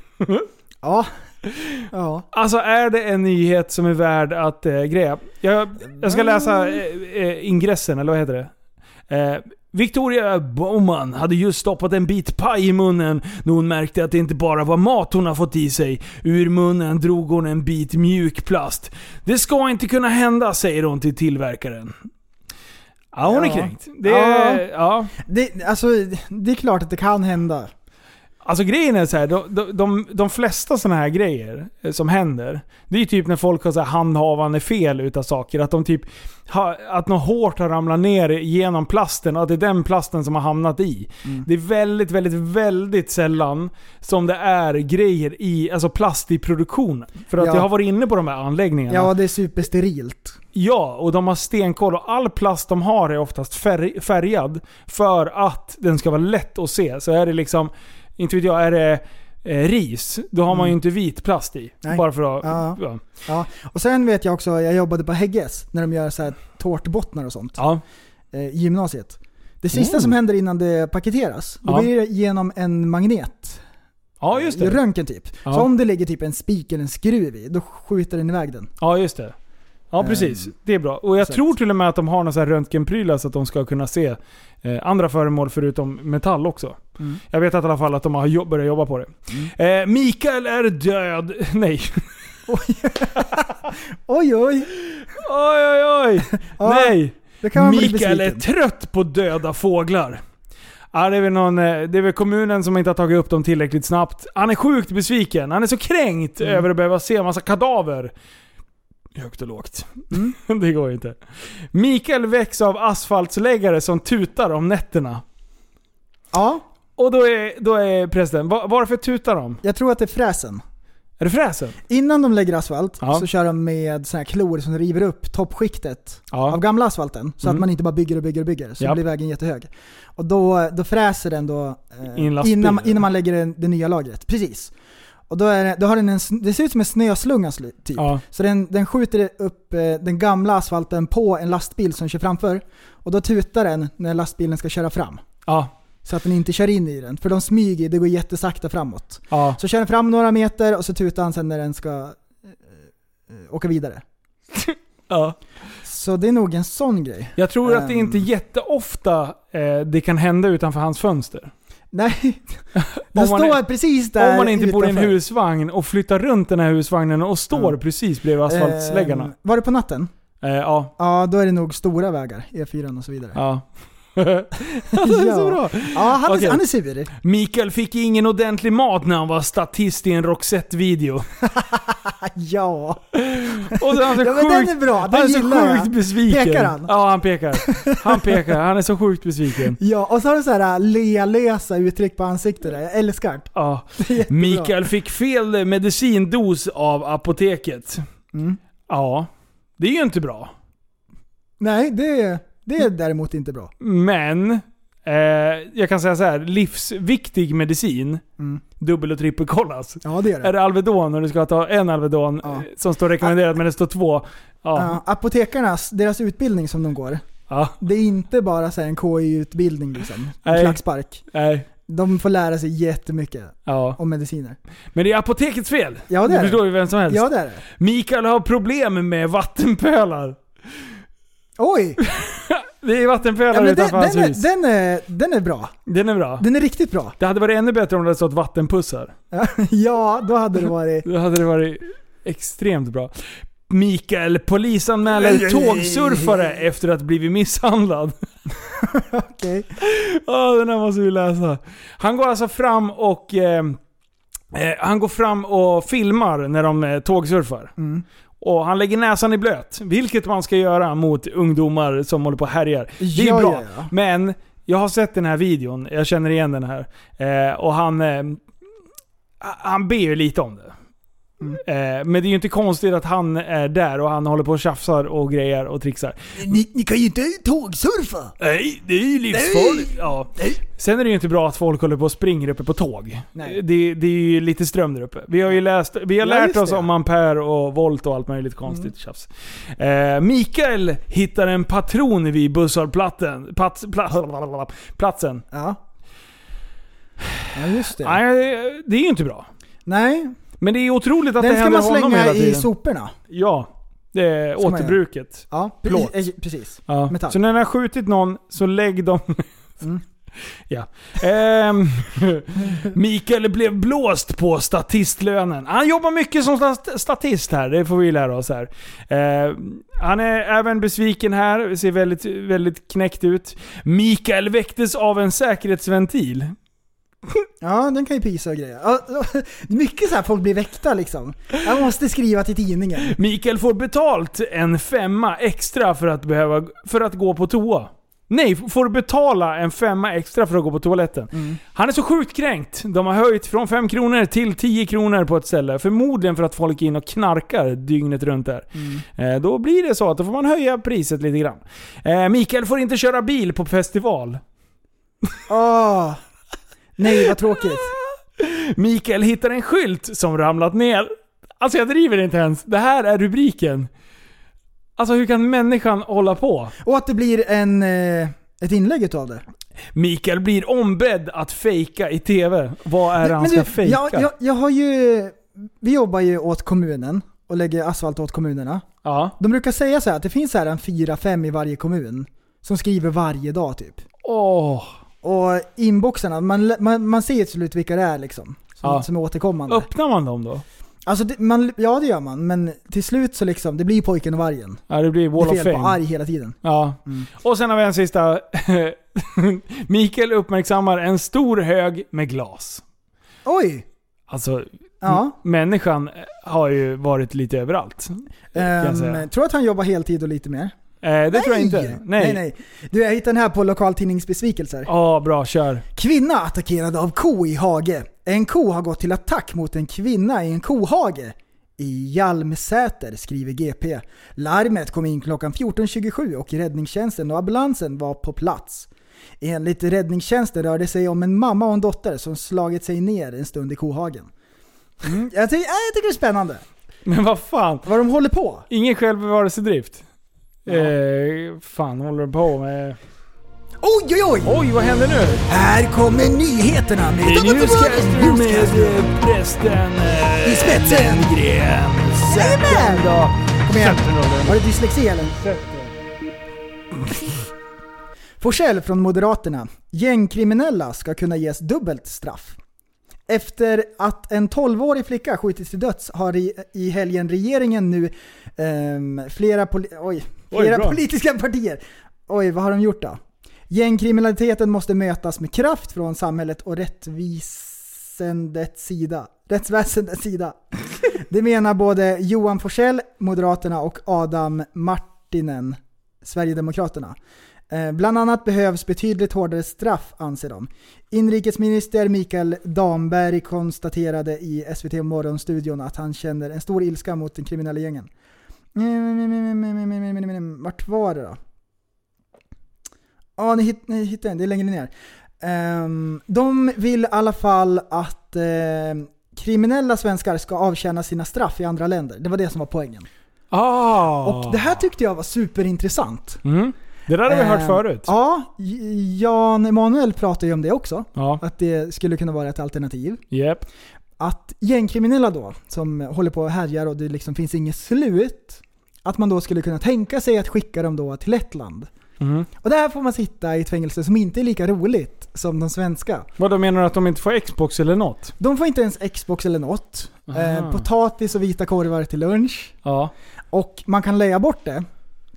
Speaker 3: Ja. Ja.
Speaker 2: Alltså är det en nyhet som är värd att eh, greja? Jag, jag ska läsa eh,
Speaker 3: Mm.
Speaker 2: eh, ingressen, eller vad heter det? Eh, Victoria Bowman hade just stoppat en bit paj i munnen när hon märkte att det inte bara var mat hon har fått i sig. Ur munnen drog hon en bit mjuk plast. Det ska inte kunna hända, säger hon till tillverkaren. Ja, hon är
Speaker 3: Ja.
Speaker 2: kränkt. Det är, ja.
Speaker 3: Det, alltså, det är klart att det kan hända.
Speaker 2: Alltså grejen är så här, de, de, de, de flesta sådana här grejer eh, som händer, det är ju typ när folk har så här handhavande fel utav saker. Att de typ, ha, att något hårt har ramlat ner genom plasten och att det är den plasten som har hamnat i.
Speaker 3: Mm.
Speaker 2: Det är väldigt, väldigt, väldigt sällan som det är grejer i, alltså plast i produktionen. För att
Speaker 3: Ja.
Speaker 2: jag har varit inne på de här anläggningarna.
Speaker 3: Ja, det är supersterilt.
Speaker 2: Ja, och de har stenkoll och all plast de har är oftast färg, färgad för att den ska vara lätt att se. Så är det liksom, inte vet jag, är det eh, ris, då har man ju inte vit plast i.
Speaker 3: Mm. Nej.
Speaker 2: Bara för att...
Speaker 3: Ja.
Speaker 2: Ja.
Speaker 3: Ja. Och sen vet jag också, jag jobbade på Hägges när de gör så här tårtbottnar och sånt
Speaker 2: ja.
Speaker 3: eh, i gymnasiet. Det sista som händer innan det paketeras, då
Speaker 2: Mm. Ja.
Speaker 3: blir det genom en magnet.
Speaker 2: Ja, just det.
Speaker 3: Röntgen typ.
Speaker 2: Ja.
Speaker 3: Så om det ligger typ en spik eller en skruv i, då skjuter den iväg den.
Speaker 2: Ja, just det.
Speaker 3: Ehm,
Speaker 2: Ja, precis. Det är bra. Och jag
Speaker 3: så
Speaker 2: tror till och med att de har några så här röntgenprylar så att de ska kunna se eh, andra föremål förutom metall också.
Speaker 3: Mm.
Speaker 2: Jag vet att i alla fall att de har jobb, börjat jobba på det. Eh, Mikael är död. Nej.
Speaker 3: Oj oj!
Speaker 2: Oj, oj, oj.
Speaker 3: Ja.
Speaker 2: Nej.
Speaker 3: Då kan man bli
Speaker 2: Mikael är
Speaker 3: besviken.
Speaker 2: trött på döda fåglar. Ja, det, är väl någon, eh, det är väl kommunen som inte har tagit upp dem tillräckligt snabbt. Han är sjukt besviken. Han är så kränkt
Speaker 3: Mm.
Speaker 2: över att behöva se en massa kadaver. Högt och lågt.
Speaker 3: Mm.
Speaker 2: det går ju inte. Mikael väcks av asfaltsläggare som tutar om nätterna.
Speaker 3: Ja,
Speaker 2: Och då är, då är prästen, va- varför tutar de?
Speaker 3: jag tror att det är fräsen.
Speaker 2: Är det fräsen?
Speaker 3: Innan de lägger asfalt
Speaker 2: Ja.
Speaker 3: så kör de med såna här klor som river upp toppskiktet
Speaker 2: Ja.
Speaker 3: av gamla asfalten. Så
Speaker 2: Mm.
Speaker 3: att man inte bara bygger och bygger och bygger, så
Speaker 2: Japp.
Speaker 3: blir vägen jättehög. Och då, då fräser den då
Speaker 2: I
Speaker 3: eh,
Speaker 2: en lastbil,
Speaker 3: innan, man-
Speaker 2: eller?
Speaker 3: innan man lägger den- det nya lagret. Precis. Och då, är, det- då har den en, sn- det ser ut som en snöslunga sl- typ.
Speaker 2: Ja.
Speaker 3: Så den, den skjuter upp eh, den gamla asfalten på en lastbil som kör framför. Och då tutar den när lastbilen ska köra fram.
Speaker 2: Ja.
Speaker 3: Så att den inte kör in i den. För de smyger, det går jättesakta framåt.
Speaker 2: Ja.
Speaker 3: Så kör den fram några meter och så tutar han sen när den ska eh, eh, åka vidare.
Speaker 2: ja.
Speaker 3: Så det är nog en sån grej.
Speaker 2: Jag tror att det
Speaker 3: Ehm.
Speaker 2: inte jätteofta eh, det kan hända utanför hans fönster.
Speaker 3: Nej,
Speaker 2: man
Speaker 3: den står
Speaker 2: är-
Speaker 3: precis där
Speaker 2: Om man inte bor i en
Speaker 3: utanför.
Speaker 2: husvagn och flyttar runt den här husvagnen och står
Speaker 3: Ja.
Speaker 2: precis bredvid asfaltsläggarna.
Speaker 3: Ehm, Var det på natten?
Speaker 2: Eh, ja.
Speaker 3: Ja, då är det nog stora vägar. E4 och så vidare.
Speaker 2: ja. alltså, det är så
Speaker 3: Ja.
Speaker 2: bra.
Speaker 3: Ja, han,
Speaker 2: Okej.
Speaker 3: är, han är sur.
Speaker 2: Mikael fick ingen ordentlig mat när han var statist i en Roxette-video.
Speaker 3: Ja.
Speaker 2: Och så är han så
Speaker 3: Ja, men
Speaker 2: sjukt-
Speaker 3: den är bra. Den
Speaker 2: Han är så
Speaker 3: gillar jag.
Speaker 2: sjukt besviken.
Speaker 3: Pekar han?
Speaker 2: Ja, han pekar. Han pekar. Han är så sjukt besviken.
Speaker 3: Ja, och så har du så här lealösa uttryck på ansiktet där. Jag älskar det.
Speaker 2: Ja.
Speaker 3: det. är jättebra.
Speaker 2: Mikael fick fel medicindos av apoteket.
Speaker 3: Mm.
Speaker 2: Ja, det är ju inte bra.
Speaker 3: Nej, det, det är däremot inte bra.
Speaker 2: Men, eh, jag kan säga så här. livsviktig medicin
Speaker 3: Mm.
Speaker 2: dubbel och trippelkollas.
Speaker 3: Ja, det är det.
Speaker 2: Är det Alvedon och du ska ta en Alvedon
Speaker 3: Ja.
Speaker 2: eh, som står rekommenderat men det står två. Ja.
Speaker 3: Ja, apotekarnas, deras utbildning som de går,
Speaker 2: ja.
Speaker 3: det är inte bara så här en KI-utbildning liksom. En
Speaker 2: Nej.
Speaker 3: klackspark.
Speaker 2: Nej.
Speaker 3: De får lära sig jättemycket
Speaker 2: Ja.
Speaker 3: om mediciner.
Speaker 2: Men det är apotekets fel.
Speaker 3: Ja, det
Speaker 2: det
Speaker 3: är
Speaker 2: förstår
Speaker 3: det.
Speaker 2: ju vem som helst.
Speaker 3: Ja, det är det.
Speaker 2: Mikael har problem med vattenpölar.
Speaker 3: Oj!
Speaker 2: Det är
Speaker 3: Ja,
Speaker 2: vattenpölar
Speaker 3: men den,
Speaker 2: utanför hans
Speaker 3: den, är,
Speaker 2: hus.
Speaker 3: den, är, den är bra.
Speaker 2: Den är bra.
Speaker 3: Den är riktigt bra.
Speaker 2: Det hade varit ännu bättre om det hade stått vattenpussar.
Speaker 3: Ja, då hade det varit...
Speaker 2: Då hade det varit extremt bra. Mikael polisanmäler tågsurfare efter att blivit misshandlad.
Speaker 3: Okej.
Speaker 2: Ja, den här måste vi läsa. Han går alltså fram och... Eh, eh, han går fram och filmar när de eh, tågsurfar.
Speaker 3: Mm.
Speaker 2: Och han lägger näsan i blöt. Vilket man ska göra mot ungdomar som håller på och härjar. Det är
Speaker 3: Ja,
Speaker 2: bra.
Speaker 3: ja, ja.
Speaker 2: Men, jag har sett den här videon. Jag känner igen den här. Eh, och han... Eh, han ber ju lite om det.
Speaker 3: Mm.
Speaker 2: Eh, men det är ju inte konstigt att han är där och han håller på och tjafsar och grejer och trixar.
Speaker 4: Eh, Ni, ni kan ju inte tågsurfa!
Speaker 2: Nej, det är ju livsfarligt. Ja. Sen är det ju inte bra att folk håller på och springer uppe på tåg.
Speaker 3: Nej.
Speaker 2: Det, det är ju lite ström där uppe. Vi har ju läst, vi har
Speaker 3: Ja,
Speaker 2: lärt
Speaker 3: Mm. just
Speaker 2: oss
Speaker 3: det.
Speaker 2: om ampere och volt och allt möjligt konstigt tjafs. Eh, Mikael hittar en patron vid busshållplatsen. Plats, plats, platsen.
Speaker 3: Ja. Ja, just det.
Speaker 2: Nej, det är ju inte bra.
Speaker 3: Nej,
Speaker 2: Men det är otroligt att
Speaker 3: den
Speaker 2: det
Speaker 3: ska
Speaker 2: händer
Speaker 3: man
Speaker 2: honom hela
Speaker 3: slänga
Speaker 2: tiden.
Speaker 3: i soporna.
Speaker 2: Ja. Det är
Speaker 3: Ska man göra.
Speaker 2: återbruket.
Speaker 3: Ja, pre-
Speaker 2: Plåt.
Speaker 3: eh, precis.
Speaker 2: Ja.
Speaker 3: Metall.
Speaker 2: Så när den har skjutit någon, så lägg dem...
Speaker 3: Mm.
Speaker 2: ja. Ehm, Mikael blev blåst på statistlönen. Han jobbar mycket som stat- statist här, det får vi lära oss här. Ehm, han är även besviken här, ser väldigt, väldigt knäckt ut. Mikael väcktes av en säkerhetsventil.
Speaker 3: Ja, den kan ju pysa och grejer. Ja, Mycket så här folk blir väckta liksom. Jag måste skriva till tidningen.
Speaker 2: Mikael får betalt en femma extra för att, behöva, för att gå på toa. Nej, får betala en femma extra för att gå på toaletten. Han är så sjukt kränkt. De har höjt från 5 kronor till 10 kronor på ett ställe. Förmodligen för att folk är inne och knarkar dygnet runt där. Eh, då blir det så att då får man höja priset lite grann. Eh, Mikael får inte köra bil på festival.
Speaker 3: Åh! Nej, vad tråkigt.
Speaker 2: Mikael hittar en skylt som ramlat ner. Alltså jag driver inte ens. Det här är rubriken. Alltså hur kan människan hålla på?
Speaker 3: Och att det blir en, eh, ett inlägg utav det.
Speaker 2: Mikael blir ombedd att fejka i TV. Vad är det han
Speaker 3: Men
Speaker 2: ska
Speaker 3: du,
Speaker 2: fejka?
Speaker 3: Jag, jag, jag har ju... Vi jobbar ju åt kommunen och lägger asfalt åt kommunerna.
Speaker 2: Ja.
Speaker 3: De brukar säga så här att det finns så här en fyra, fem i varje kommun som skriver varje dag typ.
Speaker 2: Åh.
Speaker 3: Och inboxarna, man, man, man ser ju till slut vilka det är liksom. Som,
Speaker 2: Ja. Oh.
Speaker 3: som är återkommande.
Speaker 2: Öppnar man dem då?
Speaker 3: Alltså, det, man, ja det gör man, men till slut så liksom, det blir pojken och vargen.
Speaker 2: Ja, det blir Wall
Speaker 3: det
Speaker 2: of
Speaker 3: Mm. är fel på
Speaker 2: Fame.
Speaker 3: arg hela tiden.
Speaker 2: Ja. Och sen har vi en sista. Mikael uppmärksammar en stor hög med glas.
Speaker 3: Oj!
Speaker 2: Alltså,
Speaker 3: Ja.
Speaker 2: m- människan har ju varit lite överallt. Mm, jag
Speaker 3: Ehm,
Speaker 2: säga.
Speaker 3: tror att han jobbar heltid och lite mer?
Speaker 2: Eh, det tror jag inte.
Speaker 3: nej. nej. Du, jag hittade den här på lokaltidningsbesvikelser.
Speaker 2: Ja, bra. Kör.
Speaker 3: Kvinna attackerad av ko i hage. En ko har gått till attack mot en kvinna i en kohage. I Hjalmsäter, skriver GP. Larmet kom in klockan 14.27 och räddningstjänsten och ambulansen var på plats. Enligt räddningstjänsten rörde det sig om en mamma och en dotter som slagit sig ner en stund i kohagen. Mm, jag, tycker, äh, jag tycker det är spännande
Speaker 2: Men vad fan.
Speaker 3: vad de håller på.
Speaker 2: Ingen självbevarelsedrift. Eh, fan håller du på med?
Speaker 3: Oj, oj, oj!
Speaker 2: Oj, vad händer nu?
Speaker 3: Här kommer nyheterna med
Speaker 2: Det är
Speaker 3: Tommy
Speaker 2: Newscaster
Speaker 3: Tillbaka.
Speaker 2: med eh, prästen... eh,
Speaker 3: I spetsen.
Speaker 2: Gren.
Speaker 3: Jajamän! Kom igen. Har du dyslexi eller? Forsell från Moderaterna. Gängkriminella ska kunna ges dubbelt straff. Efter att en 12-årig flicka skjutits till döds har i, i helgen regeringen nu ehm, flera, poli- oj,
Speaker 2: Oj,
Speaker 3: flera
Speaker 2: bra.
Speaker 3: politiska partier... Oj, vad har de gjort då? Gängkriminaliteten måste mötas med kraft från samhället och rättvisendets sida. Rättsväsendets sida. Det menar både Johan Forsell, Moderaterna och Adam Martinen, Sverigedemokraterna. Eh, Bland annat behövs betydligt hårdare straff, anser de. Inrikesminister Mikael Damberg konstaterade i SVT Morgonstudion att han känner en stor ilska mot den kriminella gängen. Vart var det då? Ja, ni, hit, ni hittade den. Det är längre ner. Ehm, de vill i alla fall att ehm, kriminella svenskar ska avtjäna sina straff i andra länder. Det var det som var poängen.
Speaker 2: Ah.
Speaker 3: Och det här tyckte jag var superintressant.
Speaker 2: Mm. Det där har vi hört
Speaker 3: Ehm,
Speaker 2: förut.
Speaker 3: Ja, J- Jan Emanuel pratade ju om det också.
Speaker 2: Ja.
Speaker 3: Att det skulle kunna vara ett alternativ.
Speaker 2: Japp.
Speaker 3: Att gängkriminella då, som håller på och härjar och det liksom finns inget slut. Att man då skulle kunna tänka sig att skicka dem då till Lettland.
Speaker 2: Mm.
Speaker 3: Och där får man sitta i ett fängelse som inte är lika roligt som de svenska.
Speaker 2: Vadå, menar du att de inte får Xbox eller något?
Speaker 3: De får inte ens Xbox eller något.
Speaker 2: Aha.
Speaker 3: Eh, potatis och vita korvar till lunch.
Speaker 2: Ja.
Speaker 3: Och man kan leja bort det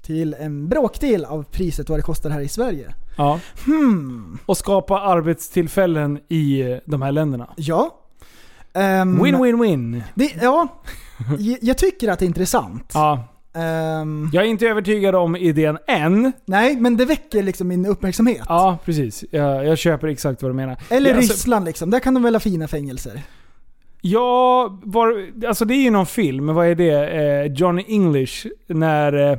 Speaker 3: till en bråkdel av priset vad det kostar här i Sverige.
Speaker 2: ja.
Speaker 3: Hmm,
Speaker 2: Och skapa arbetstillfällen i eh, de här länderna.
Speaker 3: ja. Ehm,
Speaker 2: Win-win-win.
Speaker 3: Det, ja, J- jag tycker att det är intressant.
Speaker 2: Ja.
Speaker 3: Ehm,
Speaker 2: Jag är inte övertygad om idén än.
Speaker 3: nej, men det väcker liksom min uppmärksamhet.
Speaker 2: Ja, precis. Jag, jag köper exakt vad du menar.
Speaker 3: Eller
Speaker 2: Ja, alltså-
Speaker 3: Ryssland liksom, där kan de väl ha fina fängelser?
Speaker 2: Ja, var, alltså det är ju någon film. Vad är det? Eh, Johnny English. När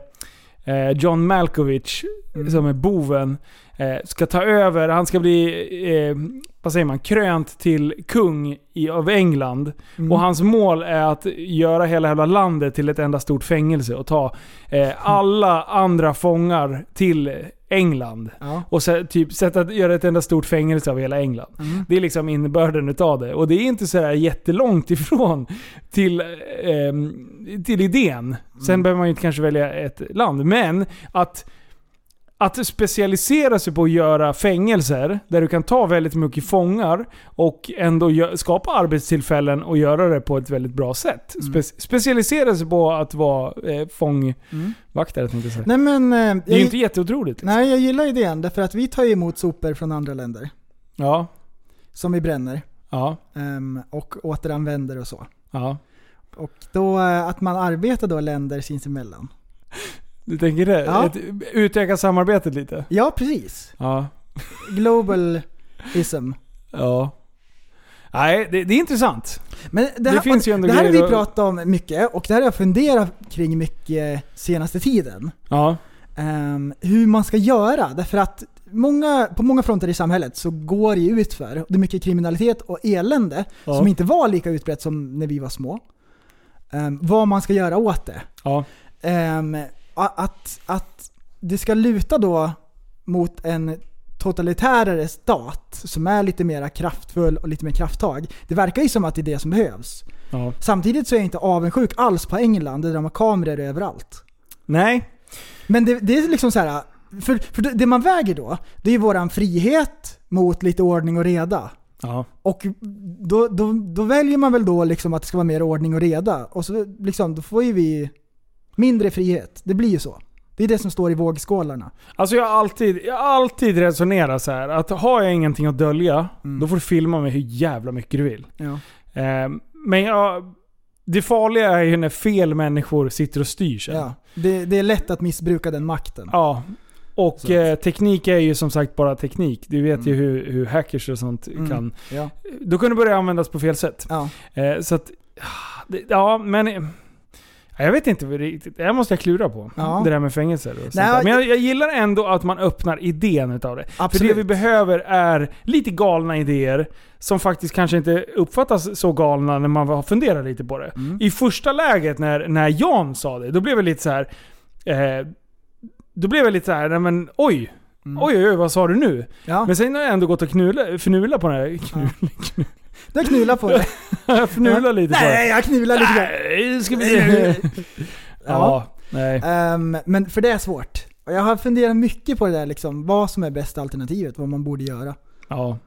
Speaker 2: eh, eh, John Malkovich, som är boven, eh, ska ta över. Han ska bli, eh, vad säger man, krönt till kung i, av England.
Speaker 3: Mm.
Speaker 2: Och hans mål är att göra hela jävla landet till ett enda stort fängelse och ta eh, alla andra fångar till England.
Speaker 3: Ja.
Speaker 2: Och så, typ sätta, göra ett enda stort fängelse av hela England.
Speaker 3: Mm.
Speaker 2: Det är liksom innebörden utav det. Och det är inte sådär jättelångt ifrån till, ehm, till idén. Sen
Speaker 3: Mm.
Speaker 2: behöver man ju inte kanske välja ett land. Men att, att specialisera sig på att göra fängelser där du kan ta väldigt mycket fångar och ändå gö- skapa arbetstillfällen och göra det på ett väldigt bra sätt.
Speaker 3: Mm.
Speaker 2: Spe- specialisera sig på att vara eh, fångvaktare tänkte jag säga.
Speaker 3: Mm. Nej men... eh,
Speaker 2: Det är ju
Speaker 3: jag,
Speaker 2: inte jätteotroligt. Liksom.
Speaker 3: nej, jag gillar idén därför att vi tar ju emot sopor från andra länder.
Speaker 2: Ja,
Speaker 3: Som vi bränner.
Speaker 2: ja,
Speaker 3: ehm, och återanvänder och så.
Speaker 2: ja.
Speaker 3: Och då, eh, att man arbetar då länder sinsemellan.
Speaker 2: Du tänker det?
Speaker 3: Ja.
Speaker 2: Ett, utöka samarbetet lite?
Speaker 3: Ja, precis.
Speaker 2: Ja.
Speaker 3: Globalism.
Speaker 2: Ja. Nej, det, det är intressant.
Speaker 3: Men det,
Speaker 2: Det
Speaker 3: här,
Speaker 2: finns ju ändå
Speaker 3: det här har vi
Speaker 2: grejer att-
Speaker 3: pratat om mycket och det här har jag funderat kring mycket senaste tiden.
Speaker 2: Ja.
Speaker 3: Ehm, hur man ska göra. Därför att många, på många fronter i samhället så går det ju utför. Det är mycket kriminalitet och elände
Speaker 2: Ja.
Speaker 3: som inte var lika utbrett som när vi var små. Ehm, vad man ska göra åt det.
Speaker 2: Ja.
Speaker 3: Ehm, a- att, att det ska luta då mot en totalitärare stat som är lite mer kraftfull och lite mer krafttag. Det verkar ju som att det är det som behövs.
Speaker 2: ja.
Speaker 3: Samtidigt så är jag inte avundsjuk alls på England där de har kameror överallt.
Speaker 2: Nej.
Speaker 3: Men det, det är liksom så här. För, för det- det man väger då, det är ju våran frihet mot lite ordning och reda.
Speaker 2: Ja.
Speaker 3: Och då, då, då väljer man väl då liksom att det ska vara mer ordning och reda. Och så liksom, då får ju vi mindre frihet. Det blir ju så. Det är det som står i vågskålarna.
Speaker 2: Alltså jag har alltid, jag har alltid resonerat så här att har jag ingenting att dölja, då får du filma mig hur jävla mycket du vill.
Speaker 3: Mm. Ja.
Speaker 2: Eh, men jag, det farliga är ju när fel människor sitter och styr sen.
Speaker 3: Ja. Det, det är lätt att missbruka den makten.
Speaker 2: Ja. Och
Speaker 3: Så.
Speaker 2: eh, teknik är ju som sagt bara teknik. Du vet ju hur, hur hackers och sånt
Speaker 3: Mm.
Speaker 2: kan...
Speaker 3: Ja.
Speaker 2: Då kan det börja användas på fel sätt.
Speaker 3: Ja.
Speaker 2: Eh, så att... det- Ja, men... eh, Jag vet inte riktigt. Det här måste jag klura på.
Speaker 3: Ja.
Speaker 2: Det där med fängelser och sånt
Speaker 3: Nej,
Speaker 2: där. Men jag, jag gillar ändå att man öppnar idén utav det.
Speaker 3: Absolut.
Speaker 2: För det vi behöver är lite galna idéer som faktiskt kanske inte uppfattas så galna när man funderar lite på det.
Speaker 3: Mm.
Speaker 2: I första läget när, när Jan sa det, då blev jag lite så här. Eh, då blev jag lite så här, nej men oj. Oj, oj, oj, vad sa du nu?
Speaker 3: Mm. Ja,
Speaker 2: Men sen har jag ändå gått och knula, fnula på den här. Knula,
Speaker 3: du knular på det.
Speaker 2: jag fnular lite på den.
Speaker 3: Nej, jag knular lite grann.
Speaker 2: Nej, ska vi se. Ja, nej.
Speaker 3: Ehm, men för det är svårt. Och jag har funderat mycket på det där liksom, vad som är bästa alternativet, vad man borde göra.
Speaker 2: Ja.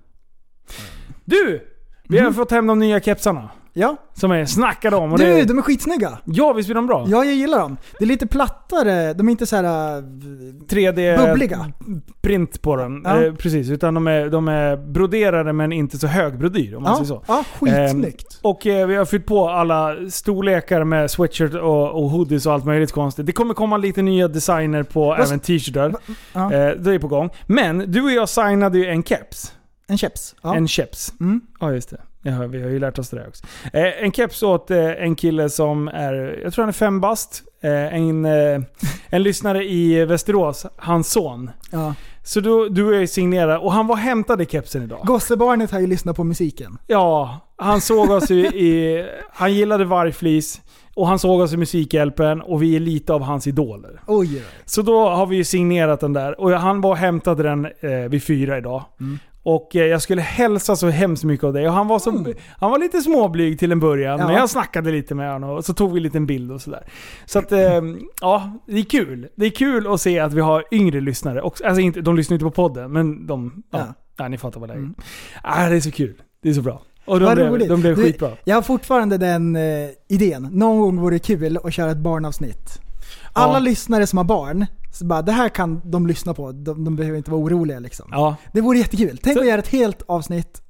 Speaker 2: Du! Vi har fått hem de nya kepsarna.
Speaker 3: Ja.
Speaker 2: Som jag snackade om. Och
Speaker 3: Du,
Speaker 2: det,
Speaker 3: de är skitsnygga!
Speaker 2: ja, visst blir de bra?
Speaker 3: Ja, jag gillar dem. Det är lite plattare, de är inte så här äh,
Speaker 2: 3D-print
Speaker 3: bubbliga.
Speaker 2: på den.
Speaker 3: Ja.
Speaker 2: Eh, precis, utan de är, de är broderade men inte så hög brodyr om man
Speaker 3: Ja,
Speaker 2: säger så.
Speaker 3: ja, skitsnyggt.
Speaker 2: Och eh, vi har fyllt på alla storlekar med sweatshirt och, och hoodies och allt möjligt konstigt. Det kommer komma lite nya designer på även t-shirtar.
Speaker 3: ja.
Speaker 2: Eh, det är på gång. Men du och jag signade ju en keps.
Speaker 3: En keps. Ja.
Speaker 2: En keps.
Speaker 3: Mm.
Speaker 2: Ja, just det. Ja, vi har ju lärt oss det där också. Eh, en keps åt eh, en kille som är, jag tror han är fem bast. Eh, en, eh, en lyssnare i Västerås, hans son.
Speaker 3: Ja.
Speaker 2: Så då, du och jag signerade och han var och hämtade kepsen idag.
Speaker 3: Gossebarnet har ju lyssnat på musiken.
Speaker 2: Ja, han såg oss i, i han gillade vargflis och han såg oss i Musikhjälpen och vi är lite av hans idoler.
Speaker 3: Oj, oj.
Speaker 2: Så då har vi ju signerat den där och han var och hämtade den eh, vid fyra idag.
Speaker 3: Mm.
Speaker 2: Och eh, jag skulle hälsa så hemskt mycket av dig. Och han, var så, han var lite småblyg till en början,
Speaker 3: Mm. Ja.
Speaker 2: men jag snackade lite med honom och så tog vi en liten bild och sådär. Så att, eh, ja, det är kul. Det är kul att se att vi har yngre lyssnare också. Alltså inte, de lyssnar inte på podden, men de... Ja,
Speaker 3: Ja. Mm.
Speaker 2: ja ni fattar vad läget är. Ah, det är så kul. Det är så bra. Och de,
Speaker 3: Vad
Speaker 2: blev,
Speaker 3: roligt.
Speaker 2: de blev
Speaker 3: Du,
Speaker 2: skitbra.
Speaker 3: Jag har fortfarande den eh, idén. Någon gång vore det kul att köra ett barnavsnitt. Alla
Speaker 2: Ja.
Speaker 3: lyssnare som har barn, så bara, det här kan de lyssna på. De, de behöver inte vara oroliga liksom.
Speaker 2: Ja.
Speaker 3: Det vore jättekul. Tänk
Speaker 2: Så-
Speaker 3: att göra ett helt avsnitt.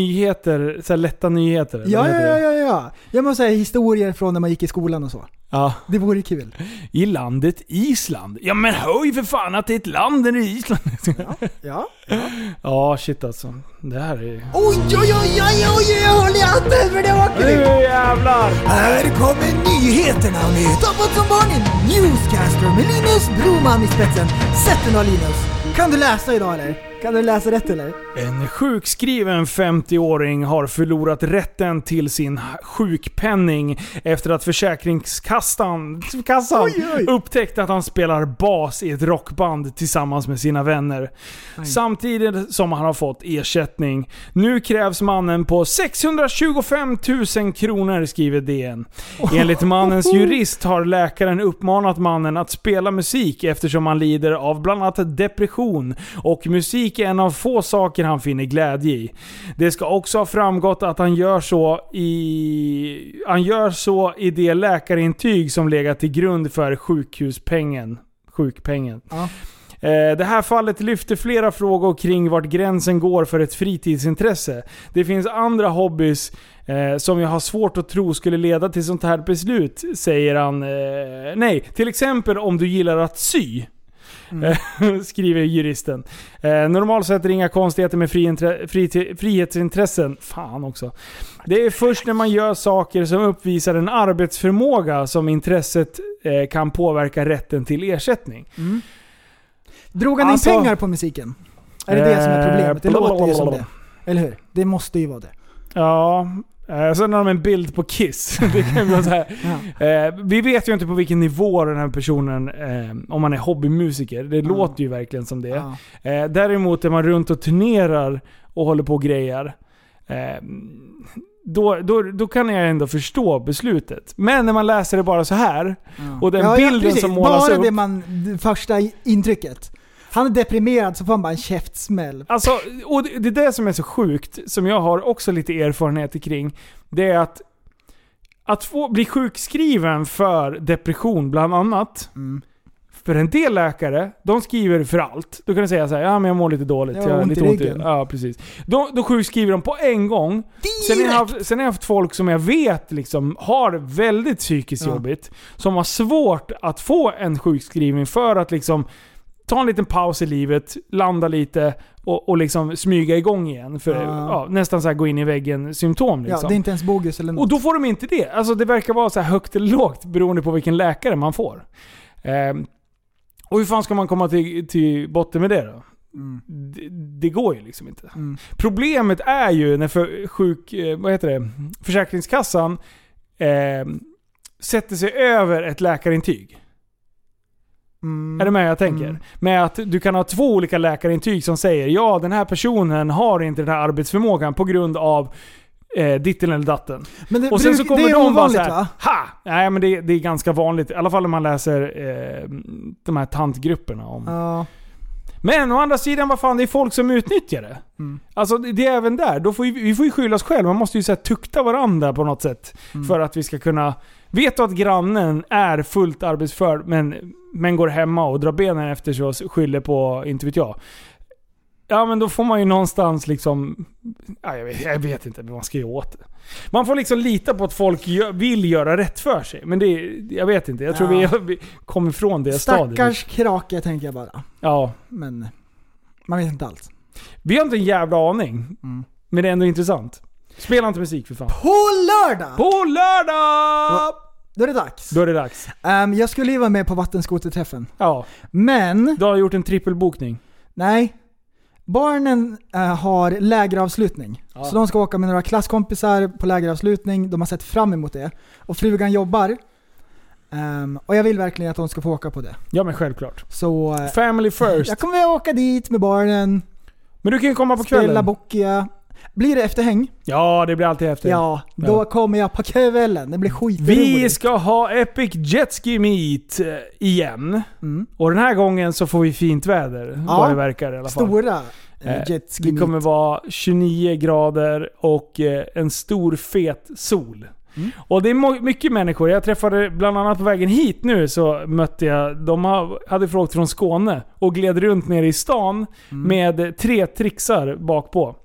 Speaker 2: Nyheter, så här lätta nyheter. eller
Speaker 3: Ja,
Speaker 2: vad
Speaker 3: ja,
Speaker 2: heter
Speaker 3: ja,
Speaker 2: det?
Speaker 3: ja, ja. Jag måste säga historier från när man gick i skolan och så.
Speaker 2: ja.
Speaker 3: Det vore kul.
Speaker 2: I landet Island. Ja men höj för fan att det är ett land när det är Island.
Speaker 3: Ja.
Speaker 2: Ja, shit alltså. Det här är ju...
Speaker 3: Oj, oj, oj, oj, oj, jag håller i hatten för det var kul!
Speaker 2: jävlar!
Speaker 3: Här kommer nyheterna med Tappat som barnen Newscaster med Linus Broman i spetsen. Sätt den då Linus! Kan du läsa idag eller? Kan du läsa rätt eller?
Speaker 2: En sjukskriven 50-åring har förlorat rätten till sin sjukpenning efter att Försäkringskassan kassan upptäckte att han spelar bas i ett rockband tillsammans med sina vänner. Samtidigt som han har fått ersättning. Nu krävs mannen på 625 000 kronor skriver DN. Enligt mannens jurist har läkaren uppmanat mannen att spela musik eftersom han lider av bland annat depression och musik är en av få saker han finner glädje i. Det ska också ha framgått att han gör så i, han gör så i det läkarintyg som legat till grund för sjukhuspengen. Sjukpengen. Eh, Det här fallet lyfter flera frågor kring vart gränsen går för ett fritidsintresse. Det finns andra hobbys eh, som jag har svårt att tro skulle leda till sånt här beslut, säger han. Eh, nej, till exempel om du gillar att sy. Eh, Skriver juristen. Eh, normalt sett är det inga konstigheter med friintre- friti- frihetsintressen. Fan också. Det är först när man gör saker som uppvisar en arbetsförmåga som intresset eh, kan påverka rätten till ersättning.
Speaker 3: Drog han in
Speaker 2: Alltså-
Speaker 3: pengar på musiken? Är det det som är problemet? Det
Speaker 2: Eh,
Speaker 3: låter ju som
Speaker 2: blablabla.
Speaker 3: det. Eller hur? Det måste ju vara det.
Speaker 2: Ja, eh, sen har de en bild på Kiss. Det kan ju vara så här. Eh, vi vet ju inte på vilken nivå den här personen, eh, om man är hobbymusiker. Det låter ju verkligen som det.
Speaker 3: Ja.
Speaker 2: Eh, däremot är man runt och turnerar och håller på och grejar. Eh, då, då, då kan jag ändå förstå beslutet. Men när man läser det bara så här och den
Speaker 3: Ja, ja,
Speaker 2: bilden
Speaker 3: precis.
Speaker 2: som målas
Speaker 3: Bara
Speaker 2: upp.
Speaker 3: det man, det första intrycket. Han är deprimerad så får han bara en käftsmäll.
Speaker 2: Alltså, och det, det är det som är så sjukt, som jag har också lite erfarenheter kring. Det är att, att få, bli sjukskriven för depression bland annat.
Speaker 3: Mm.
Speaker 2: För en del läkare, de skriver för allt. Då kan du säga så här, ja men jag mår lite dåligt.
Speaker 3: Jag
Speaker 2: Jag
Speaker 3: har
Speaker 2: har
Speaker 3: ont i
Speaker 2: lite ont i
Speaker 3: ryggen."
Speaker 2: Ja, precis. Då, då sjukskriver de på en gång. Sen har, jag haft, sen har jag haft folk som jag vet liksom har väldigt psykiskt
Speaker 3: Ja.
Speaker 2: jobbigt. Som har svårt att få en sjukskrivning för att liksom ta en liten paus i livet, landa lite och, och liksom smyga igång igen. För,
Speaker 3: Ja.
Speaker 2: ja, nästan så här gå in i väggen symptom
Speaker 3: Ja,
Speaker 2: liksom.
Speaker 3: det är inte ens bogus eller
Speaker 2: Och
Speaker 3: något.
Speaker 2: då får de inte det. Alltså det verkar vara så här högt eller lågt beroende på vilken läkare man får. Ehm, och hur fan ska man komma till, till botten med det då? Det, det går ju liksom inte.
Speaker 3: Mm.
Speaker 2: Problemet är ju när för, sjuk, eh, vad heter det? Försäkringskassan ehm, sätter sig över ett läkarintyg.
Speaker 3: Mm.
Speaker 2: Är du med jag tänker? Med att du kan ha två olika läkarintyg som säger ja den här personen har inte den här arbetsförmågan på grund av eh, ditten eller datten.
Speaker 3: Men det,
Speaker 2: Och sen så
Speaker 3: bruk-
Speaker 2: kommer
Speaker 3: det är
Speaker 2: de bara
Speaker 3: ovanligt
Speaker 2: såhär,
Speaker 3: va?
Speaker 2: ha! Nej men det, det är ganska vanligt. I alla fall när man läser eh, de här tantgrupperna. Om.
Speaker 3: Ja.
Speaker 2: Men å andra sidan, vad fan, det är folk som utnyttjar det.
Speaker 3: Mm.
Speaker 2: Alltså det det är även där. Då får vi, vi får ju skylla oss själva. Man måste ju så här, tukta varandra på något sätt.
Speaker 3: Mm.
Speaker 2: För att vi ska kunna... Vet du att grannen är fullt arbetsför men, men går hemma och drar benen efter sig och skyller på, inte vet jag. Ja men då får man ju någonstans liksom... Ja, jag, vet, jag vet inte, men man ska ju åt det. Man får liksom lita på att folk gö- vill göra rätt för sig. Men det, jag vet inte. Jag tror
Speaker 3: Ja.
Speaker 2: vi, vi kom ifrån det stadiet.
Speaker 3: Stackars krake tänker jag bara.
Speaker 2: Ja.
Speaker 3: Men man vet inte allt.
Speaker 2: Vi har inte en jävla aning.
Speaker 3: Mm.
Speaker 2: Men det är ändå intressant. Spela inte musik för fan.
Speaker 3: På lördag!
Speaker 2: På lördag!
Speaker 3: Då är det dags.
Speaker 2: Då är det dags.
Speaker 3: Ehm, jag skulle ju vara med på vattenskoterträffen.
Speaker 2: Ja,
Speaker 3: Men,
Speaker 2: du har gjort en trippelbokning.
Speaker 3: nej. Barnen eh, har lägeravslutning. Så de ska åka med några klasskompisar på lägeravslutning. De har sett fram emot det. Och frugan jobbar. Ehm, och jag vill verkligen att de ska få åka på det.
Speaker 2: Ja men självklart.
Speaker 3: Så eh,
Speaker 2: Family first.
Speaker 3: jag kommer att åka dit med barnen,
Speaker 2: Men du kan ju komma på
Speaker 3: spela
Speaker 2: kvällen. Typ.
Speaker 3: bockiga. Blir det efterhäng?
Speaker 2: Ja, det blir alltid häftigt.
Speaker 3: Ja, då kommer jag på kvällen. Det blir skitroligt.
Speaker 2: Vi ska ha Epic Jetski Meet eh, igen.
Speaker 3: Mm.
Speaker 2: Och den här gången så får vi fint väder.
Speaker 3: Ja.
Speaker 2: Vad det verkar i alla fall.
Speaker 3: Stora
Speaker 2: Eh,
Speaker 3: eh, jetski
Speaker 2: Det kommer vara 29 grader och eh, en stor fet sol. Och det är må- mycket människor. Jag träffade bland annat på vägen hit nu så mötte jag, de ha- hade frågat från Skåne och gled runt nere i stan med tre trixar bakpå.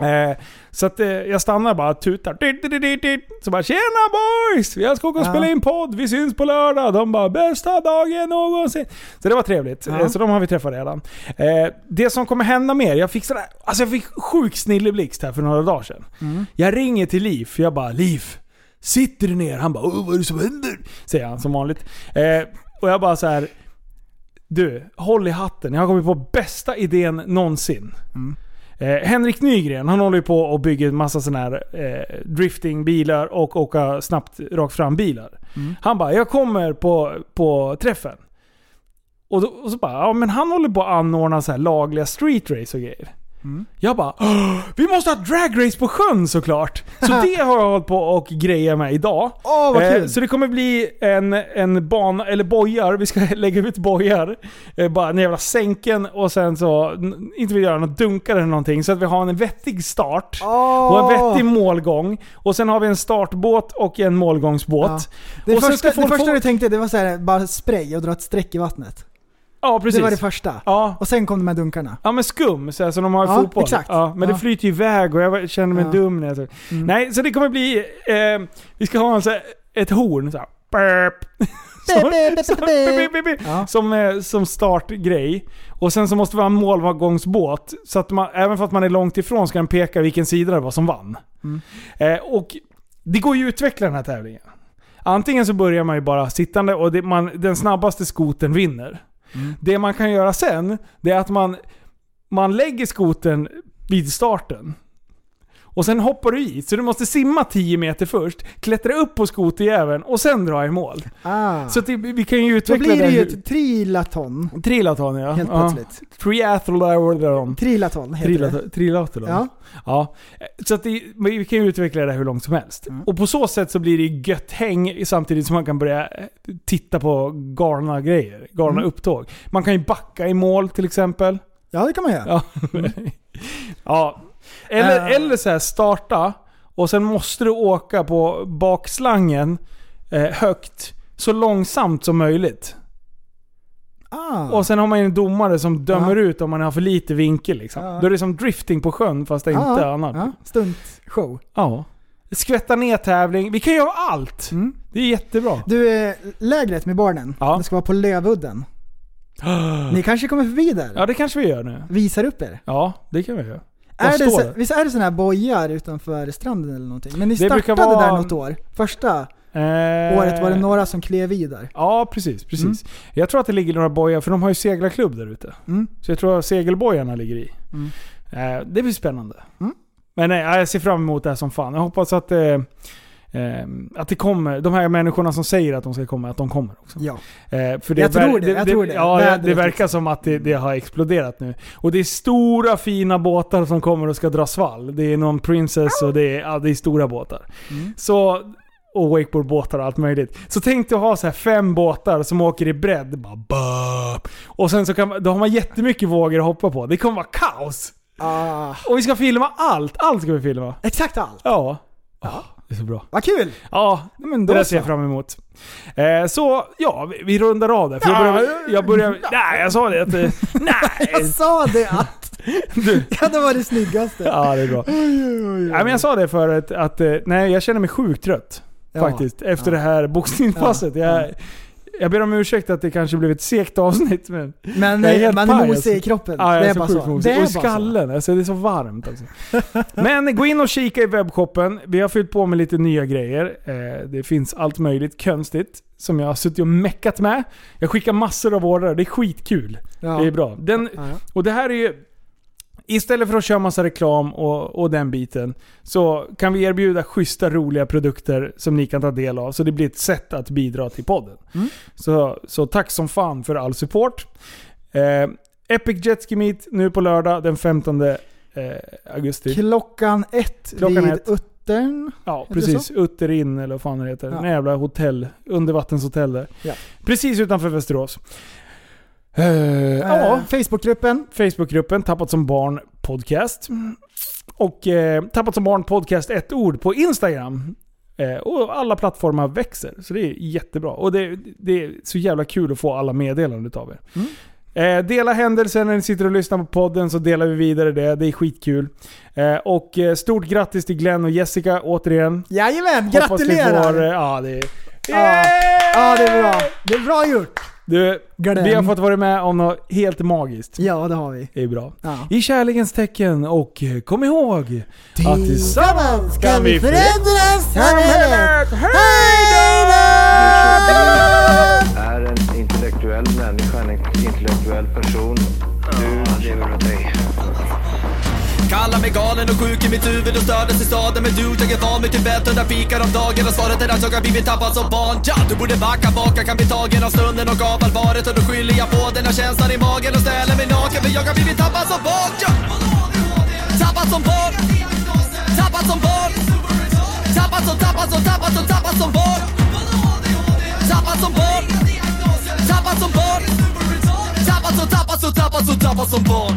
Speaker 2: Eh, så att eh, jag stannar bara och tutar. Dit, dit, dit, dit, dit. Så bara “Tjena boys! Jag ska åka och
Speaker 3: Ja.
Speaker 2: spela in podd, vi syns på lördag”. De bara “Bästa dagen någonsin”. Så det var trevligt.
Speaker 3: Ja.
Speaker 2: Eh, Så de har vi träffat redan. Eh, det som kommer hända mer, jag fick sådär, alltså jag fick sjuk snilleblixt här för några dagar sedan.
Speaker 3: Mm.
Speaker 2: Jag ringer till Liv, jag bara “Liv, sitter du ner?” Han bara “Åh, vad är det som händer?” Säger han som vanligt. Eh, och jag bara så här. Du, håll i hatten. Jag har kommit på bästa idén någonsin. Eh, Henrik Nygren, han håller ju på och bygger en massa sådana här eh, driftingbilar och åka snabbt rakt fram bilar. Han bara, jag kommer på, på träffen. Och, då, och så bara, ja men han håller på att anordna så här lagliga street race och grejer.
Speaker 3: Mm.
Speaker 2: Jag bara, "Åh, vi måste ha dragrace på sjön såklart! Så det har jag hållit på och grejat med idag. Eh,
Speaker 3: Åh, vad kul.
Speaker 2: så det kommer bli en, en bana, eller bojar, vi ska lägga ut bojar. Eh, bara en jävla sänken och sen så, n- inte vill göra något dunkare eller någonting. Så att vi har en vettig start. Och en vettig målgång. Och sen har vi en startbåt och en målgångsbåt.
Speaker 3: Ja. Det
Speaker 2: och sen
Speaker 3: första,
Speaker 2: ska
Speaker 3: det
Speaker 2: folk
Speaker 3: första
Speaker 2: få-
Speaker 3: du tänkte det var så här, bara spray och dra ett streck i vattnet.
Speaker 2: Ja, precis.
Speaker 3: Det var det första.
Speaker 2: Ja.
Speaker 3: Och sen kom de här dunkarna.
Speaker 2: Ja men skum, så här, som de har i
Speaker 3: Ja,
Speaker 2: fotboll.
Speaker 3: exakt.
Speaker 2: Ja, men det
Speaker 3: Ja.
Speaker 2: flyter ju iväg och jag var- kände mig
Speaker 3: Ja. Mm.
Speaker 2: dum när jag såg. Nej, så det kommer bli... Eh, vi ska ha en, så här, ett horn så här. Burp. Som- som- bip, bip, bip,
Speaker 3: Ja.
Speaker 2: Som, eh, som startgrej. Och sen så måste vi ha en målgångsbåt. Så att man, även för att man är långt ifrån ska den peka vilken sida det var som vann. Eh, och det går ju att utveckla den här tävlingen. Antingen så börjar man ju bara sittande och det, man, den snabbaste skoten vinner. Det man kan göra sen, det är att man, man lägger skoten vid starten. Och sen hoppar du i, så du måste simma 10 meter först, klättra upp på skoterjäveln och sen dra i mål.
Speaker 3: Ah.
Speaker 2: Så att det, vi kan ju
Speaker 3: Då
Speaker 2: utveckla
Speaker 3: blir det
Speaker 2: den
Speaker 3: ju
Speaker 2: hur-
Speaker 3: ett trilaton.
Speaker 2: Trilaton ja.
Speaker 3: Helt
Speaker 2: ja.
Speaker 3: plötsligt.
Speaker 2: Triathlon.
Speaker 3: Trilaton heter det.
Speaker 2: Trilaton. Trilaton.
Speaker 3: Ja.
Speaker 2: Ja. Så att det, men vi kan ju utveckla det hur långt som helst.
Speaker 3: Mm.
Speaker 2: Och på så sätt så blir det ju gött häng samtidigt som man kan börja eh, titta på galna grejer. Galna
Speaker 3: Mm.
Speaker 2: upptåg. Man kan ju backa i mål till exempel.
Speaker 3: ja, det kan man göra.
Speaker 2: Ja. ja. Eller,
Speaker 3: Mm. Eh.
Speaker 2: eller så här starta och sen måste du åka på bakslangen eh, högt så långsamt som möjligt.
Speaker 3: Ah.
Speaker 2: Och sen har man ju en domare som dömer
Speaker 3: Ja.
Speaker 2: ut om man har för lite vinkel. Liksom.
Speaker 3: Ja.
Speaker 2: Då är det som drifting på sjön fast det är
Speaker 3: Ja,
Speaker 2: inte
Speaker 3: ja.
Speaker 2: annat.
Speaker 3: Ja. Stuntshow.
Speaker 2: Ja. Skvätta ner tävling. Vi kan göra allt.
Speaker 3: Mm.
Speaker 2: Det är jättebra.
Speaker 3: Du, eh, lägret med barnen.
Speaker 2: Ja.
Speaker 3: Det ska vara på Lövudden. Ni kanske kommer förbi där?
Speaker 2: Ja, det kanske vi gör nu.
Speaker 3: Visar upp er.
Speaker 2: Ja, det kan vi göra. Vad
Speaker 3: Är det,
Speaker 2: står
Speaker 3: så,
Speaker 2: det?
Speaker 3: visst är det sådana här bojar utanför stranden eller någonting? Men ni
Speaker 2: Det brukar
Speaker 3: startade
Speaker 2: vara-
Speaker 3: där något år. Första
Speaker 2: Eh,
Speaker 3: året var det några som klev i där.
Speaker 2: Ja, precis. precis. Jag tror att det ligger några bojar, för de har ju seglarklubb där ute. Så jag tror att segelbojarna ligger i. Eh, det blir spännande. Men nej, jag ser fram emot det här som fan. Jag hoppas att eh, eh, att det kommer, de här människorna som säger att de ska komma, att de kommer också.
Speaker 3: Ja.
Speaker 2: Eh, för det
Speaker 3: Jag tror
Speaker 2: ver-
Speaker 3: det, jag tror det.
Speaker 2: Ja,
Speaker 3: Vädret liksom.
Speaker 2: det verkar som att det, det har exploderat nu. Och det är stora fina båtar som kommer och ska dra svall. Det är någon Princess och det är, ja, det är stora båtar.
Speaker 3: Mm.
Speaker 2: Så, och wakeboardbåtar och allt möjligt. Så tänk dig att ha så här fem båtar som åker i bredd. Bara, bap. och sen så kan, man- då har man jättemycket vågor att hoppa på. Det kommer vara kaos!
Speaker 3: Ah,
Speaker 2: Och vi ska filma allt! Allt ska vi filma.
Speaker 3: exakt allt.
Speaker 2: Ja. Ja, det är så bra.
Speaker 3: Vad kul!
Speaker 2: Ja,
Speaker 3: Men
Speaker 2: det
Speaker 3: då
Speaker 2: där ser jag
Speaker 3: så.
Speaker 2: fram emot. Eh, så, ja, vi, vi rundar av där. För jag börjar... Jag börjar nej, jag sa det att... eh,
Speaker 3: Jag
Speaker 2: Nej!
Speaker 3: sa det att... ja, det var det snyggaste.
Speaker 2: Ja, det är bra. Nej, men jag sa det förut att... eh, Nej, jag känner mig sjukt trött.
Speaker 3: Ja.
Speaker 2: Faktiskt. Efter det här boxningspasset. Jag, jag ber om ursäkt att det kanske blev ett segt avsnitt, men...
Speaker 3: Men
Speaker 2: Jag är helt
Speaker 3: eh, man
Speaker 2: paj,
Speaker 3: är
Speaker 2: alltså.
Speaker 3: mosig i kroppen.
Speaker 2: Ja, jag
Speaker 3: det är
Speaker 2: så
Speaker 3: bara
Speaker 2: sjukt
Speaker 3: så.
Speaker 2: mosig.
Speaker 3: Det är
Speaker 2: Och i
Speaker 3: bara så.
Speaker 2: skallen. Alltså, det är så varmt. Alltså. Men gå in och kika i webbshoppen. Vi har fyllt på med lite nya grejer. Eh, det finns allt möjligt konstigt som jag har suttit och meckat med. Jag skickar massor av ordrar. Det är skitkul.
Speaker 3: Ja.
Speaker 2: Det är bra. Den,
Speaker 3: Ja, ja.
Speaker 2: och det här är ju... Istället för att köra massa reklam och, och den biten så kan vi erbjuda schyssta, roliga produkter som ni kan ta del av. Så det blir ett sätt att bidra till podden.
Speaker 3: Mm.
Speaker 2: Så, så tack som fan för all support. Eh, Epic Jetski Meet nu på lördag den 15 eh, augusti.
Speaker 3: Klockan ett
Speaker 2: Typ. Klockan
Speaker 3: vid
Speaker 2: ett.
Speaker 3: uttern.
Speaker 2: Ja,
Speaker 3: Är det
Speaker 2: precis. Utterin eller vad fan det heter.
Speaker 3: Ja.
Speaker 2: Ja. jävla hotell. Undervattenshotell där.
Speaker 3: Ja.
Speaker 2: Precis utanför Västerås. Eh, ja,
Speaker 3: Eh, Facebookgruppen.
Speaker 2: Facebookgruppen Tappat som barn podcast. Och eh, Tappat som barn podcast ett ord på Instagram. Eh, och alla plattformar växer. Så det är jättebra. Och det, det är så jävla kul att få alla meddelanden utav er.
Speaker 3: Mm.
Speaker 2: Eh, dela händelser när ni sitter och lyssnar på podden så delar vi vidare det. Det är skitkul. Eh, och eh, stort grattis till Glenn och Jessica återigen.
Speaker 3: Jajamän,
Speaker 2: Hoppas vi får, eh,
Speaker 3: gratulerar!
Speaker 2: ja, det är,
Speaker 3: Ja. ja, det är bra. Det är bra gjort.
Speaker 2: Du,
Speaker 3: Glenn.
Speaker 2: vi har fått vara med om något helt magiskt.
Speaker 3: Ja, det har vi.
Speaker 2: Det är bra.
Speaker 3: Ja.
Speaker 2: I kärlekens tecken och eh, kom ihåg att tillsammans
Speaker 4: Tillsammans kan
Speaker 2: vi
Speaker 4: vi förändra samhället!
Speaker 6: är en intellektuell människa, en intellektuell person. Du lever åt dig.
Speaker 7: Kallar mig galen och sjuk i mitt huvud och stördes i staden Men du, jag är van vid Tibet och där fikar om dagen Och svaret är att jag har blivit tappad som barn ja, Du borde backa bak, jag kan bli tagen av stunden och av allvaret Och då skyller jag på den här känslan i magen och ställer mig naken För jag har blivit tappad som barn ja. Tappad som barn Tappad som barn Tappad som, tappad som, tappad som, tappad som barn Tappad som barn Tappad som barn Tappad som, tappad som, tappad som, tappad som barn